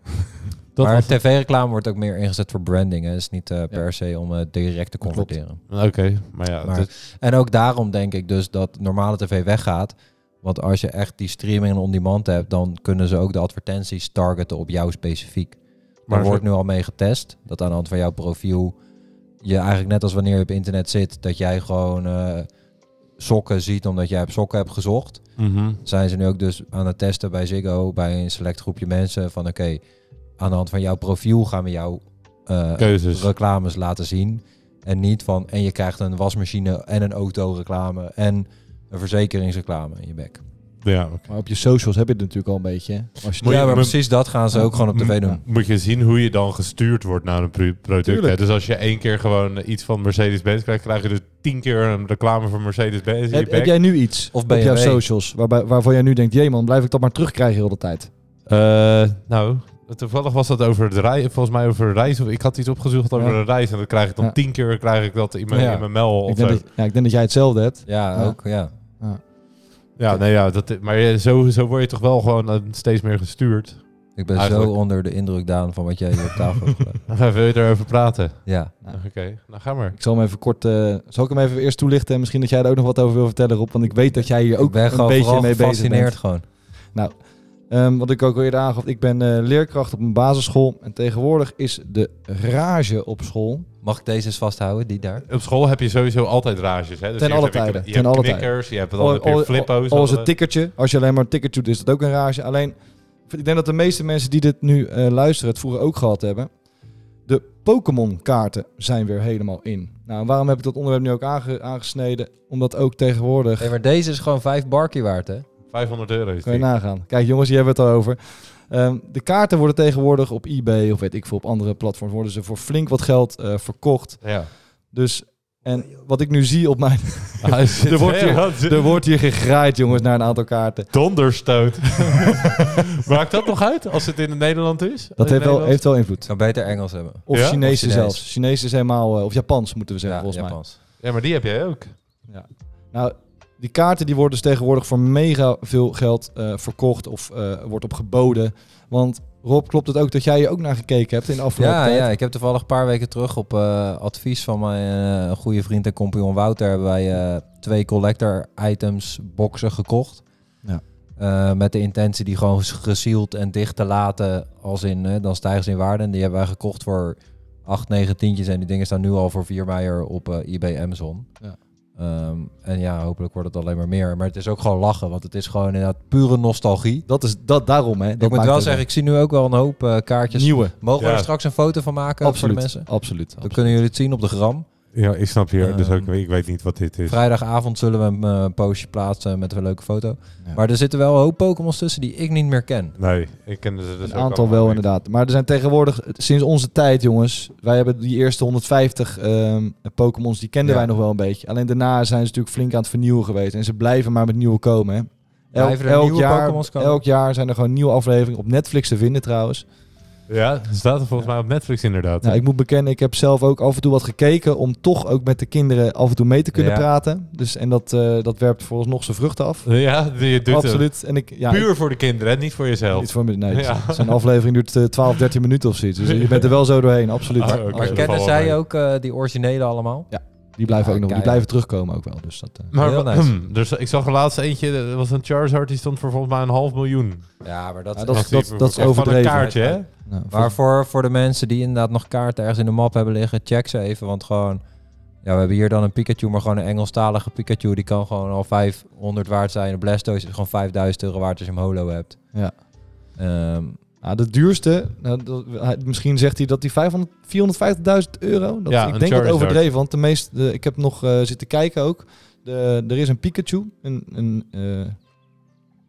[SPEAKER 2] Dat
[SPEAKER 3] maar
[SPEAKER 2] was-
[SPEAKER 3] tv-reclame wordt ook meer ingezet voor branding. Het is niet eh, per se om eh, direct te
[SPEAKER 1] Klopt.
[SPEAKER 3] converteren.
[SPEAKER 2] Oké, maar ja.
[SPEAKER 3] Maar-
[SPEAKER 2] dus-
[SPEAKER 3] En ook daarom denk ik dus dat normale tv weggaat. Want als je echt die streaming en on-demand hebt, dan kunnen ze ook de advertenties targeten op jou specifiek.
[SPEAKER 2] Maar
[SPEAKER 3] Maar
[SPEAKER 2] zo-
[SPEAKER 3] wordt nu al mee getest. Dat aan de hand van jouw profiel je eigenlijk net als wanneer je op internet zit, dat jij gewoon eh, sokken ziet omdat jij op sokken hebt gezocht
[SPEAKER 2] Mhm.
[SPEAKER 3] zijn ze nu ook dus aan het testen bij Ziggo, bij een select groepje mensen. Van oké, aan de hand van jouw profiel gaan we jouw eh,
[SPEAKER 1] Dus-
[SPEAKER 2] Keuzes.
[SPEAKER 3] reclames laten zien. En niet van, en je krijgt een wasmachine en een autoreclame en een verzekeringsreclame in je bek.
[SPEAKER 2] Ja, oké.
[SPEAKER 1] Maar op je socials heb je het natuurlijk al een beetje. hè. Als je
[SPEAKER 2] Moet
[SPEAKER 3] ja,
[SPEAKER 2] je-
[SPEAKER 3] maar
[SPEAKER 2] moet-
[SPEAKER 3] precies dat gaan ze ook gewoon op tv doen.
[SPEAKER 2] Moet je zien hoe je dan gestuurd wordt naar een pro- product. hè?
[SPEAKER 1] Tuurlijk.
[SPEAKER 2] Dus als je één keer gewoon eh, iets van Mercedes-Benz krijgt, krijg je dus tien keer een reclame van Mercedes-Benz. in je
[SPEAKER 1] heb, heb
[SPEAKER 2] bek.
[SPEAKER 1] jij nu iets
[SPEAKER 3] Of
[SPEAKER 1] op jouw
[SPEAKER 3] BMW?
[SPEAKER 1] socials waarbij, waarvan jij nu denkt... Jee man, blijf ik dat maar terugkrijgen heel de tijd.
[SPEAKER 2] Eh, nou, toevallig was dat over het reizen. Volgens mij over reizen. Ik had iets opgezocht over
[SPEAKER 1] Ja.
[SPEAKER 2] de reis. En dan krijg ik dan
[SPEAKER 1] Ja.
[SPEAKER 2] tien keer krijg ik dat in mijn,
[SPEAKER 1] Ja.
[SPEAKER 2] in mijn mail. Of
[SPEAKER 1] Ik denk,
[SPEAKER 2] zo.
[SPEAKER 1] dat, ja, ik denk dat jij hetzelfde hebt.
[SPEAKER 3] Ja,
[SPEAKER 1] Ja.
[SPEAKER 3] ook, ja.
[SPEAKER 2] Ja, nee, ja, dat, maar ja, zo, zo word je toch wel gewoon eh, steeds meer gestuurd. *laughs*
[SPEAKER 3] Ik ben
[SPEAKER 2] Eigenlijk-
[SPEAKER 3] zo onder de indruk, Daan, van wat jij hier op
[SPEAKER 1] *laughs*
[SPEAKER 3] tafel hebt gelegd.
[SPEAKER 2] Wil je erover praten?
[SPEAKER 3] Ja.
[SPEAKER 2] Oké, nou ga maar.
[SPEAKER 1] Ik zal hem even kort. eh, zal ik hem even eerst toelichten? En misschien dat jij er ook nog wat over wil vertellen, Rob. Want ik weet dat jij hier
[SPEAKER 3] Ik
[SPEAKER 1] ook
[SPEAKER 3] ben
[SPEAKER 1] een
[SPEAKER 3] gewoon
[SPEAKER 1] beetje
[SPEAKER 3] vooral
[SPEAKER 1] mee bezig
[SPEAKER 3] gefascineerd
[SPEAKER 1] bent.
[SPEAKER 3] gewoon.
[SPEAKER 1] Ehm, wat ik ook al eerder aangaf, ik ben eh, leerkracht op een basisschool. En tegenwoordig is de rage op school.
[SPEAKER 3] Mag ik deze eens vasthouden, die daar?
[SPEAKER 2] Op school heb je sowieso altijd rages. Hè? Dus
[SPEAKER 1] Ten
[SPEAKER 2] eerst
[SPEAKER 1] alle
[SPEAKER 2] heb je kn-
[SPEAKER 1] tijden,
[SPEAKER 2] Je
[SPEAKER 1] ten
[SPEAKER 2] hebt
[SPEAKER 1] alle
[SPEAKER 2] knikkers, je hebt dan heb je flippo's.
[SPEAKER 1] Als
[SPEAKER 2] dan-
[SPEAKER 1] een tikkertje. Als je alleen maar een tikkertje doet, is dat ook een rage. Alleen, ik denk dat de meeste mensen die dit nu eh, luisteren, het vroeger ook gehad hebben. De Pokémon-kaarten zijn weer helemaal in. Nou, waarom heb ik dat onderwerp nu ook aange- aangesneden? Omdat ook tegenwoordig...
[SPEAKER 3] Nee, maar deze is gewoon vijf barkie waard, hè?
[SPEAKER 2] 500 euro is
[SPEAKER 1] Kun je
[SPEAKER 2] die.
[SPEAKER 1] nagaan. Kijk jongens, hier hebben we het al over. Ehm, de kaarten worden tegenwoordig op eBay of weet ik veel, op andere platforms worden ze voor flink wat geld eh, verkocht.
[SPEAKER 2] Ja.
[SPEAKER 1] Dus, en wat ik nu zie op
[SPEAKER 3] *laughs*
[SPEAKER 1] mijn... *laughs*
[SPEAKER 2] er
[SPEAKER 1] wordt hier- er wordt hier gegraaid jongens naar een aantal kaarten.
[SPEAKER 2] donderstoot.
[SPEAKER 1] *laughs*
[SPEAKER 2] Maakt dat nog uit als het in Nederland is?
[SPEAKER 1] Dat
[SPEAKER 2] In
[SPEAKER 1] heeft wel,
[SPEAKER 2] Nederland?
[SPEAKER 1] heeft wel invloed.
[SPEAKER 3] Ik zou beter Engels hebben.
[SPEAKER 1] Of
[SPEAKER 2] Ja?
[SPEAKER 1] Chinezen
[SPEAKER 3] Of Chinees.
[SPEAKER 1] zelfs. Chinees is helemaal, eh, of Japans moeten we
[SPEAKER 3] Ja,
[SPEAKER 1] zeggen volgens mij.
[SPEAKER 3] Japans.
[SPEAKER 2] Ja, maar die heb jij ook.
[SPEAKER 1] Nou, die kaarten die worden dus tegenwoordig voor mega veel geld eh, verkocht of eh, wordt op geboden. Want Rob, klopt het ook dat jij je ook naar gekeken hebt in de afgelopen
[SPEAKER 3] Ja,
[SPEAKER 1] tijd?
[SPEAKER 3] ja, ik heb toevallig een paar weken terug op eh, advies van mijn eh, goede vriend en compagnon Wouter hebben wij eh, twee collector items boxen gekocht.
[SPEAKER 1] Ja.
[SPEAKER 3] Eh, met de intentie die gewoon ges- gesealed en dicht te laten als in, eh, dan stijgen ze in waarde. En die hebben wij gekocht voor 8, 9 tientjes en die dingen staan nu al voor 4 meijer op eh eBay Amazon.
[SPEAKER 1] Ja.
[SPEAKER 3] Ehm, en ja, hopelijk wordt het alleen maar meer. Maar het is ook gewoon lachen, want het is gewoon inderdaad pure nostalgie.
[SPEAKER 1] Dat is dat, daarom hè. Dat
[SPEAKER 3] ik moet
[SPEAKER 1] maakt dus
[SPEAKER 3] wel
[SPEAKER 1] het
[SPEAKER 3] zeggen, ik zie nu ook wel een hoop eh, kaartjes.
[SPEAKER 1] nieuwe.
[SPEAKER 3] Mogen we
[SPEAKER 2] Ja.
[SPEAKER 3] er straks een foto van maken voor de
[SPEAKER 1] Absoluut,
[SPEAKER 3] mensen?
[SPEAKER 1] absoluut.
[SPEAKER 3] Dan kunnen jullie het zien op de gram.
[SPEAKER 2] Ja, ik snap hier.
[SPEAKER 3] dus
[SPEAKER 1] Ehm,
[SPEAKER 3] ook-
[SPEAKER 2] ik weet niet wat dit is.
[SPEAKER 3] Vrijdagavond zullen we een eh, postje plaatsen met een leuke foto.
[SPEAKER 1] Ja.
[SPEAKER 3] Maar er zitten wel een hoop Pokémon's tussen die ik niet meer ken.
[SPEAKER 2] Nee, ik ken ze dus
[SPEAKER 1] Een aantal wel inderdaad. Maar er zijn tegenwoordig, sinds onze tijd jongens, wij hebben die eerste 150 ehm, Pokémons, die kenden
[SPEAKER 3] Ja.
[SPEAKER 1] wij nog wel een beetje. Alleen daarna zijn ze natuurlijk flink aan het vernieuwen geweest. En ze blijven maar met nieuwe komen hè.
[SPEAKER 3] Blijven er nieuwe
[SPEAKER 1] jaar,
[SPEAKER 3] Pokémons komen?
[SPEAKER 1] elk jaar zijn er gewoon nieuwe afleveringen op Netflix te vinden trouwens.
[SPEAKER 2] Ja, staat er volgens mij op Netflix inderdaad.
[SPEAKER 1] Nou, ik moet bekennen, ik heb zelf ook af en toe wat gekeken om toch ook met de kinderen af en toe mee te kunnen
[SPEAKER 3] Ja.
[SPEAKER 1] praten. Dus, en dat, eh, dat werpt nog zijn vruchten af.
[SPEAKER 2] Ja, je doet het.
[SPEAKER 1] Absoluut. En ik, ja, ik-
[SPEAKER 2] Puur voor de kinderen, hè, niet voor jezelf.
[SPEAKER 1] Niet voor mij. Nee,
[SPEAKER 2] Ja.
[SPEAKER 1] zijn aflevering duurt eh, 12, 13 minuten of zoiets. Dus je bent er wel zo doorheen, absoluut.
[SPEAKER 2] *laughs* Ah, oké.
[SPEAKER 1] Absoluut.
[SPEAKER 3] Maar
[SPEAKER 2] dat
[SPEAKER 3] kennen
[SPEAKER 2] valt
[SPEAKER 3] zij
[SPEAKER 2] wel mee.
[SPEAKER 3] ook eh, die originele allemaal?
[SPEAKER 1] Die blijven
[SPEAKER 3] Ja,
[SPEAKER 1] ook nog, die
[SPEAKER 3] keihard.
[SPEAKER 1] blijven terugkomen ook wel. Dus dat, eh.
[SPEAKER 2] Maar
[SPEAKER 3] Heel
[SPEAKER 2] wa-
[SPEAKER 3] nice.
[SPEAKER 2] hmm, dus ik zag er laatst eentje, dat was een Charizard, die stond voor volgens mij een half miljoen.
[SPEAKER 3] Ja, maar dat,
[SPEAKER 1] Ja,
[SPEAKER 3] is
[SPEAKER 1] dat
[SPEAKER 3] echt-
[SPEAKER 1] is- dat is
[SPEAKER 2] Echt
[SPEAKER 1] overdreven.
[SPEAKER 2] Van een kaartje, hè?
[SPEAKER 1] nou,
[SPEAKER 3] Maar voor, voor de mensen die inderdaad nog kaarten ergens in de map hebben liggen, check ze even. Want gewoon, ja, we hebben hier dan een Pikachu, maar gewoon een Engelstalige Pikachu. Die kan gewoon al 500 waard zijn. Een Blastoise is gewoon 5000 euro waard als je hem holo hebt.
[SPEAKER 1] Ja.
[SPEAKER 3] Ehm,
[SPEAKER 1] Ah, de duurste, nou, dat- hij- misschien zegt hij dat die 500 450.000 euro. Dat,
[SPEAKER 2] Ja,
[SPEAKER 1] ik
[SPEAKER 2] een
[SPEAKER 1] denk dat
[SPEAKER 2] Charizard.
[SPEAKER 1] overdreven, want de meeste, de- ik heb nog eh, zitten kijken ook. De, er is een Pikachu, een, een eh,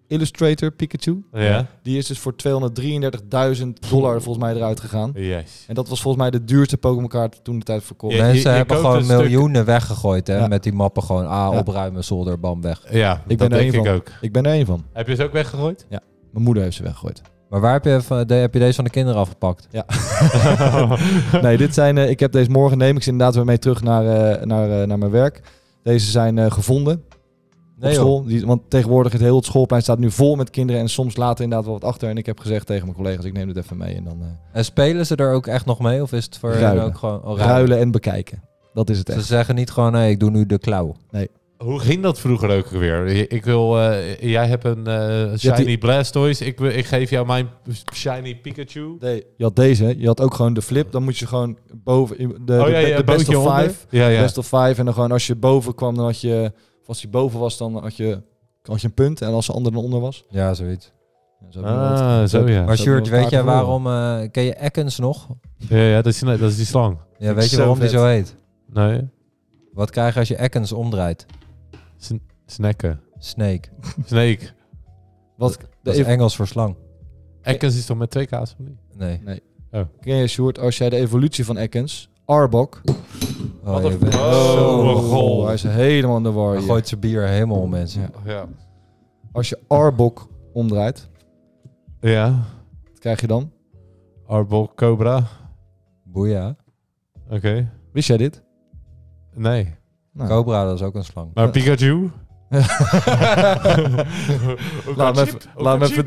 [SPEAKER 1] Illustrator Pikachu.
[SPEAKER 2] Ja.
[SPEAKER 1] Die is dus voor 233.000 dollar volgens mij eruit gegaan.
[SPEAKER 2] Yes.
[SPEAKER 1] En dat was volgens mij de duurste Pokémon kaart toen de tijd verkocht.
[SPEAKER 2] Ja, je-
[SPEAKER 3] mensen
[SPEAKER 2] je
[SPEAKER 3] hebben
[SPEAKER 2] koopt
[SPEAKER 3] gewoon
[SPEAKER 2] een stuk-
[SPEAKER 3] miljoenen weggegooid hè,
[SPEAKER 1] Ja.
[SPEAKER 3] met die mappen. Gewoon, ah,
[SPEAKER 1] Ja.
[SPEAKER 3] opruimen, zolder, bam, weg.
[SPEAKER 2] Ja,
[SPEAKER 1] Ik ben
[SPEAKER 2] dat
[SPEAKER 1] er
[SPEAKER 2] denk
[SPEAKER 1] één
[SPEAKER 2] ik
[SPEAKER 1] van.
[SPEAKER 2] ook.
[SPEAKER 1] Ik ben er één van.
[SPEAKER 2] Heb je ze ook
[SPEAKER 1] *laughs*
[SPEAKER 2] weggegooid?
[SPEAKER 1] Mijn moeder heeft ze weggegooid. *laughs*
[SPEAKER 3] Maar waar heb je, van- de- heb je deze van de kinderen afgepakt?
[SPEAKER 1] nee, dit zijn. eh, ik heb deze morgen neem ik ze inderdaad weer mee terug naar, eh, naar, eh, naar mijn werk. Deze zijn eh, gevonden op
[SPEAKER 3] joh.
[SPEAKER 1] school. Die, want tegenwoordig het hele schoolplein staat nu vol met kinderen. En soms laten inderdaad wel wat achter. En ik heb gezegd tegen mijn collega's, ik neem dit even mee. En dan eh,
[SPEAKER 3] En spelen ze er ook echt nog mee? Of is het voor hen
[SPEAKER 1] Ruilen.
[SPEAKER 3] ook gewoon... oh,
[SPEAKER 1] ruilen en bekijken. Dat is het
[SPEAKER 3] Ze
[SPEAKER 1] echt.
[SPEAKER 3] zeggen niet gewoon, nee, ik doe nu de klauw.
[SPEAKER 2] *laughs* Hoe ging dat vroeger ook weer? Ik wil, eh, jij hebt een eh,
[SPEAKER 1] Ja,
[SPEAKER 2] shiny
[SPEAKER 1] die-
[SPEAKER 2] Blastoise. Ik, wil- ik geef jou mijn shiny Pikachu.
[SPEAKER 1] Nee, je had deze. Je had ook gewoon de flip. Dan moet je gewoon boven... De, de,
[SPEAKER 2] oh ja,
[SPEAKER 1] de-
[SPEAKER 2] ja,
[SPEAKER 1] de best
[SPEAKER 2] bootje
[SPEAKER 1] of
[SPEAKER 2] onder.
[SPEAKER 1] five.
[SPEAKER 2] Ja, ja.
[SPEAKER 1] Best of five. En dan gewoon als je boven kwam, dan had je... Of als je boven was, dan had je, had je een punt. En als de ander dan onder was...
[SPEAKER 3] Ja, zoiets.
[SPEAKER 1] Zo heb je wel wat-
[SPEAKER 2] Ah, zo ja.
[SPEAKER 3] Maar
[SPEAKER 1] Zo hebben
[SPEAKER 3] Sjoerd,
[SPEAKER 1] we
[SPEAKER 3] weet
[SPEAKER 1] elkaar
[SPEAKER 3] jij
[SPEAKER 1] gevonden.
[SPEAKER 3] waarom... eh, ken je Ekkens nog?
[SPEAKER 2] Ja, ja dat, is, dat is die slang.
[SPEAKER 3] Ja,
[SPEAKER 1] ik
[SPEAKER 3] weet je
[SPEAKER 1] zo
[SPEAKER 3] waarom die
[SPEAKER 1] vet.
[SPEAKER 3] zo heet?
[SPEAKER 2] Nee,
[SPEAKER 3] Wat krijg je als je Ekkens omdraait?
[SPEAKER 2] Sn- snacken.
[SPEAKER 3] Snake.
[SPEAKER 2] Snake.
[SPEAKER 1] Wat,
[SPEAKER 3] Dat is Engels voor slang.
[SPEAKER 2] Ekkens is toch met twee kaas? of niet?
[SPEAKER 3] Nee.
[SPEAKER 1] Ken je, Sjoerd, als jij de evolutie van Ekkens, Arbok...
[SPEAKER 3] Oh, je
[SPEAKER 2] een-
[SPEAKER 3] bent-
[SPEAKER 2] Oh, mijn god.
[SPEAKER 1] Hij is helemaal in de war
[SPEAKER 3] Hij
[SPEAKER 1] hier.
[SPEAKER 2] Oh,
[SPEAKER 3] gooit zijn bier helemaal om, mensen.
[SPEAKER 1] Ja.
[SPEAKER 2] Ja.
[SPEAKER 1] Als je Arbok omdraait,
[SPEAKER 2] Ja.
[SPEAKER 1] Wat krijg je dan?
[SPEAKER 2] Arbol Cobra.
[SPEAKER 3] Boeia.
[SPEAKER 2] Oké.
[SPEAKER 1] Wist jij dit?
[SPEAKER 2] Nee.
[SPEAKER 1] Nou,
[SPEAKER 3] Cobra, dat is ook een slang.
[SPEAKER 2] Maar *laughs* Pikachu?
[SPEAKER 1] laat, me
[SPEAKER 2] Laat
[SPEAKER 1] even, laat, me even,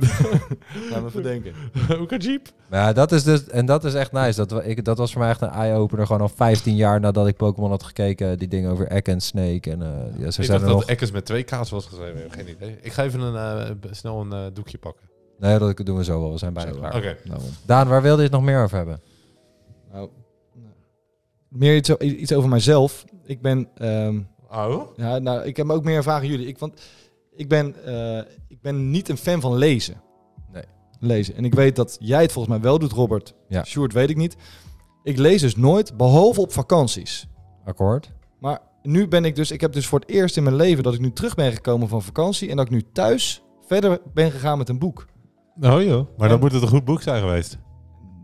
[SPEAKER 1] laat me even denken.
[SPEAKER 2] *laughs* Ook een jeep?
[SPEAKER 3] Maar ja, dat is dus, en dat is echt nice. Dat, we- ik, dat was voor mij echt een eye-opener. Gewoon al 15 jaar nadat ik Pokémon had gekeken. Die dingen over Egg en Snake. En eh, ja, zo
[SPEAKER 2] Ik
[SPEAKER 3] zijn
[SPEAKER 2] dacht
[SPEAKER 3] er
[SPEAKER 2] dat
[SPEAKER 3] nog.
[SPEAKER 2] Ekkers met twee kaas was geschreven. Ik heb Geen idee. Ik ga even een, eh, b- snel een eh, doekje pakken.
[SPEAKER 3] Nee, dat doen we zo wel. We zijn bijna
[SPEAKER 1] Zo,
[SPEAKER 3] klaar. Nou,
[SPEAKER 2] Oké.
[SPEAKER 1] Daarom.
[SPEAKER 3] Daan, waar wilde je het nog meer over hebben?
[SPEAKER 1] Nou, meer iets, o- iets over mijzelf. Ik ben... ehm,
[SPEAKER 2] Oh?
[SPEAKER 1] ja, nou, ik heb ook meer vragen aan jullie. Ik, want ik ben, eh, ik ben niet een fan van lezen.
[SPEAKER 3] Nee.
[SPEAKER 1] Lezen. En ik weet dat jij het volgens mij wel doet, Robert.
[SPEAKER 3] Ja.
[SPEAKER 1] Sjoerd weet ik niet. Ik lees dus nooit, behalve op vakanties.
[SPEAKER 3] Akkoord?
[SPEAKER 1] Maar nu ben ik dus, ik heb dus voor het eerst in mijn leven dat ik nu terug ben gekomen van vakantie en dat ik nu thuis verder ben gegaan met een boek.
[SPEAKER 2] Oh joh. Maar
[SPEAKER 1] En-
[SPEAKER 2] dan moet het een goed boek zijn geweest. *laughs*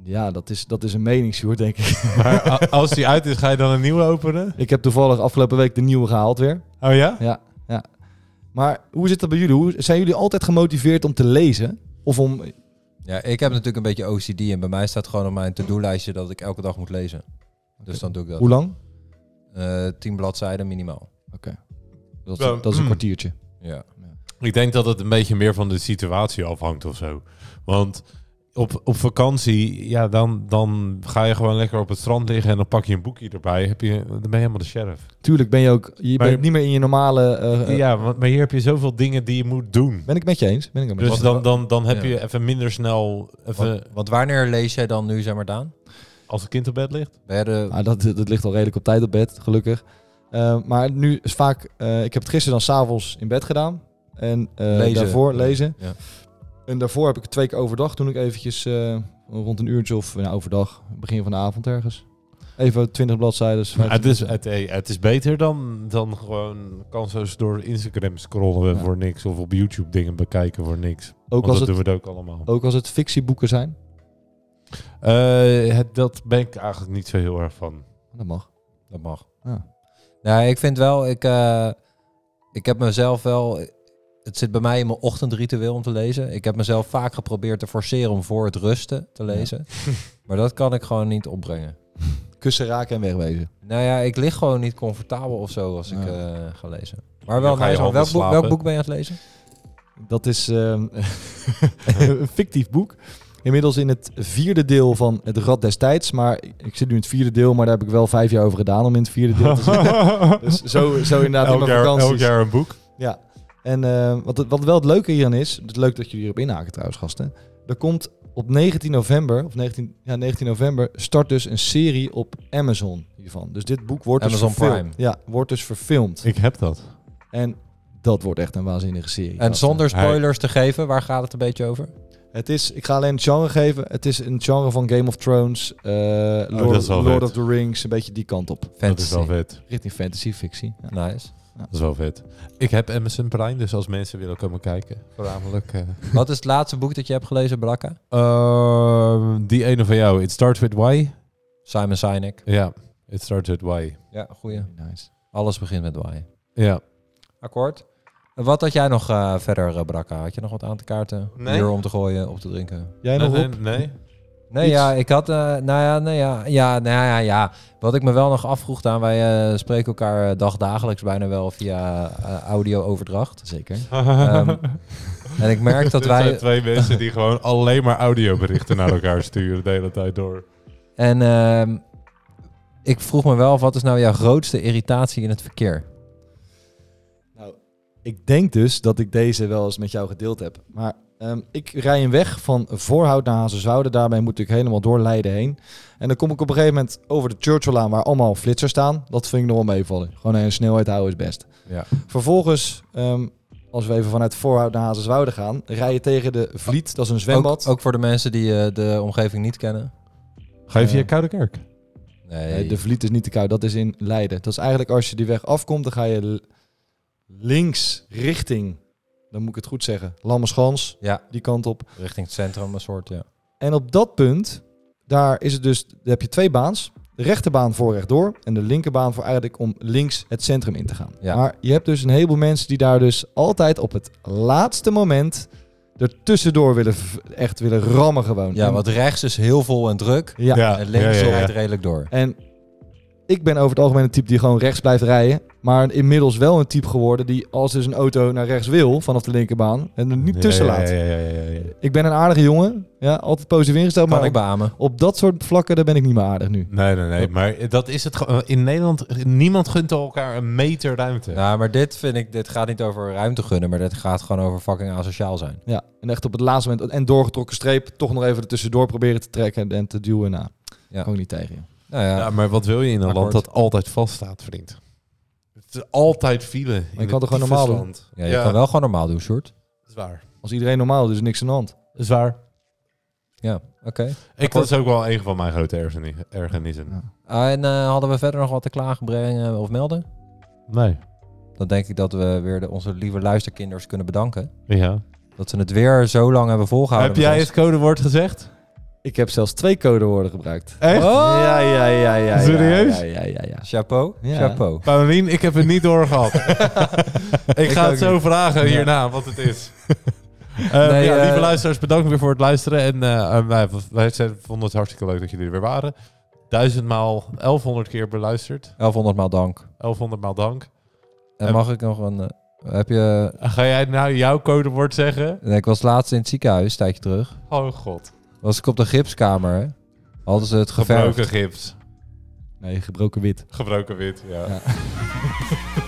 [SPEAKER 1] Ja, dat is, dat is een mening, Sjoerd, denk ik.
[SPEAKER 2] Maar a- als die uit is, ga je dan een nieuwe openen?
[SPEAKER 1] Ik heb toevallig afgelopen week de nieuwe gehaald weer.
[SPEAKER 2] Oh ja?
[SPEAKER 1] Ja, ja. Maar hoe zit dat bij jullie? Hoe, zijn jullie altijd gemotiveerd om te lezen? Of om...
[SPEAKER 3] Ja, ik heb natuurlijk een beetje OCD. En bij mij staat gewoon op mijn to-do-lijstje dat ik elke dag moet lezen. Dus dan doe ik dat.
[SPEAKER 1] Hoe lang?
[SPEAKER 3] Eh, 10 bladzijden minimaal.
[SPEAKER 1] Dat,
[SPEAKER 2] Ja. Mm.
[SPEAKER 1] dat is een kwartiertje.
[SPEAKER 3] Ja.
[SPEAKER 2] Ik denk dat het een beetje meer van de situatie afhangt of zo. Want op, op vakantie, ja, dan, dan ga je gewoon lekker op het strand liggen en dan pak je een boekje erbij. Heb je, dan ben je helemaal de sheriff.
[SPEAKER 1] Tuurlijk ben je ook... Je
[SPEAKER 2] Maar-
[SPEAKER 1] bent niet meer in je normale... eh, eh,
[SPEAKER 2] ja, want, maar hier heb je zoveel dingen die je moet doen.
[SPEAKER 1] Ben ik met je eens? Ben ik het met je
[SPEAKER 2] Dus
[SPEAKER 1] eens.
[SPEAKER 2] dan, dan, dan heb
[SPEAKER 3] Ja.
[SPEAKER 2] je even minder snel,
[SPEAKER 3] Want,
[SPEAKER 2] even
[SPEAKER 3] want wanneer lees jij dan nu, zeg maar, Daan?
[SPEAKER 2] als een kind op bed ligt.
[SPEAKER 3] Ben jij de-
[SPEAKER 1] Nou, dat, dat ligt al redelijk op tijd op bed, gelukkig. Eh, maar nu is vaak... eh, ik heb het gisteren dan s'avonds in bed gedaan. En eh,
[SPEAKER 3] Lezen.
[SPEAKER 1] daarvoor lezen.
[SPEAKER 3] Ja.
[SPEAKER 1] En daarvoor heb ik het twee keer overdag. Toen ik eventjes eh, rond een uurtje of nou, overdag, begin van de avond ergens. Even 20 bladzijden.
[SPEAKER 2] Nou, het,
[SPEAKER 1] 25.
[SPEAKER 2] is, eh, het, hey, het is beter dan, dan gewoon kansloos door Instagram scrollen
[SPEAKER 1] Ja.
[SPEAKER 2] voor niks. Of op YouTube dingen bekijken voor niks.
[SPEAKER 1] Ook
[SPEAKER 2] Want
[SPEAKER 1] als
[SPEAKER 2] dat
[SPEAKER 1] het,
[SPEAKER 2] doen we het ook allemaal.
[SPEAKER 1] ook als het fictieboeken zijn.
[SPEAKER 2] Eh, het, dat ben ik eigenlijk niet zo heel erg van.
[SPEAKER 1] Dat mag.
[SPEAKER 3] Dat mag.
[SPEAKER 1] Ja.
[SPEAKER 3] Nou, ik vind wel, ik, eh, ik heb mezelf wel. Het zit bij mij in mijn ochtendritueel om te lezen. Ik heb mezelf vaak geprobeerd te forceren om voor het rusten te lezen. maar dat kan ik gewoon niet opbrengen.
[SPEAKER 1] Kussen raken en wegwezen.
[SPEAKER 3] Nou ja, ik lig gewoon niet comfortabel of zo als ik eh, ga lezen. Maar wel,
[SPEAKER 2] Dan ga je
[SPEAKER 3] nice, want welk,
[SPEAKER 2] anders
[SPEAKER 3] boek, welk
[SPEAKER 2] slapen.
[SPEAKER 3] boek ben je aan het lezen?
[SPEAKER 1] Dat is ehm, *laughs* een fictief boek. Inmiddels in het vierde deel van Het Rad des Tijds. Maar ik zit nu in het vierde deel, maar daar heb ik wel vijf jaar over gedaan om in het vierde deel te
[SPEAKER 2] *laughs*
[SPEAKER 1] zitten. Dus zo, zo inderdaad in
[SPEAKER 2] elk,
[SPEAKER 1] mijn
[SPEAKER 2] jaar, elk
[SPEAKER 1] vakanties.
[SPEAKER 2] jaar een boek.
[SPEAKER 1] Ja. En eh, wat, het- wat wel het leuke hieran is, het is leuk dat jullie hierop inhaken trouwens gasten. Er komt op 19 november, of 19, ja, 19 november, start dus een serie op Amazon hiervan. Dus dit boek wordt
[SPEAKER 3] Amazon
[SPEAKER 1] dus verfilmd.
[SPEAKER 3] Prime.
[SPEAKER 1] Ja, wordt dus verfilmd.
[SPEAKER 2] Ik heb dat.
[SPEAKER 1] En dat wordt echt een waanzinnige serie.
[SPEAKER 3] En
[SPEAKER 1] gasten.
[SPEAKER 3] zonder
[SPEAKER 2] Hij-
[SPEAKER 3] spoilers te geven, waar gaat het een beetje over?
[SPEAKER 1] Het is, ik ga alleen het genre geven. Het is een genre van Game of Thrones, eh,
[SPEAKER 2] dat
[SPEAKER 1] Lord,
[SPEAKER 2] is wel
[SPEAKER 1] Lord
[SPEAKER 2] vet.
[SPEAKER 1] of the Rings, een beetje die kant op.
[SPEAKER 2] Dat is wel
[SPEAKER 3] Fantasy.
[SPEAKER 2] vet.
[SPEAKER 1] Richting fantasy, fictie. Ja.
[SPEAKER 3] Nice.
[SPEAKER 2] Dat is wel vet. Ik heb Amazon Prime, dus als mensen willen komen kijken. Voornamelijk. eh,
[SPEAKER 3] Wat is het laatste boek dat je hebt gelezen, Brakka?
[SPEAKER 2] ehm, die ene van jou. It starts with why.
[SPEAKER 3] Simon Sinek.
[SPEAKER 2] Ja, it starts with why.
[SPEAKER 3] Ja, goeie.
[SPEAKER 1] Nice.
[SPEAKER 3] Alles begint met waaien.
[SPEAKER 2] Ja.
[SPEAKER 3] Akkoord. En Wat had jij nog eh, verder, eh, Brakka? Had je nog wat aan te kaarten?
[SPEAKER 2] Nee.
[SPEAKER 3] Bier om te gooien, op te drinken?
[SPEAKER 1] Jij nog op?
[SPEAKER 2] nee.
[SPEAKER 3] Nee,
[SPEAKER 1] Iets?
[SPEAKER 3] ja, ik had... eh, nou ja, nee, ja, ja, nou ja, ja. Wat ik me wel nog afvroeg, Daan, wij eh, spreken elkaar eh, dagdagelijks bijna wel via eh, audio-overdracht.
[SPEAKER 1] Zeker.
[SPEAKER 3] Ehm, en ik
[SPEAKER 2] *laughs*
[SPEAKER 3] merk dat
[SPEAKER 2] Dit zijn
[SPEAKER 3] wij...
[SPEAKER 2] twee mensen die gewoon alleen maar audioberichten naar elkaar sturen de hele tijd door.
[SPEAKER 3] En ehm, ik vroeg me wel af, wat is nou jouw grootste irritatie in het verkeer?
[SPEAKER 1] Nou, ik denk dus dat ik deze wel eens met jou gedeeld heb. Maar ehm, ik rij een weg van Voorhout naar Hazenzoude. Daarmee moet ik helemaal door Leiden heen. En dan kom ik op een gegeven moment over de Churchilllaan waar allemaal flitsers staan. Dat vind ik nog wel meevallen. Gewoon een snelheid houden is best.
[SPEAKER 3] Ja.
[SPEAKER 1] Vervolgens, ehm, als we even vanuit Voorhout naar Hazenzoude gaan, rij je tegen de Vliet. Dat is een zwembad.
[SPEAKER 3] Ook, ook voor de mensen die eh, de omgeving niet kennen.
[SPEAKER 2] Ga je via
[SPEAKER 1] Eh.
[SPEAKER 2] Koude Kerk?
[SPEAKER 3] Nee,
[SPEAKER 1] Nee, de Vliet is niet te koud. Dat is in Leiden. Dat is eigenlijk als je die weg afkomt, dan ga je l- links richting, dan moet ik het goed zeggen, Lammerschans.
[SPEAKER 3] Ja.
[SPEAKER 1] Die kant op.
[SPEAKER 3] richting het centrum een soort, ja.
[SPEAKER 1] En op dat punt, daar is het dus, daar heb je twee baans. De rechterbaan voor rechtdoor en de linkerbaan voor eigenlijk om links het centrum in te gaan.
[SPEAKER 3] Ja.
[SPEAKER 1] Maar je hebt dus een heleboel mensen die daar dus altijd op het laatste moment ertussendoor willen, v- echt willen rammen gewoon.
[SPEAKER 3] Ja,
[SPEAKER 1] En-
[SPEAKER 3] want rechts is heel vol en druk.
[SPEAKER 1] Ja.
[SPEAKER 3] En links
[SPEAKER 2] ja, ja, ja.
[SPEAKER 3] rijdt redelijk door.
[SPEAKER 1] En ik ben over het algemeen een type die gewoon rechts blijft rijden. Maar inmiddels wel een type geworden die als dus een auto naar rechts wil vanaf de linkerbaan en er niet
[SPEAKER 2] Ja,
[SPEAKER 1] tussen laat.
[SPEAKER 2] Ja, ja, ja, ja, ja.
[SPEAKER 1] Ik ben een aardige jongen. Ja, altijd positief ingesteld.
[SPEAKER 3] Kan
[SPEAKER 1] maar
[SPEAKER 3] ik beamen.
[SPEAKER 1] op dat soort vlakken daar ben ik niet meer aardig nu.
[SPEAKER 2] Nee, nee, nee. Maar dat is het gewoon. In Nederland, niemand gunt elkaar een meter ruimte.
[SPEAKER 3] Ja, maar dit vind ik, dit gaat niet over ruimte gunnen, maar dit gaat gewoon over fucking asociaal zijn.
[SPEAKER 1] Ja, en echt op het laatste moment en doorgetrokken streep toch nog even er tussendoor proberen te trekken en te duwen. Nou,
[SPEAKER 3] Ja.
[SPEAKER 1] ook niet tegen. joh.
[SPEAKER 3] Nou ja,
[SPEAKER 2] Ja, maar wat wil je in een
[SPEAKER 3] Akkoord.
[SPEAKER 2] land dat altijd vaststaat, vriend? Het is altijd file.
[SPEAKER 1] kan toch gewoon normaal doen?
[SPEAKER 3] ja, je kan wel gewoon normaal doen, Sjoerd.
[SPEAKER 2] Dat is waar.
[SPEAKER 1] Als iedereen normaal, dus niks aan de hand.
[SPEAKER 2] Dat is waar.
[SPEAKER 3] Ja, oké.
[SPEAKER 2] Ik, dat is ook wel een van mijn grote ergerni- ergernissen.
[SPEAKER 1] Ja.
[SPEAKER 3] Ah, en eh, hadden we verder nog wat te klagen brengen of melden?
[SPEAKER 2] Nee.
[SPEAKER 3] Dan denk ik dat we weer de, onze lieve luisterkinders kunnen bedanken.
[SPEAKER 2] Ja.
[SPEAKER 3] Dat ze het weer zo lang hebben volgehouden.
[SPEAKER 2] Heb
[SPEAKER 3] met
[SPEAKER 2] jij
[SPEAKER 3] ons.
[SPEAKER 2] het codewoord gezegd?
[SPEAKER 1] Ik heb zelfs twee codewoorden gebruikt. Oh!
[SPEAKER 2] Echt?
[SPEAKER 1] Ja, ja, ja, ja.
[SPEAKER 2] Serieus?
[SPEAKER 1] Ja, ja, ja. ja.
[SPEAKER 3] Chapeau,
[SPEAKER 1] Ja. *laughs*
[SPEAKER 3] chapeau.
[SPEAKER 2] Paulien, ik heb het niet *laughs* doorgehad. ik, ga
[SPEAKER 1] ook
[SPEAKER 2] het zo
[SPEAKER 1] niet.
[SPEAKER 2] vragen hierna wat het *laughs* is. Eh,
[SPEAKER 3] Nee,
[SPEAKER 2] ja,
[SPEAKER 3] eh,
[SPEAKER 2] lieve luisteraars, bedankt weer voor het luisteren. En eh, eh, wij, wij zijn- vonden het hartstikke leuk dat jullie er weer waren. Duizendmaal, 1100 keer beluisterd.
[SPEAKER 3] 1100 maal dank.
[SPEAKER 2] 1100 maal dank.
[SPEAKER 3] En
[SPEAKER 2] En-
[SPEAKER 3] mag ik nog een... eh, heb je...
[SPEAKER 2] Ga jij nou jouw codewoord zeggen?
[SPEAKER 3] nee, Ik was laatst in het ziekenhuis, een tijdje terug.
[SPEAKER 2] Oh god.
[SPEAKER 3] Was ik op de gipskamer, hè. Hadden ze het geverfd.
[SPEAKER 2] Gebroken gips.
[SPEAKER 1] Nee, gebroken wit.
[SPEAKER 2] Gebroken wit, ja.
[SPEAKER 1] Ja.